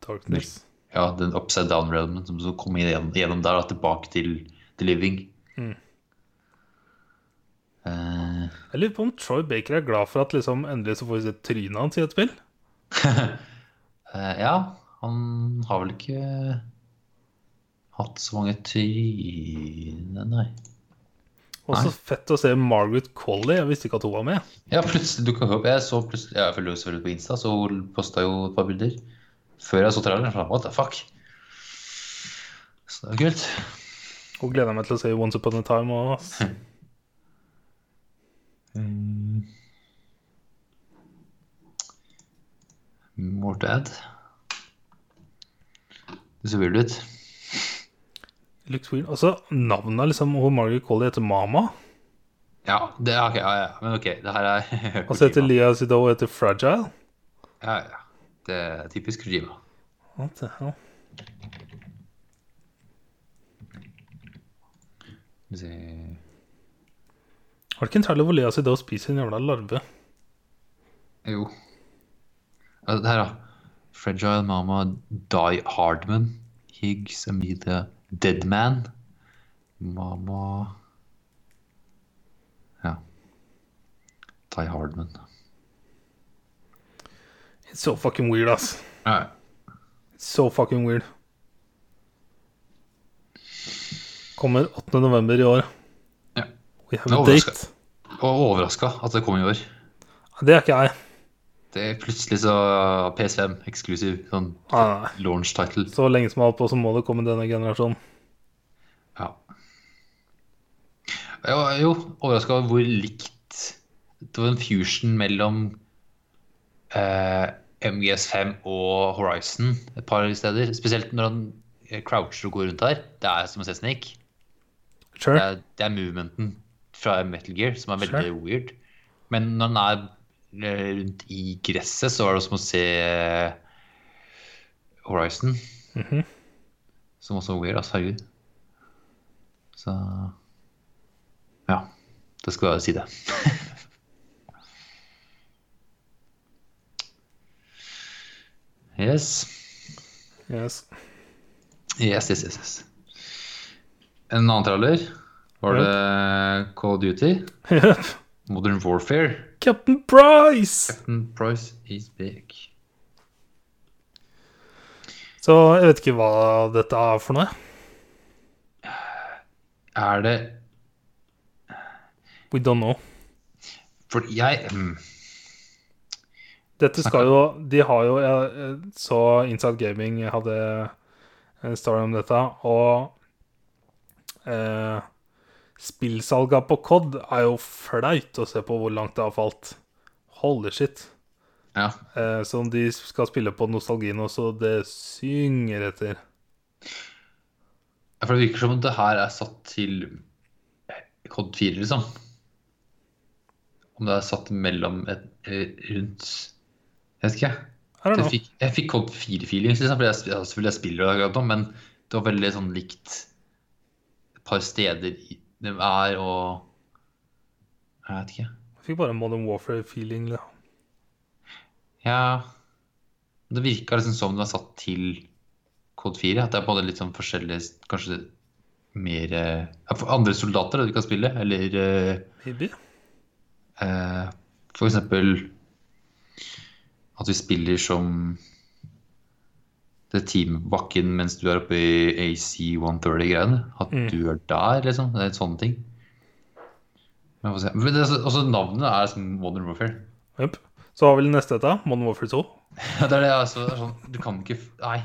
[SPEAKER 1] Darkness.
[SPEAKER 2] ja, den upside down realmen som så kom igjennom, gjennom der, da, tilbake til The Living.
[SPEAKER 1] Mm.
[SPEAKER 2] Eh,
[SPEAKER 1] Jeg lurer på om Troy Baker er glad for at liksom endelig så får vi se trynet hans i et spill.
[SPEAKER 2] Eh, ja, han har vel ikke hatt så mange tryner, nei.
[SPEAKER 1] Og så fett å se Margaret Qualley. Jeg visste ikke at hun var med.
[SPEAKER 2] Ja, plutselig dukka hun opp. Jeg så plutselig, jeg følger henne selvfølgelig på Insta, så hun posta jo et par bilder. Før jeg så traileren, så jeg, what the fuck? Så det er jo kult.
[SPEAKER 1] Hun gleder jeg meg til å se i Once Upon a Time. Og ass.
[SPEAKER 2] Mm. More to add. Det ser weird ut.
[SPEAKER 1] Looks weird. Og så navnet liksom, hun Margaret Qualley heter Mama.
[SPEAKER 2] Ja, det er, ok, ja, ja, men ok, det her er (laughs)
[SPEAKER 1] Og så heter Leah Sidow heter Fragile.
[SPEAKER 2] Ja, ja. Det er typisk Kojima.
[SPEAKER 1] What the hell?
[SPEAKER 2] Skal vi se.
[SPEAKER 1] Har du ikke en trailer hvor Leah Sidow spiser en jævla larve?
[SPEAKER 2] Eh, Jo. Altså, det her, da. Fragile Mama, Die Hardman, Higgs, Amelia, Deadman. Mama Ja. Die Hardman.
[SPEAKER 1] It's so fucking weird, ass.
[SPEAKER 2] Ja.
[SPEAKER 1] It's so fucking weird. Kommer 8. november i år.
[SPEAKER 2] Ja.
[SPEAKER 1] We have
[SPEAKER 2] Nå
[SPEAKER 1] a
[SPEAKER 2] overrasker-
[SPEAKER 1] date.
[SPEAKER 2] Og overraska at det kom i år.
[SPEAKER 1] Det er ikke jeg.
[SPEAKER 2] Det er plutselig så PS5 eksklusiv. Sånn
[SPEAKER 1] Nei, Ah, nei, nei.
[SPEAKER 2] launch title.
[SPEAKER 1] Så lenge som jeg har holdt på, så må det komme denne generasjonen.
[SPEAKER 2] Ja. Jeg var jo overraska over hvor likt Det var en fusion mellom eh, MGS5 og Horizon et par steder. Spesielt når han eh, croucher og går rundt her. Det er som å se Snake.
[SPEAKER 1] Sure.
[SPEAKER 2] Det er, det er movementen fra Metal Gear som er veldig
[SPEAKER 1] Sure.
[SPEAKER 2] weird. Men når han er eh, rundt i
[SPEAKER 1] Mhm.
[SPEAKER 2] gresset, så var det som å se eh, Horizon. Som også er weird, altså. Herregud. Så Ja. Det skal være si det. (laughs) yes.
[SPEAKER 1] Yes. (laughs)
[SPEAKER 2] Yes, yes, yes, yes. En annen traller var
[SPEAKER 1] Yep.
[SPEAKER 2] det Call of Duty. Modern Warfare.
[SPEAKER 1] Captain Price!
[SPEAKER 2] Captain Price is back.
[SPEAKER 1] Så jeg vet ikke hva dette er for noe.
[SPEAKER 2] Er det
[SPEAKER 1] We don't know.
[SPEAKER 2] For jeg mm,
[SPEAKER 1] Dette skal jo De har jo jeg, jeg Så Inside Gaming hadde en story om dette, og eh, Spillsalga på COD er jo flaut å se på hvor langt det har falt. Holy shit.
[SPEAKER 2] Ja.
[SPEAKER 1] Eh, som de skal spille på nostalgien også, det synger etter.
[SPEAKER 2] For det virker som om det her er satt til Cod 4, liksom. Om det er satt mellom et, eh, rundt Jeg vet ikke. jeg.
[SPEAKER 1] I don't
[SPEAKER 2] Jeg
[SPEAKER 1] know.
[SPEAKER 2] fikk, jeg fikk Cod 4-feelings, liksom, for jeg, sp- ja, selvfølgelig jeg spiller det akkurat nå, men det var veldig sånn likt et par steder i- de er, og Jeg vet ikke.
[SPEAKER 1] Jeg fikk bare en Modern liksom. Warfare-feeling. da.
[SPEAKER 2] Ja Det virka liksom som det var satt til kode 4. At det er både litt sånn forskjellige Kanskje mer eh, ja, for andre soldater da, du kan spille, eller eh,
[SPEAKER 1] Maybe.
[SPEAKER 2] eh, for eksempel at vi spiller som det teamet på bakken mens du er oppe i AC-130-greiene. At
[SPEAKER 1] Mm.
[SPEAKER 2] du er der, liksom. Det er en sånn ting. Men, får se. Men det er så- også navnet er som Modern Warfare. (laughs)
[SPEAKER 1] Jep. Så har vi det neste dette, Modern Warfare 2.
[SPEAKER 2] Ja, det er det, altså. Det er sånn, du kan ikke f- Nei,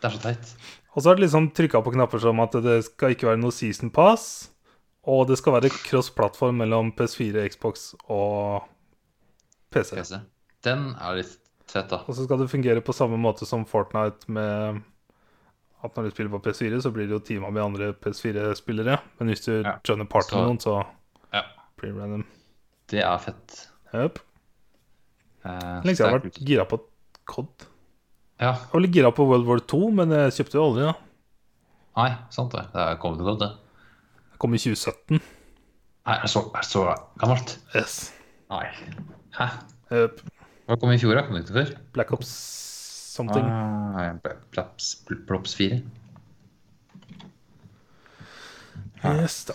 [SPEAKER 2] det er så teit.
[SPEAKER 1] Og så er det liksom trykka på knapper som at det skal ikke være noe season pass, og det skal være cross-plattform mellom PS4, Xbox og PC.
[SPEAKER 2] PC. Den er litt tett, da.
[SPEAKER 1] Og så skal det fungere på samme måte som Fortnite med at når du spiller på PS4, så blir det jo teama med andre PS4-spillere. Men hvis du
[SPEAKER 2] Ja.
[SPEAKER 1] joiner party med
[SPEAKER 2] Så-
[SPEAKER 1] noen, så
[SPEAKER 2] Ja.
[SPEAKER 1] blir det random.
[SPEAKER 2] Det er fett.
[SPEAKER 1] Yep.
[SPEAKER 2] Eh,
[SPEAKER 1] Lenge siden jeg har
[SPEAKER 2] så det
[SPEAKER 1] vært
[SPEAKER 2] er kult.
[SPEAKER 1] gira på COD.
[SPEAKER 2] Ja.
[SPEAKER 1] Jeg var litt gira på World War 2, men jeg kjøpte jo aldri, da.
[SPEAKER 2] Nei, sant det. Det er kommet godt, det.
[SPEAKER 1] Jeg kom i 2017.
[SPEAKER 2] Nei, er det så, er det så gammelt.
[SPEAKER 1] Yes.
[SPEAKER 2] Nei. Hæ?
[SPEAKER 1] Yep.
[SPEAKER 2] Hva kom i fjor, da? Kom det ikke før?
[SPEAKER 1] Eh, Black Ops something.
[SPEAKER 2] Ah, ja, Pl- Plaps, Pl- Plops 4.
[SPEAKER 1] Yes, da.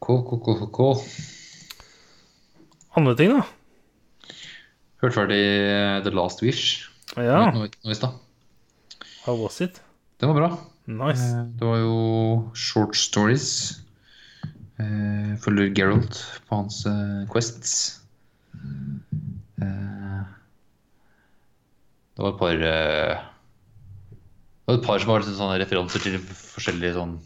[SPEAKER 2] Cool, cool, cool, cool, cool.
[SPEAKER 1] Andre ting, da.
[SPEAKER 2] Hørte ferdig eh, The Last Wish
[SPEAKER 1] Ja,
[SPEAKER 2] nå i nå i stad.
[SPEAKER 1] how was it?
[SPEAKER 2] Den var bra.
[SPEAKER 1] Nice.
[SPEAKER 2] Eh, Det var jo short stories. Eh, følger Geralt på hans eh, quests. Eh, det var et par eh, Det var et par som var liksom sånne referanser til forskjellige sånn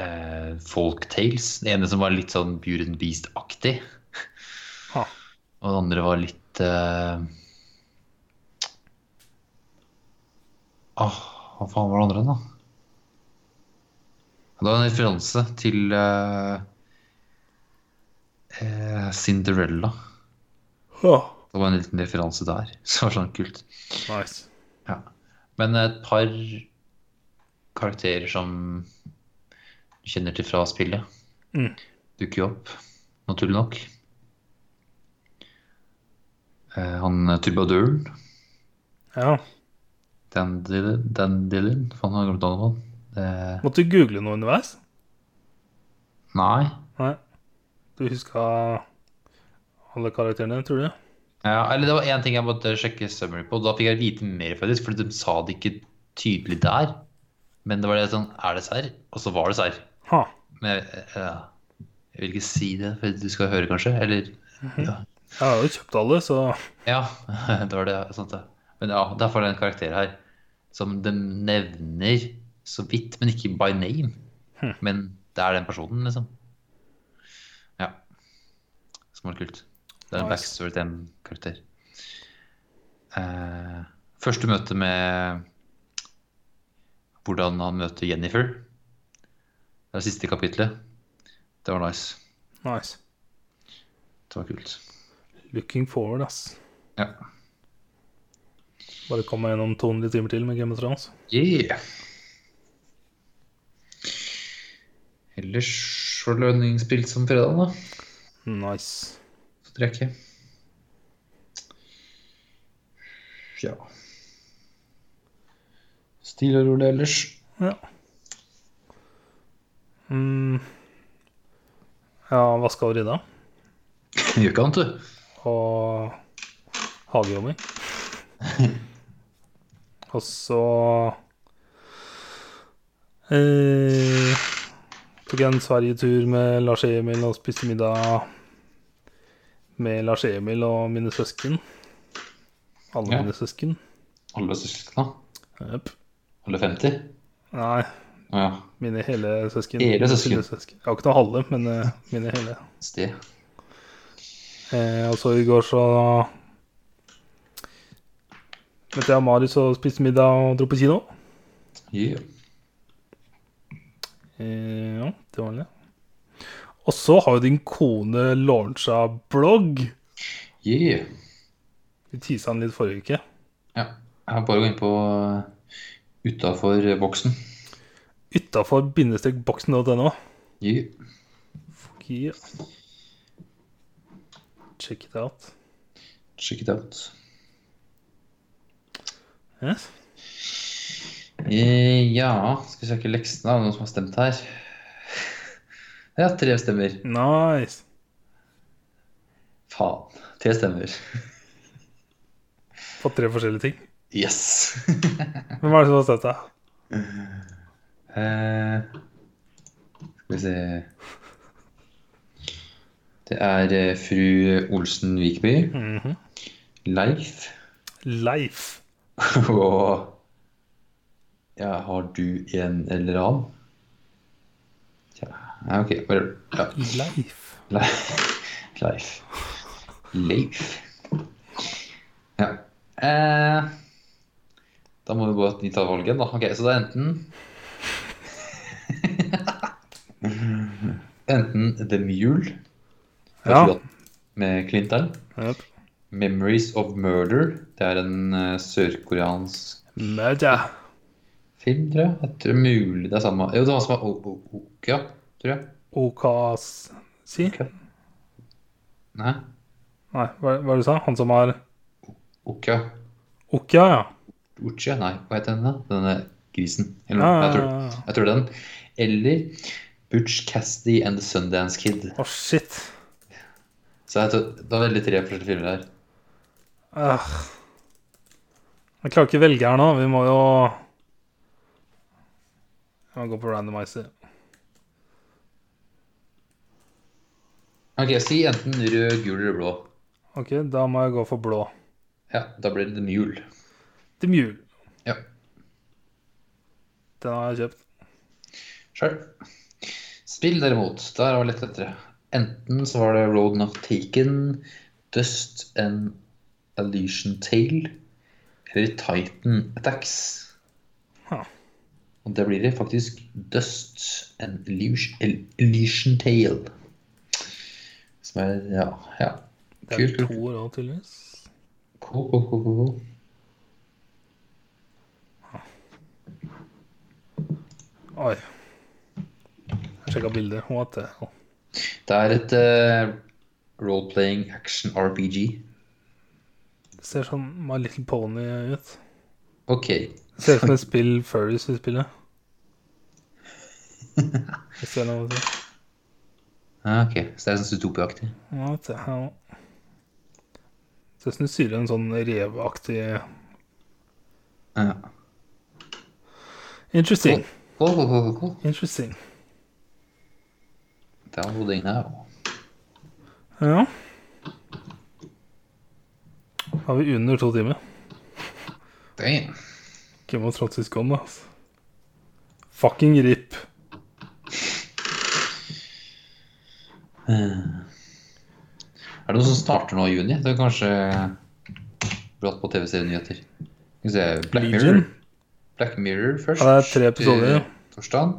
[SPEAKER 2] eh, folktales. Den ene som var litt sånn Beauty and Beast-aktig.
[SPEAKER 1] Ha.
[SPEAKER 2] Og den andre var litt eh, Åh, Ah, hva faen var det andre da? Det var en referanse til eh, eh, Cinderella.
[SPEAKER 1] Åh,
[SPEAKER 2] Det var en liten referanse der. (laughs) Så det var sånn kult.
[SPEAKER 1] Nice.
[SPEAKER 2] Ja. Men et par karakterer som du kjenner til fra spillet,
[SPEAKER 1] Mm.
[SPEAKER 2] dukker jo opp, naturlig nok. Eh, han trubaduren,
[SPEAKER 1] Ja.
[SPEAKER 2] Dan Dylan, Dan Dylan faen, jeg har glemt navnet på han. Eh, Det-
[SPEAKER 1] Måtte du google noe underveis?
[SPEAKER 2] Nei.
[SPEAKER 1] Nei. Du huska alle karakterene, tror du?
[SPEAKER 2] Ja, eller det var én ting jeg måtte sjekke summary på, og da fikk jeg vite mer, faktisk, for de sa det ikke tydelig der. Men det var det sånn Er det serr? Og så var det serr.
[SPEAKER 1] Ha.
[SPEAKER 2] Men jeg, ja, jeg vil ikke si det, for du skal høre, kanskje? Eller Ja,
[SPEAKER 1] Jeg har jo kjøpt alle, så
[SPEAKER 2] ja (laughs) det var det. Sant det. Men ja, derfor er det en karakter her som de nevner så vidt, men ikke by name.
[SPEAKER 1] Hm.
[SPEAKER 2] Men det er den personen, liksom. Ja. Som var kult. Det er en
[SPEAKER 1] Nice.
[SPEAKER 2] backstory til en karakter. Eh, første møte med hvordan han møter Jennifer. Det er siste kapitlet. Det var nice.
[SPEAKER 1] nice.
[SPEAKER 2] Det var kult.
[SPEAKER 1] Looking forward, ass.
[SPEAKER 2] Ja.
[SPEAKER 1] Bare kom meg gjennom 200 timer til med Game of Thrones.
[SPEAKER 2] Yeah. Ellers var det lønningsspilt som fredag, da.
[SPEAKER 1] Nice.
[SPEAKER 2] Så trekker jeg. Ja. Stille og rolig ellers.
[SPEAKER 1] Ja. Mm. Ja, vaska og rydda.
[SPEAKER 2] Gjør ikke annet, du.
[SPEAKER 1] og
[SPEAKER 2] (laughs)
[SPEAKER 1] hagejobbing. og så eh, tok jeg en Sverige-tur med Lars Emil og spiste middag med Lars Emil og mine søsken. Alle
[SPEAKER 2] Ja.
[SPEAKER 1] mine søsken.
[SPEAKER 2] Alle søskna.
[SPEAKER 1] Jep.
[SPEAKER 2] Alle 50.
[SPEAKER 1] Nei,
[SPEAKER 2] Å ja.
[SPEAKER 1] mine hele søsken.
[SPEAKER 2] Hele søsken.
[SPEAKER 1] Mine Jeg har ikke noe halve, men eh, mine hele.
[SPEAKER 2] Sted.
[SPEAKER 1] Eh, og så i går så møtte jeg Marius og spiste middag og dro på kino.
[SPEAKER 2] Yeah.
[SPEAKER 1] Eh, ja, det var det. Og så har jo din kone launcha blogg.
[SPEAKER 2] Yeah.
[SPEAKER 1] Vi tisa den litt forrige uke.
[SPEAKER 2] Ja. Jeg har bare gått inn på utafor boksen.
[SPEAKER 1] Utafor bindestrekboksen.no.
[SPEAKER 2] Yeah.
[SPEAKER 1] Fuck yeah. Check it out.
[SPEAKER 2] Check it out.
[SPEAKER 1] Yes.
[SPEAKER 2] Eh, Ja, skal vi sjekke leksene? Er det noen som har stemt her? Ja, tre stemmer.
[SPEAKER 1] Nice.
[SPEAKER 2] Faen. Tre stemmer.
[SPEAKER 1] Fått tre forskjellige ting.
[SPEAKER 2] Yes! (laughs)
[SPEAKER 1] Hvem er det som har støtta?
[SPEAKER 2] Eh, skal vi se Det er eh, fru Olsen Vikby, Leif
[SPEAKER 1] Mhm.
[SPEAKER 2] (laughs)
[SPEAKER 1] Leif.
[SPEAKER 2] og Ja, har du en eller annen? Ja, ja, OK. Bare ja.
[SPEAKER 1] Leif.
[SPEAKER 2] Leif. Leif. Leif. Ja. Eh, da må vi gå et nytt valg igjen, da. Ok, så det er enten Enten (laughs) The Mule fra
[SPEAKER 1] Ja.
[SPEAKER 2] 2018 med Clinton.
[SPEAKER 1] Yep.
[SPEAKER 2] Memories of Murder. Det er en eh, sørkoreansk
[SPEAKER 1] Murder.
[SPEAKER 2] film, tror jeg. Jeg tror mulig det er samme Jo, det er han som er O- O- Oka, tror jeg.
[SPEAKER 1] Okasi?
[SPEAKER 2] Nei,
[SPEAKER 1] Nei, hva hva er det du sa? Han som har
[SPEAKER 2] Oka.
[SPEAKER 1] Okja, ja.
[SPEAKER 2] Uche, nei, hva heter den da? Denne grisen. Eller,
[SPEAKER 1] Ja,
[SPEAKER 2] Mm, jeg,
[SPEAKER 1] ja,
[SPEAKER 2] tror,
[SPEAKER 1] ja, ja.
[SPEAKER 2] jeg tror det er den. Eller Butch Cassidy and the Sundance Kid.
[SPEAKER 1] Å, shit.
[SPEAKER 2] Så jeg tror, det er veldig tre forskjellige filmer her.
[SPEAKER 1] Øh. Jeg klarer ikke å velge her nå. Vi må jo Jeg må gå på randomizer.
[SPEAKER 2] Ok, si enten rød, gul eller blå.
[SPEAKER 1] OK, da må jeg gå for blå.
[SPEAKER 2] Ja, da blir det The Mule.
[SPEAKER 1] The Mule.
[SPEAKER 2] Ja,
[SPEAKER 1] Den har jeg kjøpt.
[SPEAKER 2] selv. Spill derimot, der var det litt lettere. Enten så var det Road Not Taken, Dust and Illusion Tale, eller Titan Attacks.
[SPEAKER 1] Huh.
[SPEAKER 2] Og det blir det faktisk Dust and Illusion, El- Illusion Tale. Som er Ja. ja.
[SPEAKER 1] Det er
[SPEAKER 2] Kult. kult.
[SPEAKER 1] to år òg, tydeligvis.
[SPEAKER 2] Cool, cool, cool, cool, cool.
[SPEAKER 1] Oi. Jeg sjekka bildet. What the hell?
[SPEAKER 2] Det er et eh, role-playing action RPG.
[SPEAKER 1] Det ser sånn My Little Pony ut.
[SPEAKER 2] OK.
[SPEAKER 1] Det ser ut som et spill Furries vil
[SPEAKER 2] (laughs)
[SPEAKER 1] spille. Hvis det er lov å si.
[SPEAKER 2] Ja, ok, Så det er sånn Zootopia-aktig.
[SPEAKER 1] What the hell? Ser ut som du syrer en sånn reveaktig
[SPEAKER 2] Ja.
[SPEAKER 1] Interesting.
[SPEAKER 2] Cool, cool, cool, cool, cool.
[SPEAKER 1] Interesting.
[SPEAKER 2] Downloading now.
[SPEAKER 1] Ja. Har vi under to timer.
[SPEAKER 2] Damn.
[SPEAKER 1] Game of Thrones is gone, altså. Fucking rip.
[SPEAKER 2] Er det noe som starter nå i juni? Det er kanskje bratt på TV-serienyheter. Skal vi se Black
[SPEAKER 1] Legion?
[SPEAKER 2] Mirror. Black Mirror først.
[SPEAKER 1] Ja, det er tre episoder.
[SPEAKER 2] eh, Torsdag.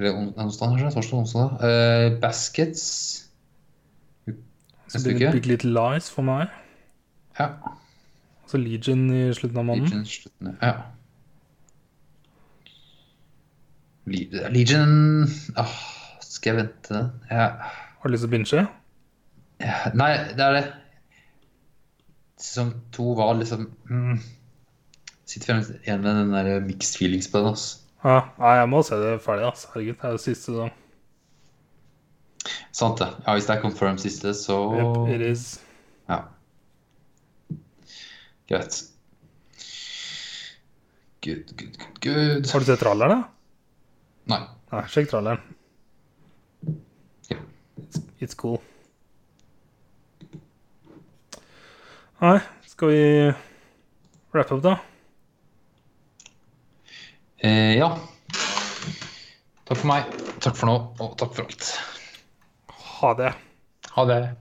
[SPEAKER 2] Eller on- nei, onsdag, kanskje. Torsdag og onsdag. Eh, Baskets.
[SPEAKER 1] Så
[SPEAKER 2] Neste
[SPEAKER 1] blir det
[SPEAKER 2] uke.
[SPEAKER 1] Big Little Lies for meg.
[SPEAKER 2] Ja.
[SPEAKER 1] Så Altså, Legion i slutten av måneden.
[SPEAKER 2] Legion slutten, ja. Le- Legion Åh, Skal jeg vente den? Ja.
[SPEAKER 1] Har du lyst til å binche?
[SPEAKER 2] Ja, Nei, det er det. Sesong to var liksom mm, Sitter fremst igjen med den der mixed feelings på den. ass.
[SPEAKER 1] Ja, nei, jeg må se det ferdig, ass. Herregud, det er jo siste sesong.
[SPEAKER 2] Sant det. Ja, Hvis det er confirm siste, så
[SPEAKER 1] Yep, it is.
[SPEAKER 2] Ja. Greit. Good, good, good, good.
[SPEAKER 1] Har du sett tralleren, da?
[SPEAKER 2] Nei.
[SPEAKER 1] Nei, sjekk tralleren.
[SPEAKER 2] Ja.
[SPEAKER 1] It's, it's cool. Nei, skal vi wrap up, da?
[SPEAKER 2] Eh, ja. Takk for meg. Takk for nå, og takk for alt.
[SPEAKER 1] Ha det.
[SPEAKER 2] Ha det.